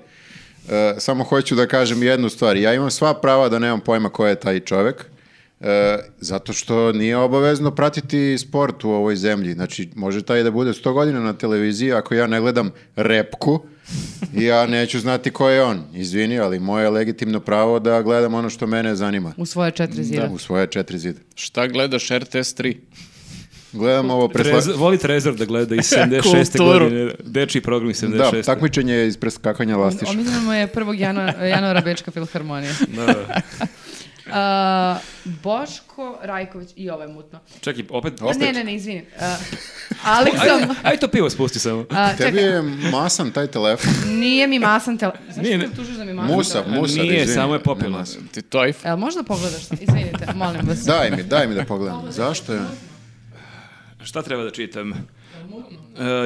Speaker 3: samo hoću da kažem jednu stvar, ja imam sva prava da nemam pojma ko je taj čovek, e, zato što nije obavezno pratiti sport u ovoj zemlji. Znači, može taj da bude 100 godina na televiziji, ako ja ne gledam repku, ja neću znati ko je on. Izvini, ali moje je legitimno pravo da gledam ono što mene zanima.
Speaker 5: U svoje četiri zira.
Speaker 3: U svoje četiri zida.
Speaker 4: Šta gledaš RTS 3?
Speaker 3: Gledam ovo presla...
Speaker 1: Trezor- voli Trezor da gleda iz 76.
Speaker 4: Kulturu.
Speaker 1: godine. Deči program iz 76.
Speaker 3: Da, takmičenje je iz preskakanja lastiša.
Speaker 5: Omiljena mu je 1. januara, januara Bečka filharmonija.
Speaker 1: Da.
Speaker 5: A, Boško Rajković, i ovo je mutno.
Speaker 1: Čekaj, opet...
Speaker 5: Ne, ne, ne, izvinim. A, Aleksom,
Speaker 1: Aj to pivo spusti samo.
Speaker 5: a,
Speaker 3: Tebi
Speaker 5: čekaj,
Speaker 3: je masan taj telefon.
Speaker 5: nije mi masan telefon. Zašto
Speaker 1: Nije,
Speaker 5: Nije,
Speaker 1: ne.
Speaker 5: te tužiš da mi je masan
Speaker 3: Musa,
Speaker 5: telefon?
Speaker 3: musa.
Speaker 1: Nije,
Speaker 3: izvini.
Speaker 1: samo je popila.
Speaker 3: Ne, masan.
Speaker 4: Ti to iPhone?
Speaker 5: Jel možda pogledaš to? Izvinite, molim vas.
Speaker 3: Daj mi, daj mi da pogledam. Zašto je?
Speaker 1: Šta treba da čitam? Uh,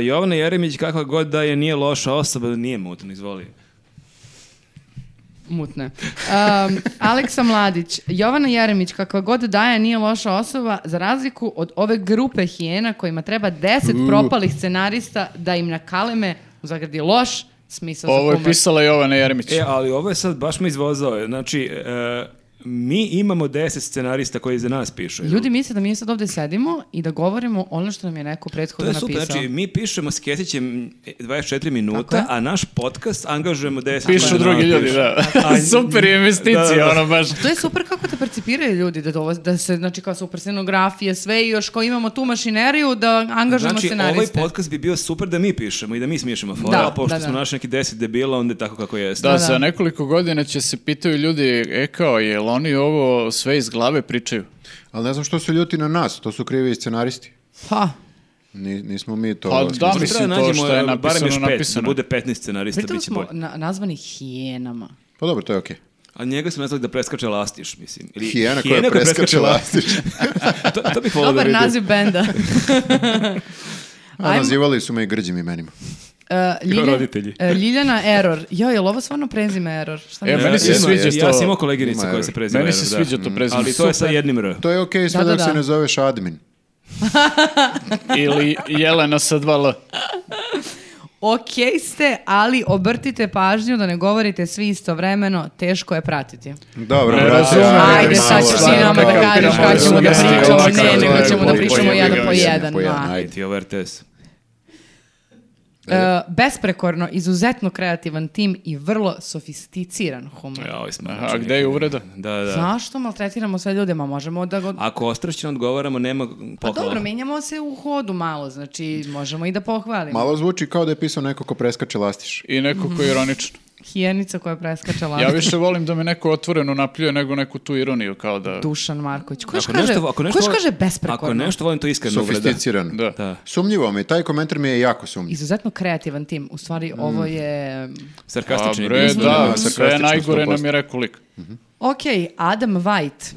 Speaker 1: Jovana Jeremić, kakva god da je, nije loša osoba, nije mutno, izvoli.
Speaker 5: Mutne. Um, Aleksa Mladić, Jovana Jeremić, kakva god daje, nije loša osoba, za razliku od ove grupe hijena kojima treba deset propalih scenarista da im nakaleme, u zagradi loš, smisao za
Speaker 4: Ovo je
Speaker 5: humor.
Speaker 4: pisala Jovana Jeremić.
Speaker 1: E, ali ovo je sad, baš me izvozao. je. Znači, e, mi imamo 10 scenarista koji za nas pišu.
Speaker 5: Ljudi misle da mi sad ovde sedimo i da govorimo ono što nam je neko
Speaker 1: To
Speaker 5: prethodno
Speaker 1: je
Speaker 5: napisao.
Speaker 1: super, znači mi pišemo s Kesićem 24
Speaker 5: Tako je.
Speaker 1: minuta, a naš podcast angažujemo 10
Speaker 4: Pišu
Speaker 1: ljudi da
Speaker 4: drugi
Speaker 1: nam
Speaker 4: ljudi,
Speaker 1: pišu.
Speaker 4: da.
Speaker 1: A-
Speaker 4: Super je investicija,
Speaker 1: Da, da.
Speaker 4: ono baš.
Speaker 5: To je super kako te percipiraju ljudi, da, dovoz, da se, znači kao super scenografije, sve i još kao imamo tu mašineriju da angažujemo
Speaker 1: Znači, ovaj
Speaker 5: scenariste.
Speaker 1: podcast bi bio super da mi pišemo i da mi smišemo fora,
Speaker 5: Da,
Speaker 1: a pošto
Speaker 5: da, da.
Speaker 1: smo našli neki 10 debila, onda je tako kako jeste.
Speaker 4: Da,
Speaker 5: Da, da.
Speaker 4: za nekoliko godina će se pitaju ljudi, e kao, jel oni ovo sve iz glave pričaju?
Speaker 3: Ali ne znam što su ljuti na nas, to su krivi scenaristi.
Speaker 5: Ha,
Speaker 3: Ni- nismo mi to...
Speaker 4: Pa da,
Speaker 1: Možda
Speaker 4: mislim,
Speaker 1: treba da
Speaker 4: to
Speaker 1: nađemo,
Speaker 4: što je
Speaker 1: e, barem još
Speaker 4: napisano,
Speaker 1: pet,
Speaker 4: napisano.
Speaker 1: Da bude 15 scenarista,
Speaker 5: pritom
Speaker 1: bit će
Speaker 5: smo
Speaker 1: bolje.
Speaker 5: na, nazvani hijenama.
Speaker 3: Pa dobro, to je okej.
Speaker 1: A njega smo nazvali da preskače lastiš, mislim. Ili
Speaker 3: Hijena koja
Speaker 1: koja
Speaker 3: preskače lastiš.
Speaker 1: to, to bih volao da
Speaker 5: Dobar
Speaker 1: vidim.
Speaker 5: naziv benda.
Speaker 3: A
Speaker 5: Ajmo.
Speaker 3: nazivali su me i grđim imenima.
Speaker 5: E, Ljilja-
Speaker 1: roditelji.
Speaker 5: e, Ljiljana Error. Jo, je li ovo stvarno prezime Error? Šta mi
Speaker 4: E,
Speaker 5: je-
Speaker 4: meni se
Speaker 1: Ima-
Speaker 4: sviđa to.
Speaker 1: Ja sam imao koleginicu
Speaker 3: Ima
Speaker 1: koja
Speaker 3: error.
Speaker 1: se preziva.
Speaker 4: Meni
Speaker 1: error,
Speaker 4: se
Speaker 1: da.
Speaker 4: sviđa to prezime.
Speaker 1: Ali to je sa jednim R.
Speaker 3: To je okej sve
Speaker 5: Da, da,
Speaker 3: dok se
Speaker 5: da.
Speaker 3: ne zoveš admin.
Speaker 4: Ili Jelena sa dva L.
Speaker 5: Okej ste, ali obrtite pažnju da ne govorite svi istovremeno, teško je
Speaker 4: E.
Speaker 5: pratiti.
Speaker 3: Dobro,
Speaker 4: Ne,
Speaker 3: brate,
Speaker 4: razumem.
Speaker 5: Ajde,
Speaker 4: malo,
Speaker 5: sad ćeš ti
Speaker 4: stvarno,
Speaker 5: nama da
Speaker 4: kao
Speaker 5: kažeš
Speaker 4: piramo
Speaker 5: kada ćemo da
Speaker 4: sugestije,
Speaker 5: pričamo,
Speaker 4: ovako,
Speaker 5: ne, nego
Speaker 4: ovako,
Speaker 5: ćemo da
Speaker 4: ovako,
Speaker 5: pričamo
Speaker 4: ovako,
Speaker 5: jedan
Speaker 4: ovako,
Speaker 5: po jedan.
Speaker 3: po jedan,
Speaker 5: ma.
Speaker 1: Aj, ti ovo RTS.
Speaker 5: E, besprekorno, izuzetno kreativan tim i vrlo sofisticiran humor.
Speaker 1: Ja, ovaj smo.
Speaker 4: A gde je uvreda?
Speaker 1: Da, da.
Speaker 5: Zašto maltretiramo sve ljude? Ma možemo da... Go...
Speaker 1: Ako ostrašćeno odgovaramo, nema poklona.
Speaker 5: Pa dobro, menjamo se u hodu malo, znači možemo i da pohvalimo.
Speaker 3: Malo zvuči kao da je pisao neko ko preskače lastiš.
Speaker 4: I neko koji je ironično.
Speaker 5: Hijenica koja preskače
Speaker 4: Ja
Speaker 5: lanac.
Speaker 4: više volim da me neko otvoreno napljuje nego neku tu ironiju, kao da...
Speaker 5: Dušan Marković. Ko još
Speaker 1: Ako
Speaker 5: kaže,
Speaker 1: nešto, ako nešto,
Speaker 5: ko još
Speaker 1: volim-
Speaker 5: kaže besprekorno?
Speaker 1: Ako nešto volim, to iskreno uvreda.
Speaker 3: Sofisticiran.
Speaker 4: Da.
Speaker 1: Da.
Speaker 3: Sumnjivo mi, taj komentar mi je jako sumnjiv.
Speaker 5: Izuzetno kreativan tim. U
Speaker 1: Mm.
Speaker 5: stvari, ovo je...
Speaker 4: A
Speaker 1: Sarkastični.
Speaker 4: Pa, bre,
Speaker 1: biznis.
Speaker 4: da,
Speaker 3: da,
Speaker 4: sve
Speaker 3: sarkastično
Speaker 4: najgore
Speaker 3: 100%.
Speaker 4: nam je rekao lik.
Speaker 5: Ok, Adam White.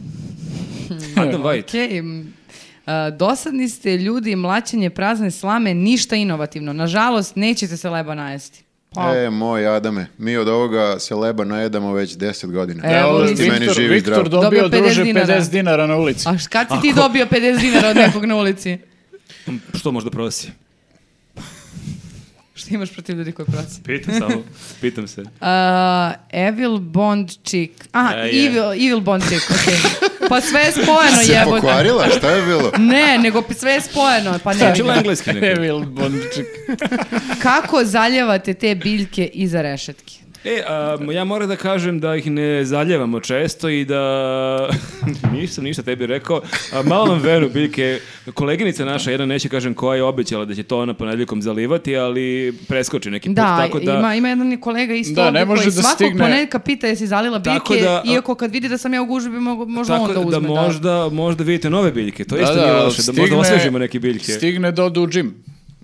Speaker 1: Adam White.
Speaker 5: Ok. m, a, dosadni ste ljudi, mlaćenje prazne slame, ništa inovativno. Nažalost, nećete se leba najesti. Pa,
Speaker 3: E, moj Adame, mi od ovoga se leba najedamo već 10 godina.
Speaker 5: E, Evo,
Speaker 4: Evo,
Speaker 5: ti
Speaker 3: meni
Speaker 4: Viktor,
Speaker 3: živi
Speaker 4: Viktor
Speaker 3: zdrav.
Speaker 4: dobio,
Speaker 5: Dobio 50
Speaker 4: druže
Speaker 5: dinara.
Speaker 4: 50 dinara na ulici.
Speaker 5: a š- kad si ti dobio 50 dinara od nekog na ulici?
Speaker 1: Što možda prosi?
Speaker 5: Što imaš protiv ljudi koji prosi?
Speaker 1: Pitam samo. Pitam se.
Speaker 5: A, Evil Bond Chick. A,
Speaker 1: E, je.
Speaker 5: Evil, Evil Bond Chick, ok. Pa sve je spojeno,
Speaker 3: Se
Speaker 5: jebote.
Speaker 3: pokvarila, šta je bilo?
Speaker 5: Ne, nego p- sve je spojeno, pa ne.
Speaker 1: Učila E, engleski nekako.
Speaker 4: Evil Bondčik.
Speaker 5: Kako zaljevate te biljke iza rešetki?
Speaker 1: E, um, ja moram da kažem da ih ne zaljevamo često i da nisam ništa tebi rekao. A, malo nam veru, biljke, koleginica naša, jedna neće kažem koja je obećala da će to ona ponedjeljkom zalivati, ali preskoči neki put.
Speaker 5: Da,
Speaker 1: tako da,
Speaker 5: ima, ima jedan kolega isto
Speaker 4: Da, ne
Speaker 5: ovdje
Speaker 4: može
Speaker 5: koji
Speaker 4: da
Speaker 5: svakog
Speaker 4: stigne.
Speaker 5: ponedjeljka pita jesi zalila
Speaker 1: Tako
Speaker 5: biljke,
Speaker 1: da, a-
Speaker 5: iako kad vidi da sam ja u gužbi, mogu- možda
Speaker 1: tako
Speaker 5: on da uzme.
Speaker 1: da možda, možda vidite nove biljke, to isto nije loše, da možda
Speaker 4: stigne-
Speaker 1: osvežimo neke biljke.
Speaker 4: Stigne do u džim.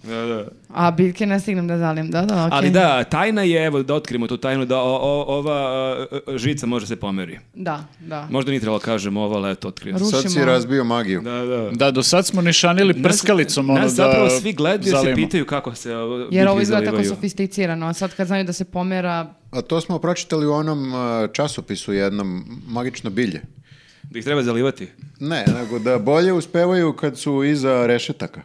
Speaker 1: Da, da.
Speaker 5: A biljke ne stignem da zalim, da, da, okej.
Speaker 1: Ali da, tajna je, evo da otkrimo tu tajnu, da o- o- ova e, e, žica može se pomeri.
Speaker 5: Da, da.
Speaker 1: Možda nije trebalo kažem ovo, ali eto, otkrio sam.
Speaker 5: Ru-
Speaker 3: Sad si
Speaker 5: Rušimo.
Speaker 3: razbio magiju.
Speaker 1: Da, da.
Speaker 4: Da, do sad smo nišanili prskalicom ono da
Speaker 1: Nas zapravo svi gledaju se
Speaker 4: zalijemo.
Speaker 1: pitaju kako se ovo
Speaker 5: Jer ovo
Speaker 1: biljke
Speaker 5: izgleda tako
Speaker 1: zalivaju.
Speaker 5: sofisticirano, a sad kad znaju da se pomera...
Speaker 3: A to smo pročitali u onom uh, časopisu jednom, Magično bilje.
Speaker 1: Da ih treba zalivati.
Speaker 3: Ne, nego da bolje uspevaju kad su iza rešetaka.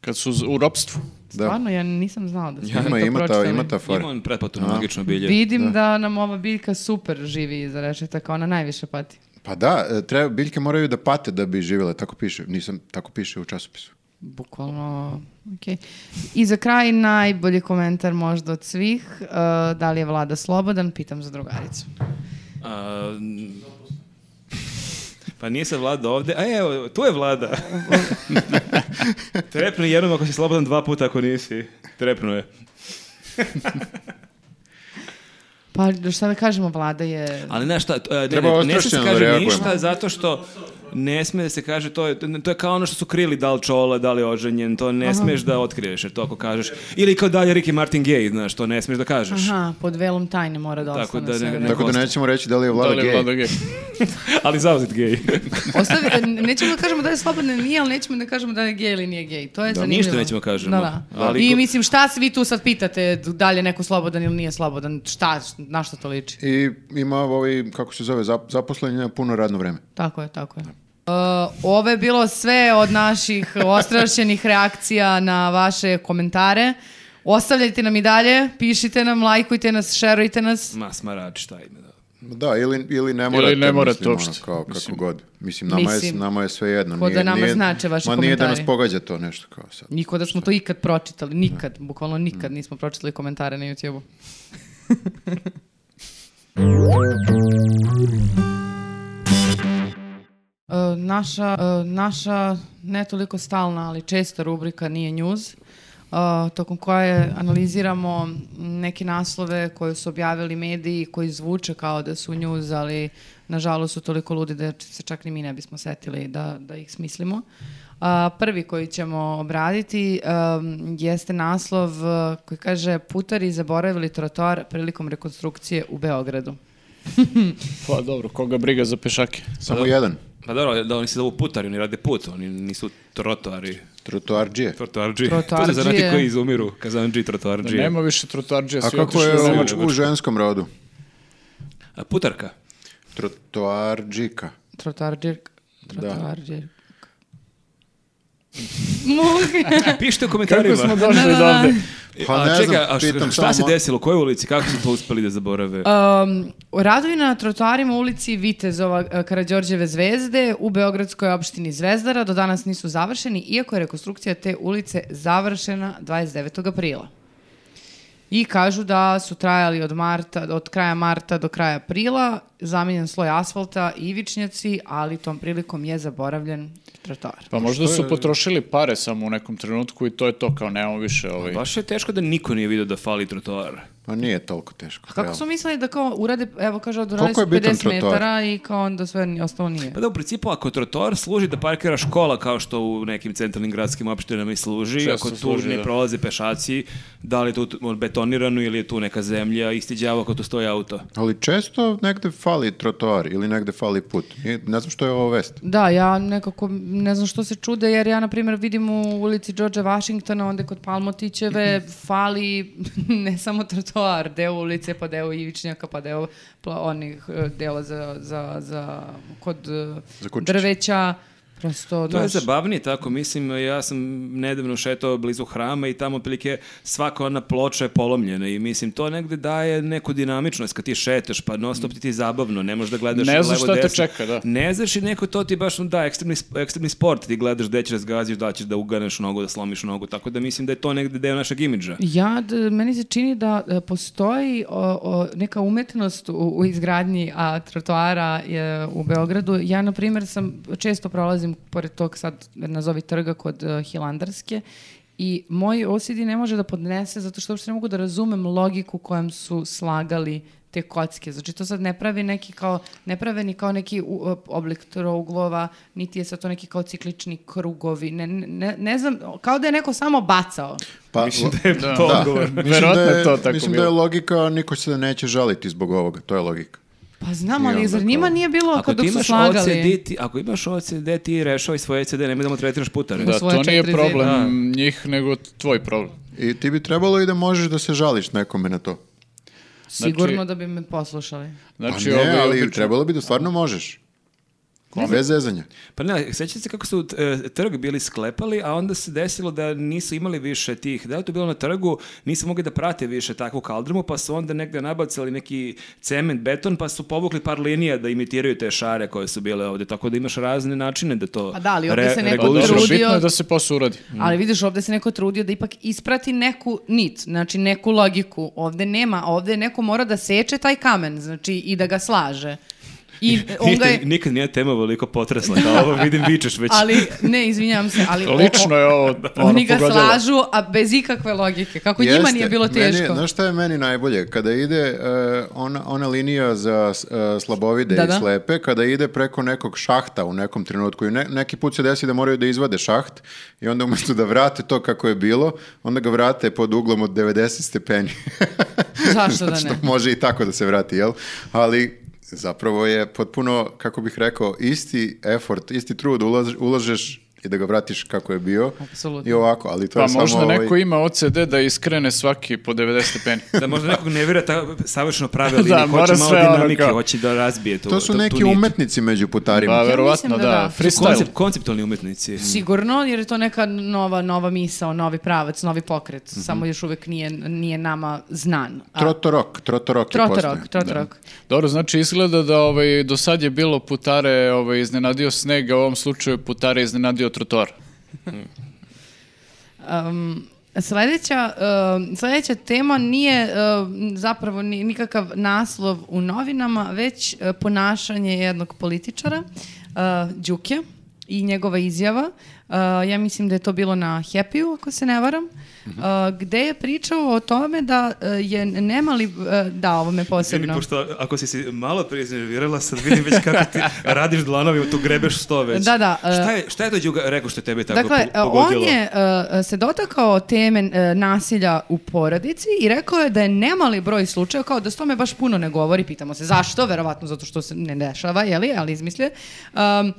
Speaker 4: Kad su z- u ropstvu.
Speaker 3: Da.
Speaker 5: Stvarno, ja nisam znala da smo to
Speaker 3: Ima, ima ta,
Speaker 5: pročitali.
Speaker 3: ima ta fora.
Speaker 1: Ima on pretplatu na magično bilje.
Speaker 5: Vidim da. nam ova biljka super živi iza rešetaka, ona najviše pati.
Speaker 3: Pa da, e, treba, biljke moraju da pate da bi živjele, tako piše, nisam, tako piše u časopisu.
Speaker 5: Bukvalno, okej. I za kraj najbolji komentar možda od svih, e, da li je vlada slobodan, pitam za drugaricu.
Speaker 1: A, n- pa nije se vlada ovde. A evo, tu je vlada. Trepni jednom ako si slobodan, dva puta ako nisi. Trepnu je.
Speaker 5: Pa šta da kažemo, vlada je...
Speaker 1: Ali znaš šta, t- e, ne,
Speaker 3: Treba
Speaker 1: ne, ne sme se
Speaker 3: ostrašćeno da
Speaker 1: kaže
Speaker 3: reagujemo.
Speaker 1: ništa zato što ne sme da se kaže, to je, to je kao ono što su krili da li čola, da li je oženjen, to ne smeš da otkriješ, jer to ako kažeš. Ili kao dalje Ricky Martin gay, znaš, to ne smeš da kažeš.
Speaker 5: Aha, pod velom tajne mora da
Speaker 1: Tako
Speaker 5: ostane
Speaker 1: da
Speaker 5: sve
Speaker 1: ne-
Speaker 5: vreme.
Speaker 1: ne-
Speaker 3: Tako da
Speaker 1: Kosta.
Speaker 3: nećemo reći da li je vlada
Speaker 4: Da li je
Speaker 3: gej.
Speaker 4: vlada gej?
Speaker 1: Ali zauzet gay.
Speaker 5: Ostavi, e, nećemo da kažemo da je slobodan ili nije, ali nećemo da kažemo da je gej ili nije gej. To je zanimljivo.
Speaker 1: ništa nećemo kažemo.
Speaker 5: Da, da.
Speaker 1: Ali
Speaker 5: I
Speaker 1: ko-
Speaker 5: mislim, šta se vi tu sad pitate, da li je neko slobodan ili nije slobodan, šta, na što to liči?
Speaker 3: I ima ovi, kako se zove, zap- zaposleni na puno radno vreme.
Speaker 5: Tako je, tako je. E, ovo je bilo sve od naših ostrašenih reakcija na vaše komentare. Ostavljajte nam i dalje, pišite nam, lajkujte nas, šerujte nas.
Speaker 1: Ma, smarač, šta ime da.
Speaker 3: Da, ili, ili ne morate,
Speaker 4: ne morate
Speaker 3: mislim, ono,
Speaker 4: uopšte.
Speaker 3: kao, kako god. Mislim, nama,
Speaker 5: Mislim,
Speaker 3: je, nama je sve jedno.
Speaker 5: ko da nama znače vaši
Speaker 3: Ma nije da nas
Speaker 5: komentari.
Speaker 3: pogađa to nešto kao sad.
Speaker 5: Niko da smo to ikad pročitali, nikad, bukvalno nikad nismo pročitali komentare na YouTube-u. E, naša, e, naša ne toliko stalna, ali česta rubrika nije news, e, tokom koje analiziramo neke naslove koje su objavili mediji koji zvuče kao da su news, ali nažalost su toliko ludi da se čak ni mi ne bismo setili da, da ih smislimo. A, prvi koji ćemo obraditi em, jeste naslov e, koji kaže putari zaboravili trotoar prilikom rekonstrukcije u Beogradu.
Speaker 4: Pa dobro, koga briga za pešake?
Speaker 3: Samo jedan.
Speaker 1: Pa dobro, da oni se zovu putari, oni rade put, oni nisu trotoari.
Speaker 3: Trotoarđije.
Speaker 1: Trotoarđi. To
Speaker 5: Trotoarđije.
Speaker 1: su zanati koji izumiru, kazanđi, trotoarđije.
Speaker 4: Nema više trotoarđija,
Speaker 3: A
Speaker 4: svi
Speaker 3: kako je
Speaker 4: otišli u
Speaker 3: ovo
Speaker 4: Nemačku.
Speaker 3: u ženskom rodu?
Speaker 1: A putarka.
Speaker 3: Trotoarđika.
Speaker 5: Trotoarđirk. Trotoarđirk.
Speaker 1: E, Pišite u komentarima. E,
Speaker 4: E, Kako smo došli
Speaker 5: Da,
Speaker 4: do
Speaker 5: da, da.
Speaker 4: ovde?
Speaker 3: Pa
Speaker 1: a
Speaker 3: ne
Speaker 1: čega,
Speaker 3: znam,
Speaker 1: a š-
Speaker 3: pitam
Speaker 1: šta se
Speaker 3: samo-
Speaker 1: desilo, u kojoj ulici, kako su to uspeli da zaborave?
Speaker 5: Um, radovi na trotoarima u ulici Vitezova e, Karađorđeve zvezde u Beogradskoj opštini Zvezdara do danas nisu završeni, iako je rekonstrukcija te ulice završena 29. aprila. I kažu da su trajali od, marta, od kraja marta do kraja aprila, zamenjen sloj asfalta i ivičnjaci, ali tom prilikom je zaboravljen trotoar.
Speaker 4: Pa možda su potrošili pare samo u nekom trenutku i to je to, kao nemamo više ovaj.
Speaker 1: Baš je teško da niko nije vidio da fali trotoar.
Speaker 3: Pa nije toliko teško.
Speaker 5: Kako
Speaker 3: realno.
Speaker 5: su mislili da kao urade, evo kaže, odurali
Speaker 3: Koliko
Speaker 5: su
Speaker 3: je bitan
Speaker 5: 50
Speaker 3: trotoar?
Speaker 5: metara i kao onda sve ni- ostalo nije.
Speaker 1: Pa da, u principu, ako trotoar služi da parkira škola, kao što u nekim centralnim gradskim opštinama i služi,
Speaker 4: Često
Speaker 1: ako tu
Speaker 4: služi,
Speaker 1: ne
Speaker 4: da.
Speaker 1: prolaze pešaci, da li je tu t- betonirano ili je tu neka zemlja, isti đavo ako tu stoji auto.
Speaker 3: Ali često negde fali trotoar ili negde fali put. I ne znam što je ovo vest.
Speaker 5: Da, ja nekako ne znam što se čude, jer ja, na primjer, vidim u ulici Đorđa Vašingtona, onda kod Palmotićeve fali ne samo trotoar, deo ulice, pa deo Ivičnjaka, pa deo eh, pla- onih e, dela za, za, za, kod e,
Speaker 3: Za kučiće.
Speaker 5: drveća, Prosto,
Speaker 1: To je
Speaker 5: znaš,
Speaker 1: zabavnije tako, mislim, ja sam nedavno šetao blizu hrama i tamo otprilike svaka ona ploča je polomljena i mislim, to negde daje neku dinamičnost kad ti šeteš, pa non stop ti ti je zabavno, ne možeš da gledaš
Speaker 4: Ne znaš
Speaker 1: levo,
Speaker 4: šta te
Speaker 1: desno.
Speaker 4: čeka, da.
Speaker 1: Ne znaš i neko to ti baš, da, ekstremni, sp- ekstremni sport, ti gledaš gde ćeš razgaziš, da ćeš da uganeš nogu, da slomiš nogu, tako da mislim da je to negde deo našeg imidža.
Speaker 5: Ja, d- meni se čini da e, postoji o, o, neka umetnost u, u izgradnji a, trotoara e, u Beogradu. Ja, na primjer, sam, često prolazim pored tog sad, nazovi trga kod e, Hilandarske i moj OCD ne može da podnese zato što uopšte ne mogu da razumem logiku kojom su slagali te kocke. Znači to sad ne pravi neki kao, ne prave ni kao neki u- e, oblik trouglova, niti je sad to neki kao ciklični krugovi. Ne, ne, ne znam, kao da je neko samo bacao.
Speaker 3: Pa, lo-
Speaker 4: Da.
Speaker 1: To
Speaker 3: da,
Speaker 1: odgovor.
Speaker 3: mislim
Speaker 4: Verovatno
Speaker 3: da
Speaker 4: je to tako
Speaker 3: Mislim
Speaker 4: bilo.
Speaker 3: da je logika, niko se neće žaliti zbog ovoga, to je logika.
Speaker 5: Pa znam,
Speaker 3: I
Speaker 5: ali
Speaker 3: onda
Speaker 5: zar
Speaker 3: kao-
Speaker 5: njima nije bilo ako
Speaker 1: Ako
Speaker 5: dok
Speaker 1: ti
Speaker 5: su
Speaker 1: imaš
Speaker 5: slagali?
Speaker 1: OCD, ti, ako imaš OCD, ti rešavaj svoje OCD, nemoj da mu tretiraš putare.
Speaker 4: Da,
Speaker 5: svoje
Speaker 4: to nije
Speaker 5: četiri
Speaker 4: problem
Speaker 1: zida.
Speaker 4: njih, nego tvoj problem.
Speaker 3: I ti bi trebalo i da možeš da se žališ nekome na to.
Speaker 5: Sigurno
Speaker 4: Znači-
Speaker 5: da bi me poslušali.
Speaker 4: Znači,
Speaker 3: pa
Speaker 4: ovo
Speaker 3: ne,
Speaker 4: je
Speaker 3: ali
Speaker 4: obično-
Speaker 3: trebalo bi da stvarno možeš. Bez zezanja.
Speaker 1: Pa ne, sjećate se kako su e, trg bili sklepali, a onda se desilo da nisu imali više tih, da je to bilo na trgu, nisu mogli da prate više takvu kaldrmu, pa su onda negde nabacali neki cement, beton, pa su povukli par linija da imitiraju te šare koje su bile ovdje, tako da imaš razne načine da to
Speaker 5: Pa da, ali ovdje se neko
Speaker 4: Pa dobro,
Speaker 5: Trudio-
Speaker 4: bitno je da se posao uradi.
Speaker 5: Ali vidiš, ovdje se neko trudio da ipak isprati neku nit, znači neku logiku. Ovdje nema, ovdje neko mora da seče taj kamen, znači i da ga slaže. I on ga
Speaker 1: Nikad,
Speaker 5: je...
Speaker 1: nikad nije tema veliko potresla, kao ovo vidim vičeš već.
Speaker 5: Ali, ne, izvinjavam se, ali... o- o-
Speaker 4: Lično je ovo ono,
Speaker 5: Oni ga
Speaker 4: pogodilo.
Speaker 5: slažu, a bez ikakve logike. Kako njima
Speaker 3: Jeste,
Speaker 5: nije bilo
Speaker 3: meni je-
Speaker 5: teško.
Speaker 3: znaš šta je meni najbolje? Kada ide e, ona, ona linija za s- e, slabovide
Speaker 5: Da,
Speaker 3: i
Speaker 5: da.
Speaker 3: slepe, kada ide preko nekog šahta u nekom trenutku i ne- neki put se desi da moraju da izvade šaht i onda umjesto da vrate to kako je bilo, onda ga vrate pod uglom od 90 stepeni.
Speaker 5: Zašto da
Speaker 3: Što
Speaker 5: ne?
Speaker 3: može i tako Znači da se vrati, jel? Ali zapravo je potpuno, kako bih rekao, isti effort, isti trud ulaž- ulažeš i da ga vratiš kako je bio.
Speaker 5: Apsolutno.
Speaker 3: I ovako, ali to
Speaker 4: Pa
Speaker 3: je samo...
Speaker 4: možda
Speaker 3: ovaj-
Speaker 4: neko ima OCD da iskrene svaki po 90 stepeni.
Speaker 1: Da možda nekog ne vira ta savršeno prave linije,
Speaker 4: Da,
Speaker 1: hoće
Speaker 4: mora
Speaker 1: malo
Speaker 4: sve ono
Speaker 1: dinamike,
Speaker 4: kao-
Speaker 1: hoće da razbije tu
Speaker 3: To su
Speaker 1: tu- tu
Speaker 3: neki
Speaker 1: nit.
Speaker 3: umetnici među putarima.
Speaker 4: Pa
Speaker 5: mislim
Speaker 4: verovatno
Speaker 5: da
Speaker 4: da,
Speaker 5: da.
Speaker 4: freestyle.
Speaker 1: Koncept, konceptualni umetnici.
Speaker 5: Sigurno, jer je to neka nova, nova misao, novi pravac, novi pokret. Samo još uvijek nije, nije nama znan. A-
Speaker 3: Trotorok, trotorok je
Speaker 5: Trotorok,
Speaker 3: postoje.
Speaker 5: trotorok.
Speaker 4: Dobro, znači izgleda da ovaj, do sad je bilo putare ovaj, iznenadio sneg, a u ovom slučaju putare iznenadio trotor.
Speaker 5: Um, sledeća, um, sledeća tema nije um, zapravo ni- nikakav naslov u novinama, već uh, ponašanje jednog političara, uh, Đuke, i njegova izjava. Uh, ja mislim da je to bilo na Happy-u, ako se ne varam, uh, gde je pričao o tome da uh, je nemali, uh, da, ovo me
Speaker 1: Izvini,
Speaker 5: posebno.
Speaker 1: pošto ako si se malo prije iznervirala, sad vidim već kako ti radiš dlanovi, tu grebeš sto već.
Speaker 5: Da, da, e.
Speaker 1: Šta je, šta je to Đuga rekao što je tebe tako
Speaker 5: dakle,
Speaker 1: po- pogodilo?
Speaker 5: on je uh, se dotakao teme uh, nasilja u porodici i rekao je da je nemali broj slučaja, kao da s tome baš puno ne govori, pitamo se zašto, verovatno zato što se ne dešava, jeli, ali izmislio. Um, uh,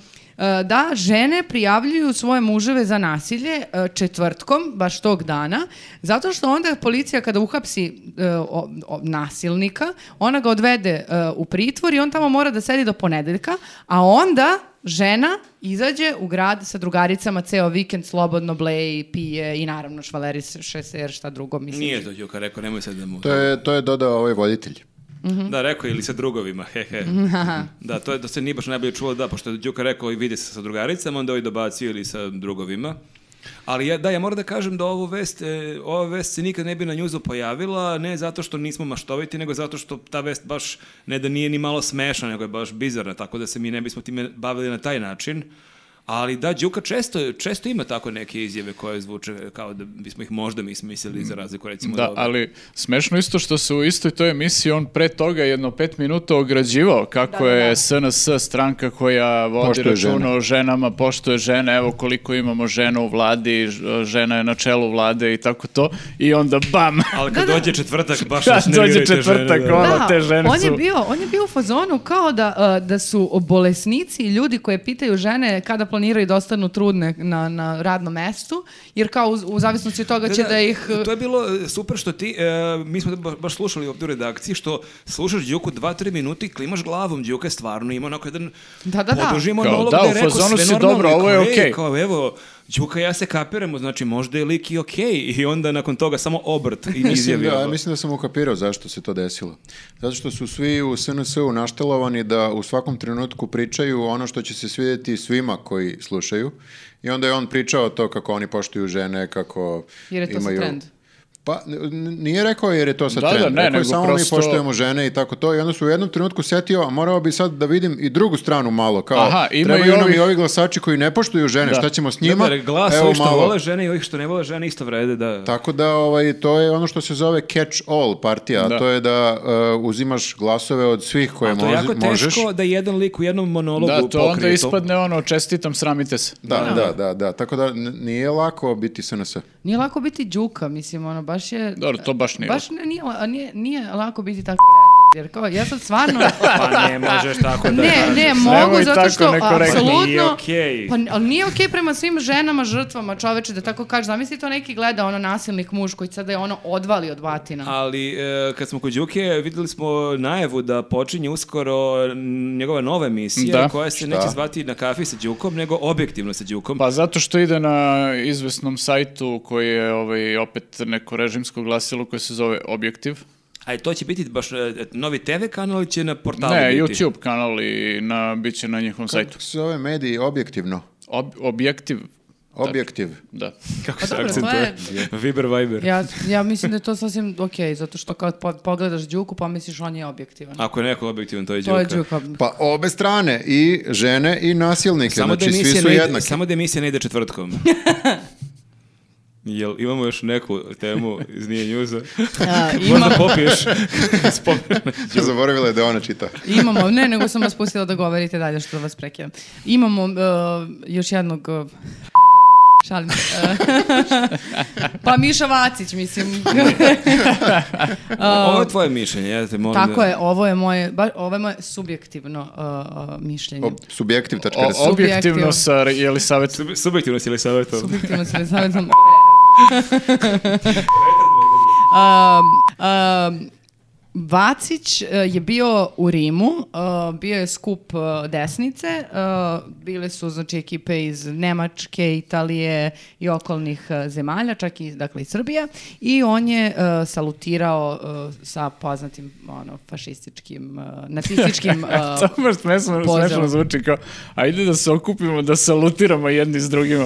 Speaker 5: da žene prijavljuju svoje muževe za nasilje uh, četvrtkom, baš tog dana, zato što onda policija kada uhapsi uh, o- o- nasilnika, ona ga odvede uh, u pritvor i on tamo mora da sedi do ponedeljka, a onda žena izađe u grad sa drugaricama ceo vikend, slobodno bleji, pije i naravno švaleriše se jer šta drugo mislim.
Speaker 1: Nije to Đuka rekao, nemoj sad da mu...
Speaker 3: To je, to je dodao ovaj voditelj.
Speaker 1: Da, rekao je, ili sa drugovima, he he. da, to je, da se nije baš najbolje čulo, da, pošto je Đuka rekao i vidi se sa drugaricama, onda ovaj dobacio ili sa drugovima. Ali ja, da, ja moram da kažem da ovu vest, e, ova vest se nikad ne bi na njuzu pojavila, ne zato što nismo maštoviti, nego zato što ta vest baš, ne da nije ni malo smešna, nego je baš bizarna, tako da se mi ne bismo time bavili na taj način. Ali da, Đuka često, često ima tako neke izjave koje zvuče kao da bismo ih možda mi smislili za razliku recimo od
Speaker 4: Mm. Da,
Speaker 1: ove.
Speaker 4: ali smešno isto što se u istoj toj emisiji on pre toga jedno pet minuta ograđivao kako je SNS stranka koja vodi
Speaker 3: Poštuje
Speaker 4: računa o ženama, pošto je žene, evo koliko imamo žena u vladi, ž- žena je na čelu vlade i tako to, i onda bam!
Speaker 1: Ali kad dođe četvrtak, baš
Speaker 4: Kad
Speaker 1: nas
Speaker 4: dođe
Speaker 1: nerviraju te žene,
Speaker 4: četvrtak,
Speaker 1: da.
Speaker 4: ono,
Speaker 5: Da,
Speaker 4: te žene
Speaker 5: on je
Speaker 4: su-
Speaker 5: e, bio, on je bio u fazonu kao da, uh, da su bolesnici i ljudi koje pitaju žene kada planiraju da ostanu trudne na, na radnom mestu, jer kao uz- u zavisnosti od toga Pa će da ih...
Speaker 1: To je bilo e, super što ti, e, mi smo ba- baš slušali ovdje u redakciji, što slušaš Đuku dva, tri minuti, klimaš glavom, Đuka je stvarno ima onako jedan
Speaker 5: Da, da, da.
Speaker 1: poduži
Speaker 5: Kao,
Speaker 1: monolog
Speaker 4: da,
Speaker 1: gde
Speaker 4: u
Speaker 1: je rekao
Speaker 4: fazonu
Speaker 1: sve
Speaker 4: si,
Speaker 1: normalno,
Speaker 4: dobro,
Speaker 1: i
Speaker 4: ovo
Speaker 1: kao,
Speaker 4: je
Speaker 1: ej,
Speaker 4: okej.
Speaker 1: Kao evo, Đuka i ja se kapiramo, znači možda je lik i okej, i onda nakon toga samo obrt i
Speaker 3: Mislim
Speaker 1: izjavi. ono.
Speaker 3: da,
Speaker 1: ovo.
Speaker 3: mislim da sam ukapirao zašto se to desilo. Zato što su svi u SNS-u naštelovani da u svakom trenutku pričaju ono što će se svidjeti svima koji slušaju. I onda je on pričao to kako oni poštuju žene, kako
Speaker 5: Jer je to sad
Speaker 3: imaju...
Speaker 5: trend.
Speaker 3: Pa, n- n- nije rekao jer je to sad
Speaker 4: Da, da,
Speaker 3: trend.
Speaker 4: ne,
Speaker 3: rekao je
Speaker 4: nego
Speaker 3: samo
Speaker 4: prosto-
Speaker 3: mi poštujemo žene i tako to. I onda su u jednom trenutku setio, a morao bi sad da vidim i drugu stranu malo. Kao,
Speaker 4: Aha, ima
Speaker 3: trebaju
Speaker 4: i
Speaker 3: nam i
Speaker 4: ovih-
Speaker 3: ovi glasači koji ne poštuju žene,
Speaker 4: Da.
Speaker 3: šta ćemo s
Speaker 1: Da,
Speaker 3: njima?
Speaker 1: da, glas
Speaker 3: Evo
Speaker 1: ovih što
Speaker 3: malo.
Speaker 1: vole žene i ovih što ne vole žene isto vrede, da.
Speaker 3: Tako da ovaj, to je ono što se zove catch all partija, a
Speaker 4: Da.
Speaker 3: to je da uh, uzimaš glasove od svih koje
Speaker 1: To je jako
Speaker 3: mozi- možeš.
Speaker 1: teško da jedan lik u jednom monologu
Speaker 4: Da, to
Speaker 1: pokrije
Speaker 4: onda
Speaker 1: to.
Speaker 4: ispadne ono, čestitam, sramite se.
Speaker 3: Da, da, da, da. Tako da n- nije lako biti SNS.
Speaker 5: Nije lako biti đuka, mislim, ono, baš je...
Speaker 4: Dobro, to baš nije
Speaker 5: Baš ne- nije, la- nije, nije lako biti tako jer kao, ja sad stvarno...
Speaker 1: Pa ne, možeš tako da
Speaker 5: ne,
Speaker 1: kažeš.
Speaker 5: ne,
Speaker 4: Nemoj
Speaker 5: mogu, zato
Speaker 4: tako
Speaker 5: što
Speaker 4: nekorektno.
Speaker 1: Pa
Speaker 5: apsolutno...
Speaker 1: nije okej.
Speaker 5: Pa, ali nije okej prema svim ženama žrtvama, čoveče, da tako kažeš. Zamisli to neki gleda, ono, nasilnik muž koji sada je ono odvali od batina.
Speaker 1: Ali e, kad smo kod Đuke, vidjeli smo najavu da počinje uskoro n- njegova nova emisija
Speaker 4: Da.
Speaker 1: koja se neće zvati na kafi sa Đukom, nego objektivno sa Đukom.
Speaker 4: Pa zato što ide na izvesnom sajtu koji je ovaj, opet neko režimsko glasilo koje se zove Objektiv.
Speaker 1: A to će biti baš e, novi TV kanal ili će na portalu
Speaker 4: ne,
Speaker 1: biti?
Speaker 4: YouTube kanal i na, bit će na njihovom sajtu.
Speaker 3: Kako se zove mediji objektivno?
Speaker 4: Ob- objektiv,
Speaker 3: Objektiv.
Speaker 4: da.
Speaker 1: Kako
Speaker 5: Pa
Speaker 1: se
Speaker 5: dobro, to
Speaker 1: akcentuje? Viber Viber.
Speaker 5: Ja, ja mislim da je to sasvim okej, zato što kad po- pogledaš Đuku, pomisliš on je objektivan.
Speaker 1: Ako je neko objektivan, to je Đuka.
Speaker 5: to je Đuka.
Speaker 3: Pa obe strane, i žene i nasilnike,
Speaker 1: Samo,
Speaker 3: znači
Speaker 1: da
Speaker 3: svi
Speaker 1: emisija
Speaker 3: su
Speaker 1: ne ide,
Speaker 3: jednaki.
Speaker 1: samo da emisija ne ide četvrtkom. Jel imamo još neku temu iz Nije njuza?
Speaker 5: A,
Speaker 1: Možda
Speaker 5: imam-
Speaker 1: popiješ. Spomenem.
Speaker 3: Zaboravila je da ona čita.
Speaker 5: imamo, ne, nego sam vas pustila da govorite dalje što vas prekidam. Imamo e, još jednog... e, šalim se. E, pa Miša Vacić, mislim. Uh,
Speaker 1: Ovo je tvoje mišljenje, ja te molim
Speaker 5: Tako
Speaker 1: da-
Speaker 5: je, ovo je moje, ba, ovo je moje subjektivno e, e, mišljenje.
Speaker 3: O, subjektiv.rs.
Speaker 4: O- objektivno sa Jelisavetom.
Speaker 1: Sub- Subjektivno si li savjetom?
Speaker 5: Subjektivno se ne savjetam. um, um, Vacić eh, je bio u Rimu, eh, bio je skup eh, desnice, eh, bile su znači ekipe iz Nemačke, Italije i okolnih eh, zemalja, čak i dakle i Srbija i on je eh, salutirao eh, sa poznatim ono fašističkim eh, nacističkim eh,
Speaker 4: To baš smešno,
Speaker 5: pozdrav.
Speaker 4: smešno zvuči kao, ajde da se okupimo, da salutiramo jedni s drugima.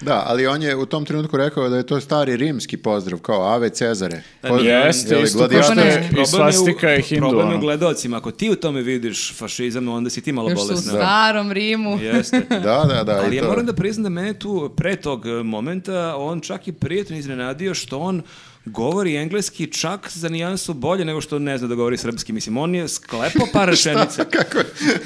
Speaker 3: Da, ali on je u tom trenutku rekao da je to stari rimski pozdrav, kao Ave Cezare. Pozdrav-
Speaker 4: Jeste,
Speaker 3: jeli,
Speaker 4: isto kao
Speaker 3: gladijator-
Speaker 4: što
Speaker 5: ne,
Speaker 4: je i svastika je hindu.
Speaker 1: Problem je u
Speaker 4: ono.
Speaker 1: gledalcima. Ako ti u tome vidiš fašizam, onda si ti malo
Speaker 5: još su u
Speaker 1: bolesna.
Speaker 5: starom Rimu.
Speaker 1: Jeste.
Speaker 3: Da, da, da. i
Speaker 1: Ali ja
Speaker 3: to.
Speaker 1: moram da priznam da mene tu pre tog e, momenta on čak i prijatno iznenadio što on govori engleski čak za nijansu bolje nego što ne zna da govori srpski. Mislim, on je sklepao par rečenica. Kako?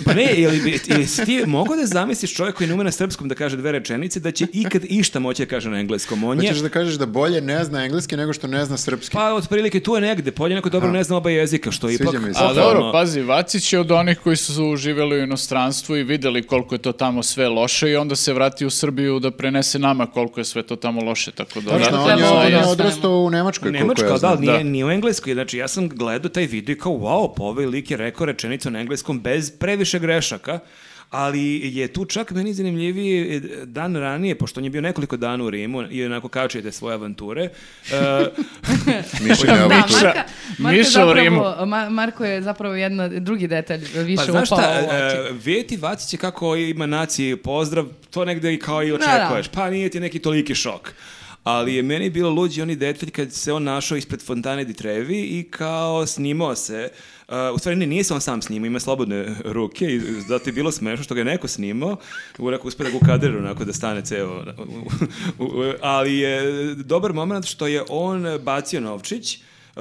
Speaker 1: Pa ne, ili, bi- ili si ti mogao da zamisliš čovjek koji ne ume na srpskom da kaže dve rečenice da će ikad išta moći da kaže na engleskom. On je
Speaker 3: Hoćeš da kažeš da bolje ne zna engleski nego što ne zna srpski.
Speaker 1: Pa otprilike tu je negde, polje neko dobro ne zna oba jezika, što je
Speaker 3: Sviđa
Speaker 1: ipak...
Speaker 3: mi se.
Speaker 4: A
Speaker 1: pohvalno.
Speaker 4: dobro, pazi, Vacić je od onih koji su živjeli u inostranstvu i videli koliko je to tamo sve loše i onda se vrati u Srbiju da prenese nama koliko je sve to tamo loše, tako da...
Speaker 3: Točno,
Speaker 4: da,
Speaker 3: on je, ovaj-
Speaker 5: trebalo
Speaker 3: on je
Speaker 5: da
Speaker 3: odrastao u Nemačkoj, koliko
Speaker 1: Nemačka,
Speaker 3: ja
Speaker 1: da,
Speaker 3: znam.
Speaker 1: nije,
Speaker 4: Da.
Speaker 1: nije u engleskoj. Znači, ja sam gledao taj video i kao, wow, pa ovaj lik je rekao rečenicu na engleskom bez previše grešaka, ali je tu čak meni zanimljiviji e, dan ranije, pošto on je bio nekoliko dana u Rimu i onako kačite svoje avanture. e,
Speaker 3: Mišljenje
Speaker 5: Da,
Speaker 3: Avatu.
Speaker 4: Miša-
Speaker 5: Marka, Marko, je
Speaker 4: Miša u Rimu.
Speaker 5: zapravo, Ma- Marko je zapravo jedna drugi detalj više
Speaker 1: pa
Speaker 5: upao
Speaker 1: znaš šta,
Speaker 5: u oči.
Speaker 1: e, vidjeti Vaciće kako ima naciji pozdrav, to negde i kao i očekuješ. Pa nije ti neki toliki šok. Ali je meni bilo luđi onaj detalj kad se on našao ispred fontane di Trevi i kao snimao se. Uh, u stvari ne, nije se on sam snimao, ima slobodne ruke i zato je bilo smešno što ga je neko snimao. Onako uspio da ga ukadrira onako da stane ceo. u- u- u- ali je dobar moment što je on bacio novčić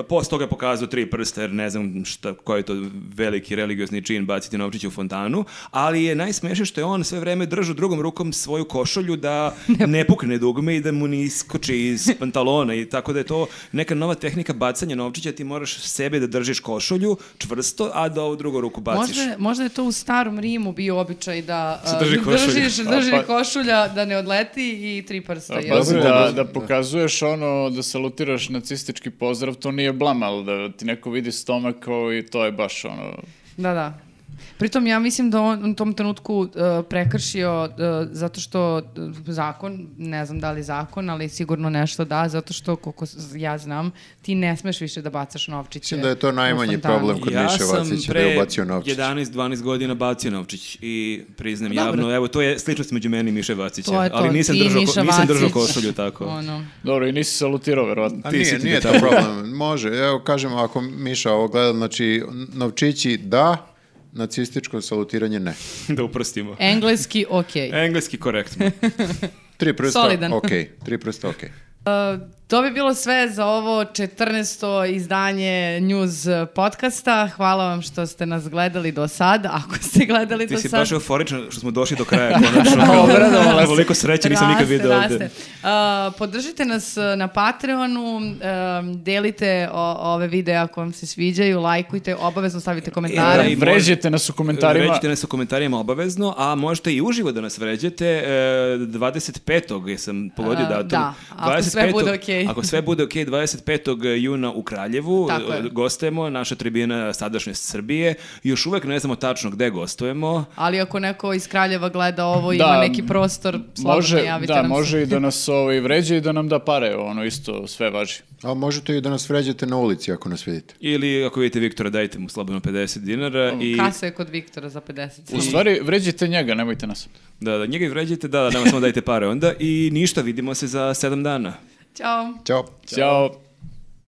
Speaker 1: Posle E, toga je pokazao tri prsta, jer ne znam šta, koji je to veliki religiozni čin baciti novčiće u fontanu, ali je najsmešnije što je on sve vreme držao drugom rukom svoju košulju da ne pukne dugme i da mu ne iskoči iz pantalona i tako da je to neka nova tehnika bacanja novčića, ti moraš sebe da držiš košulju čvrsto, a da ovu drugu ruku baciš.
Speaker 5: Možda, je- možda je to u starom Rimu bio običaj da
Speaker 6: Se
Speaker 5: a,
Speaker 6: drži košulja.
Speaker 5: držiš,
Speaker 6: A,
Speaker 5: drži
Speaker 4: pa-
Speaker 5: košulja da ne odleti i tri prsta.
Speaker 4: A pa-
Speaker 5: jel?
Speaker 4: pazi,
Speaker 3: Dobro,
Speaker 4: da,
Speaker 3: dobro.
Speaker 4: da pokazuješ ono, da salutiraš nacistički pozdrav, to nije blam, ali da ti neko vidi stomak kao i to je baš ono...
Speaker 5: Da, da. Pritom ja mislim da on u tom trenutku e, prekršio e, zato što e, zakon, ne znam da li zakon, ali sigurno nešto da, zato što koliko s- ja znam, ti ne smeš više da bacaš novčiće.
Speaker 3: Mislim da je to
Speaker 5: u
Speaker 3: najmanji
Speaker 5: fontanu.
Speaker 3: problem. kod Miše Vacića da je ubacio novčić.
Speaker 1: 11-12 godina bacio novčić i priznam
Speaker 5: Dobro.
Speaker 1: javno, evo to je sličnost među meni i Miše Vacića,
Speaker 5: To je to,
Speaker 1: ali nisam
Speaker 5: ti i
Speaker 1: držao, ko-
Speaker 5: Miša
Speaker 1: nisam držao
Speaker 5: Vacić.
Speaker 1: košulju tako.
Speaker 5: Ono.
Speaker 4: Dobro, i nisi salutirao, verovatno.
Speaker 3: A
Speaker 1: Ti si
Speaker 3: nije,
Speaker 1: ti
Speaker 3: nije to
Speaker 1: detalj.
Speaker 3: problem. Može, evo kažem, ako Miša ovo gleda, znači novčići da, nacističko salutiranje ne.
Speaker 1: da uprostimo.
Speaker 5: E.
Speaker 1: E,
Speaker 5: Engleski, okej.
Speaker 1: Engleski korektno.
Speaker 3: Tri prsta,
Speaker 5: Solidan.
Speaker 3: ok. Tri prsta, ok.
Speaker 5: E, To bi bilo sve za ovo 14. izdanje News podcasta. Hvala vam što ste nas gledali do sad. Ako ste gledali
Speaker 1: Ti
Speaker 5: do
Speaker 1: si
Speaker 5: sad...
Speaker 1: baš euforičan što smo došli do kraja konačno.
Speaker 5: obradovala se.
Speaker 1: Koliko sreće nisam nikad vidio ovde.
Speaker 5: Uh, podržite nas uh, na Patreonu, um, delite o- ove videe ako vam se sviđaju, lajkujte, obavezno stavite komentare.
Speaker 1: E, da, i-
Speaker 4: Vređajte nas u komentarima.
Speaker 1: Vređite nas u komentarima obavezno, a možete i uživo da nas vređete e, 25. jesam pogodio
Speaker 5: A,
Speaker 1: datum.
Speaker 5: E, da, ako sve bude okej.
Speaker 1: Ako sve bude ok, 25. juna u Kraljevu
Speaker 5: Tako je.
Speaker 1: e, gostujemo, naša tribina sadašnje Srbije. Još uvek ne znamo tačno gde gostujemo.
Speaker 5: Ali ako neko iz Kraljeva gleda ovo i
Speaker 4: Da,
Speaker 5: ima neki prostor, slobodno
Speaker 4: može,
Speaker 5: javite
Speaker 4: da,
Speaker 5: nam se.
Speaker 4: može i da nas ovaj, vređe i da nam da pare, ono isto sve važi.
Speaker 3: A možete i da nas vređate na ulici ako nas vidite.
Speaker 1: Ili ako vidite Viktora, dajte mu slobodno 50 dinara. I,
Speaker 5: Kasa je kod Viktora za 50.
Speaker 4: U stvari, vređajte njega, nemojte nas.
Speaker 1: da, da, njega i vređajte, da, da, nama samo dajte pare onda. I ništa, vidimo se za 7 dana.
Speaker 5: Ćao.
Speaker 3: Ćao.
Speaker 4: Ćao.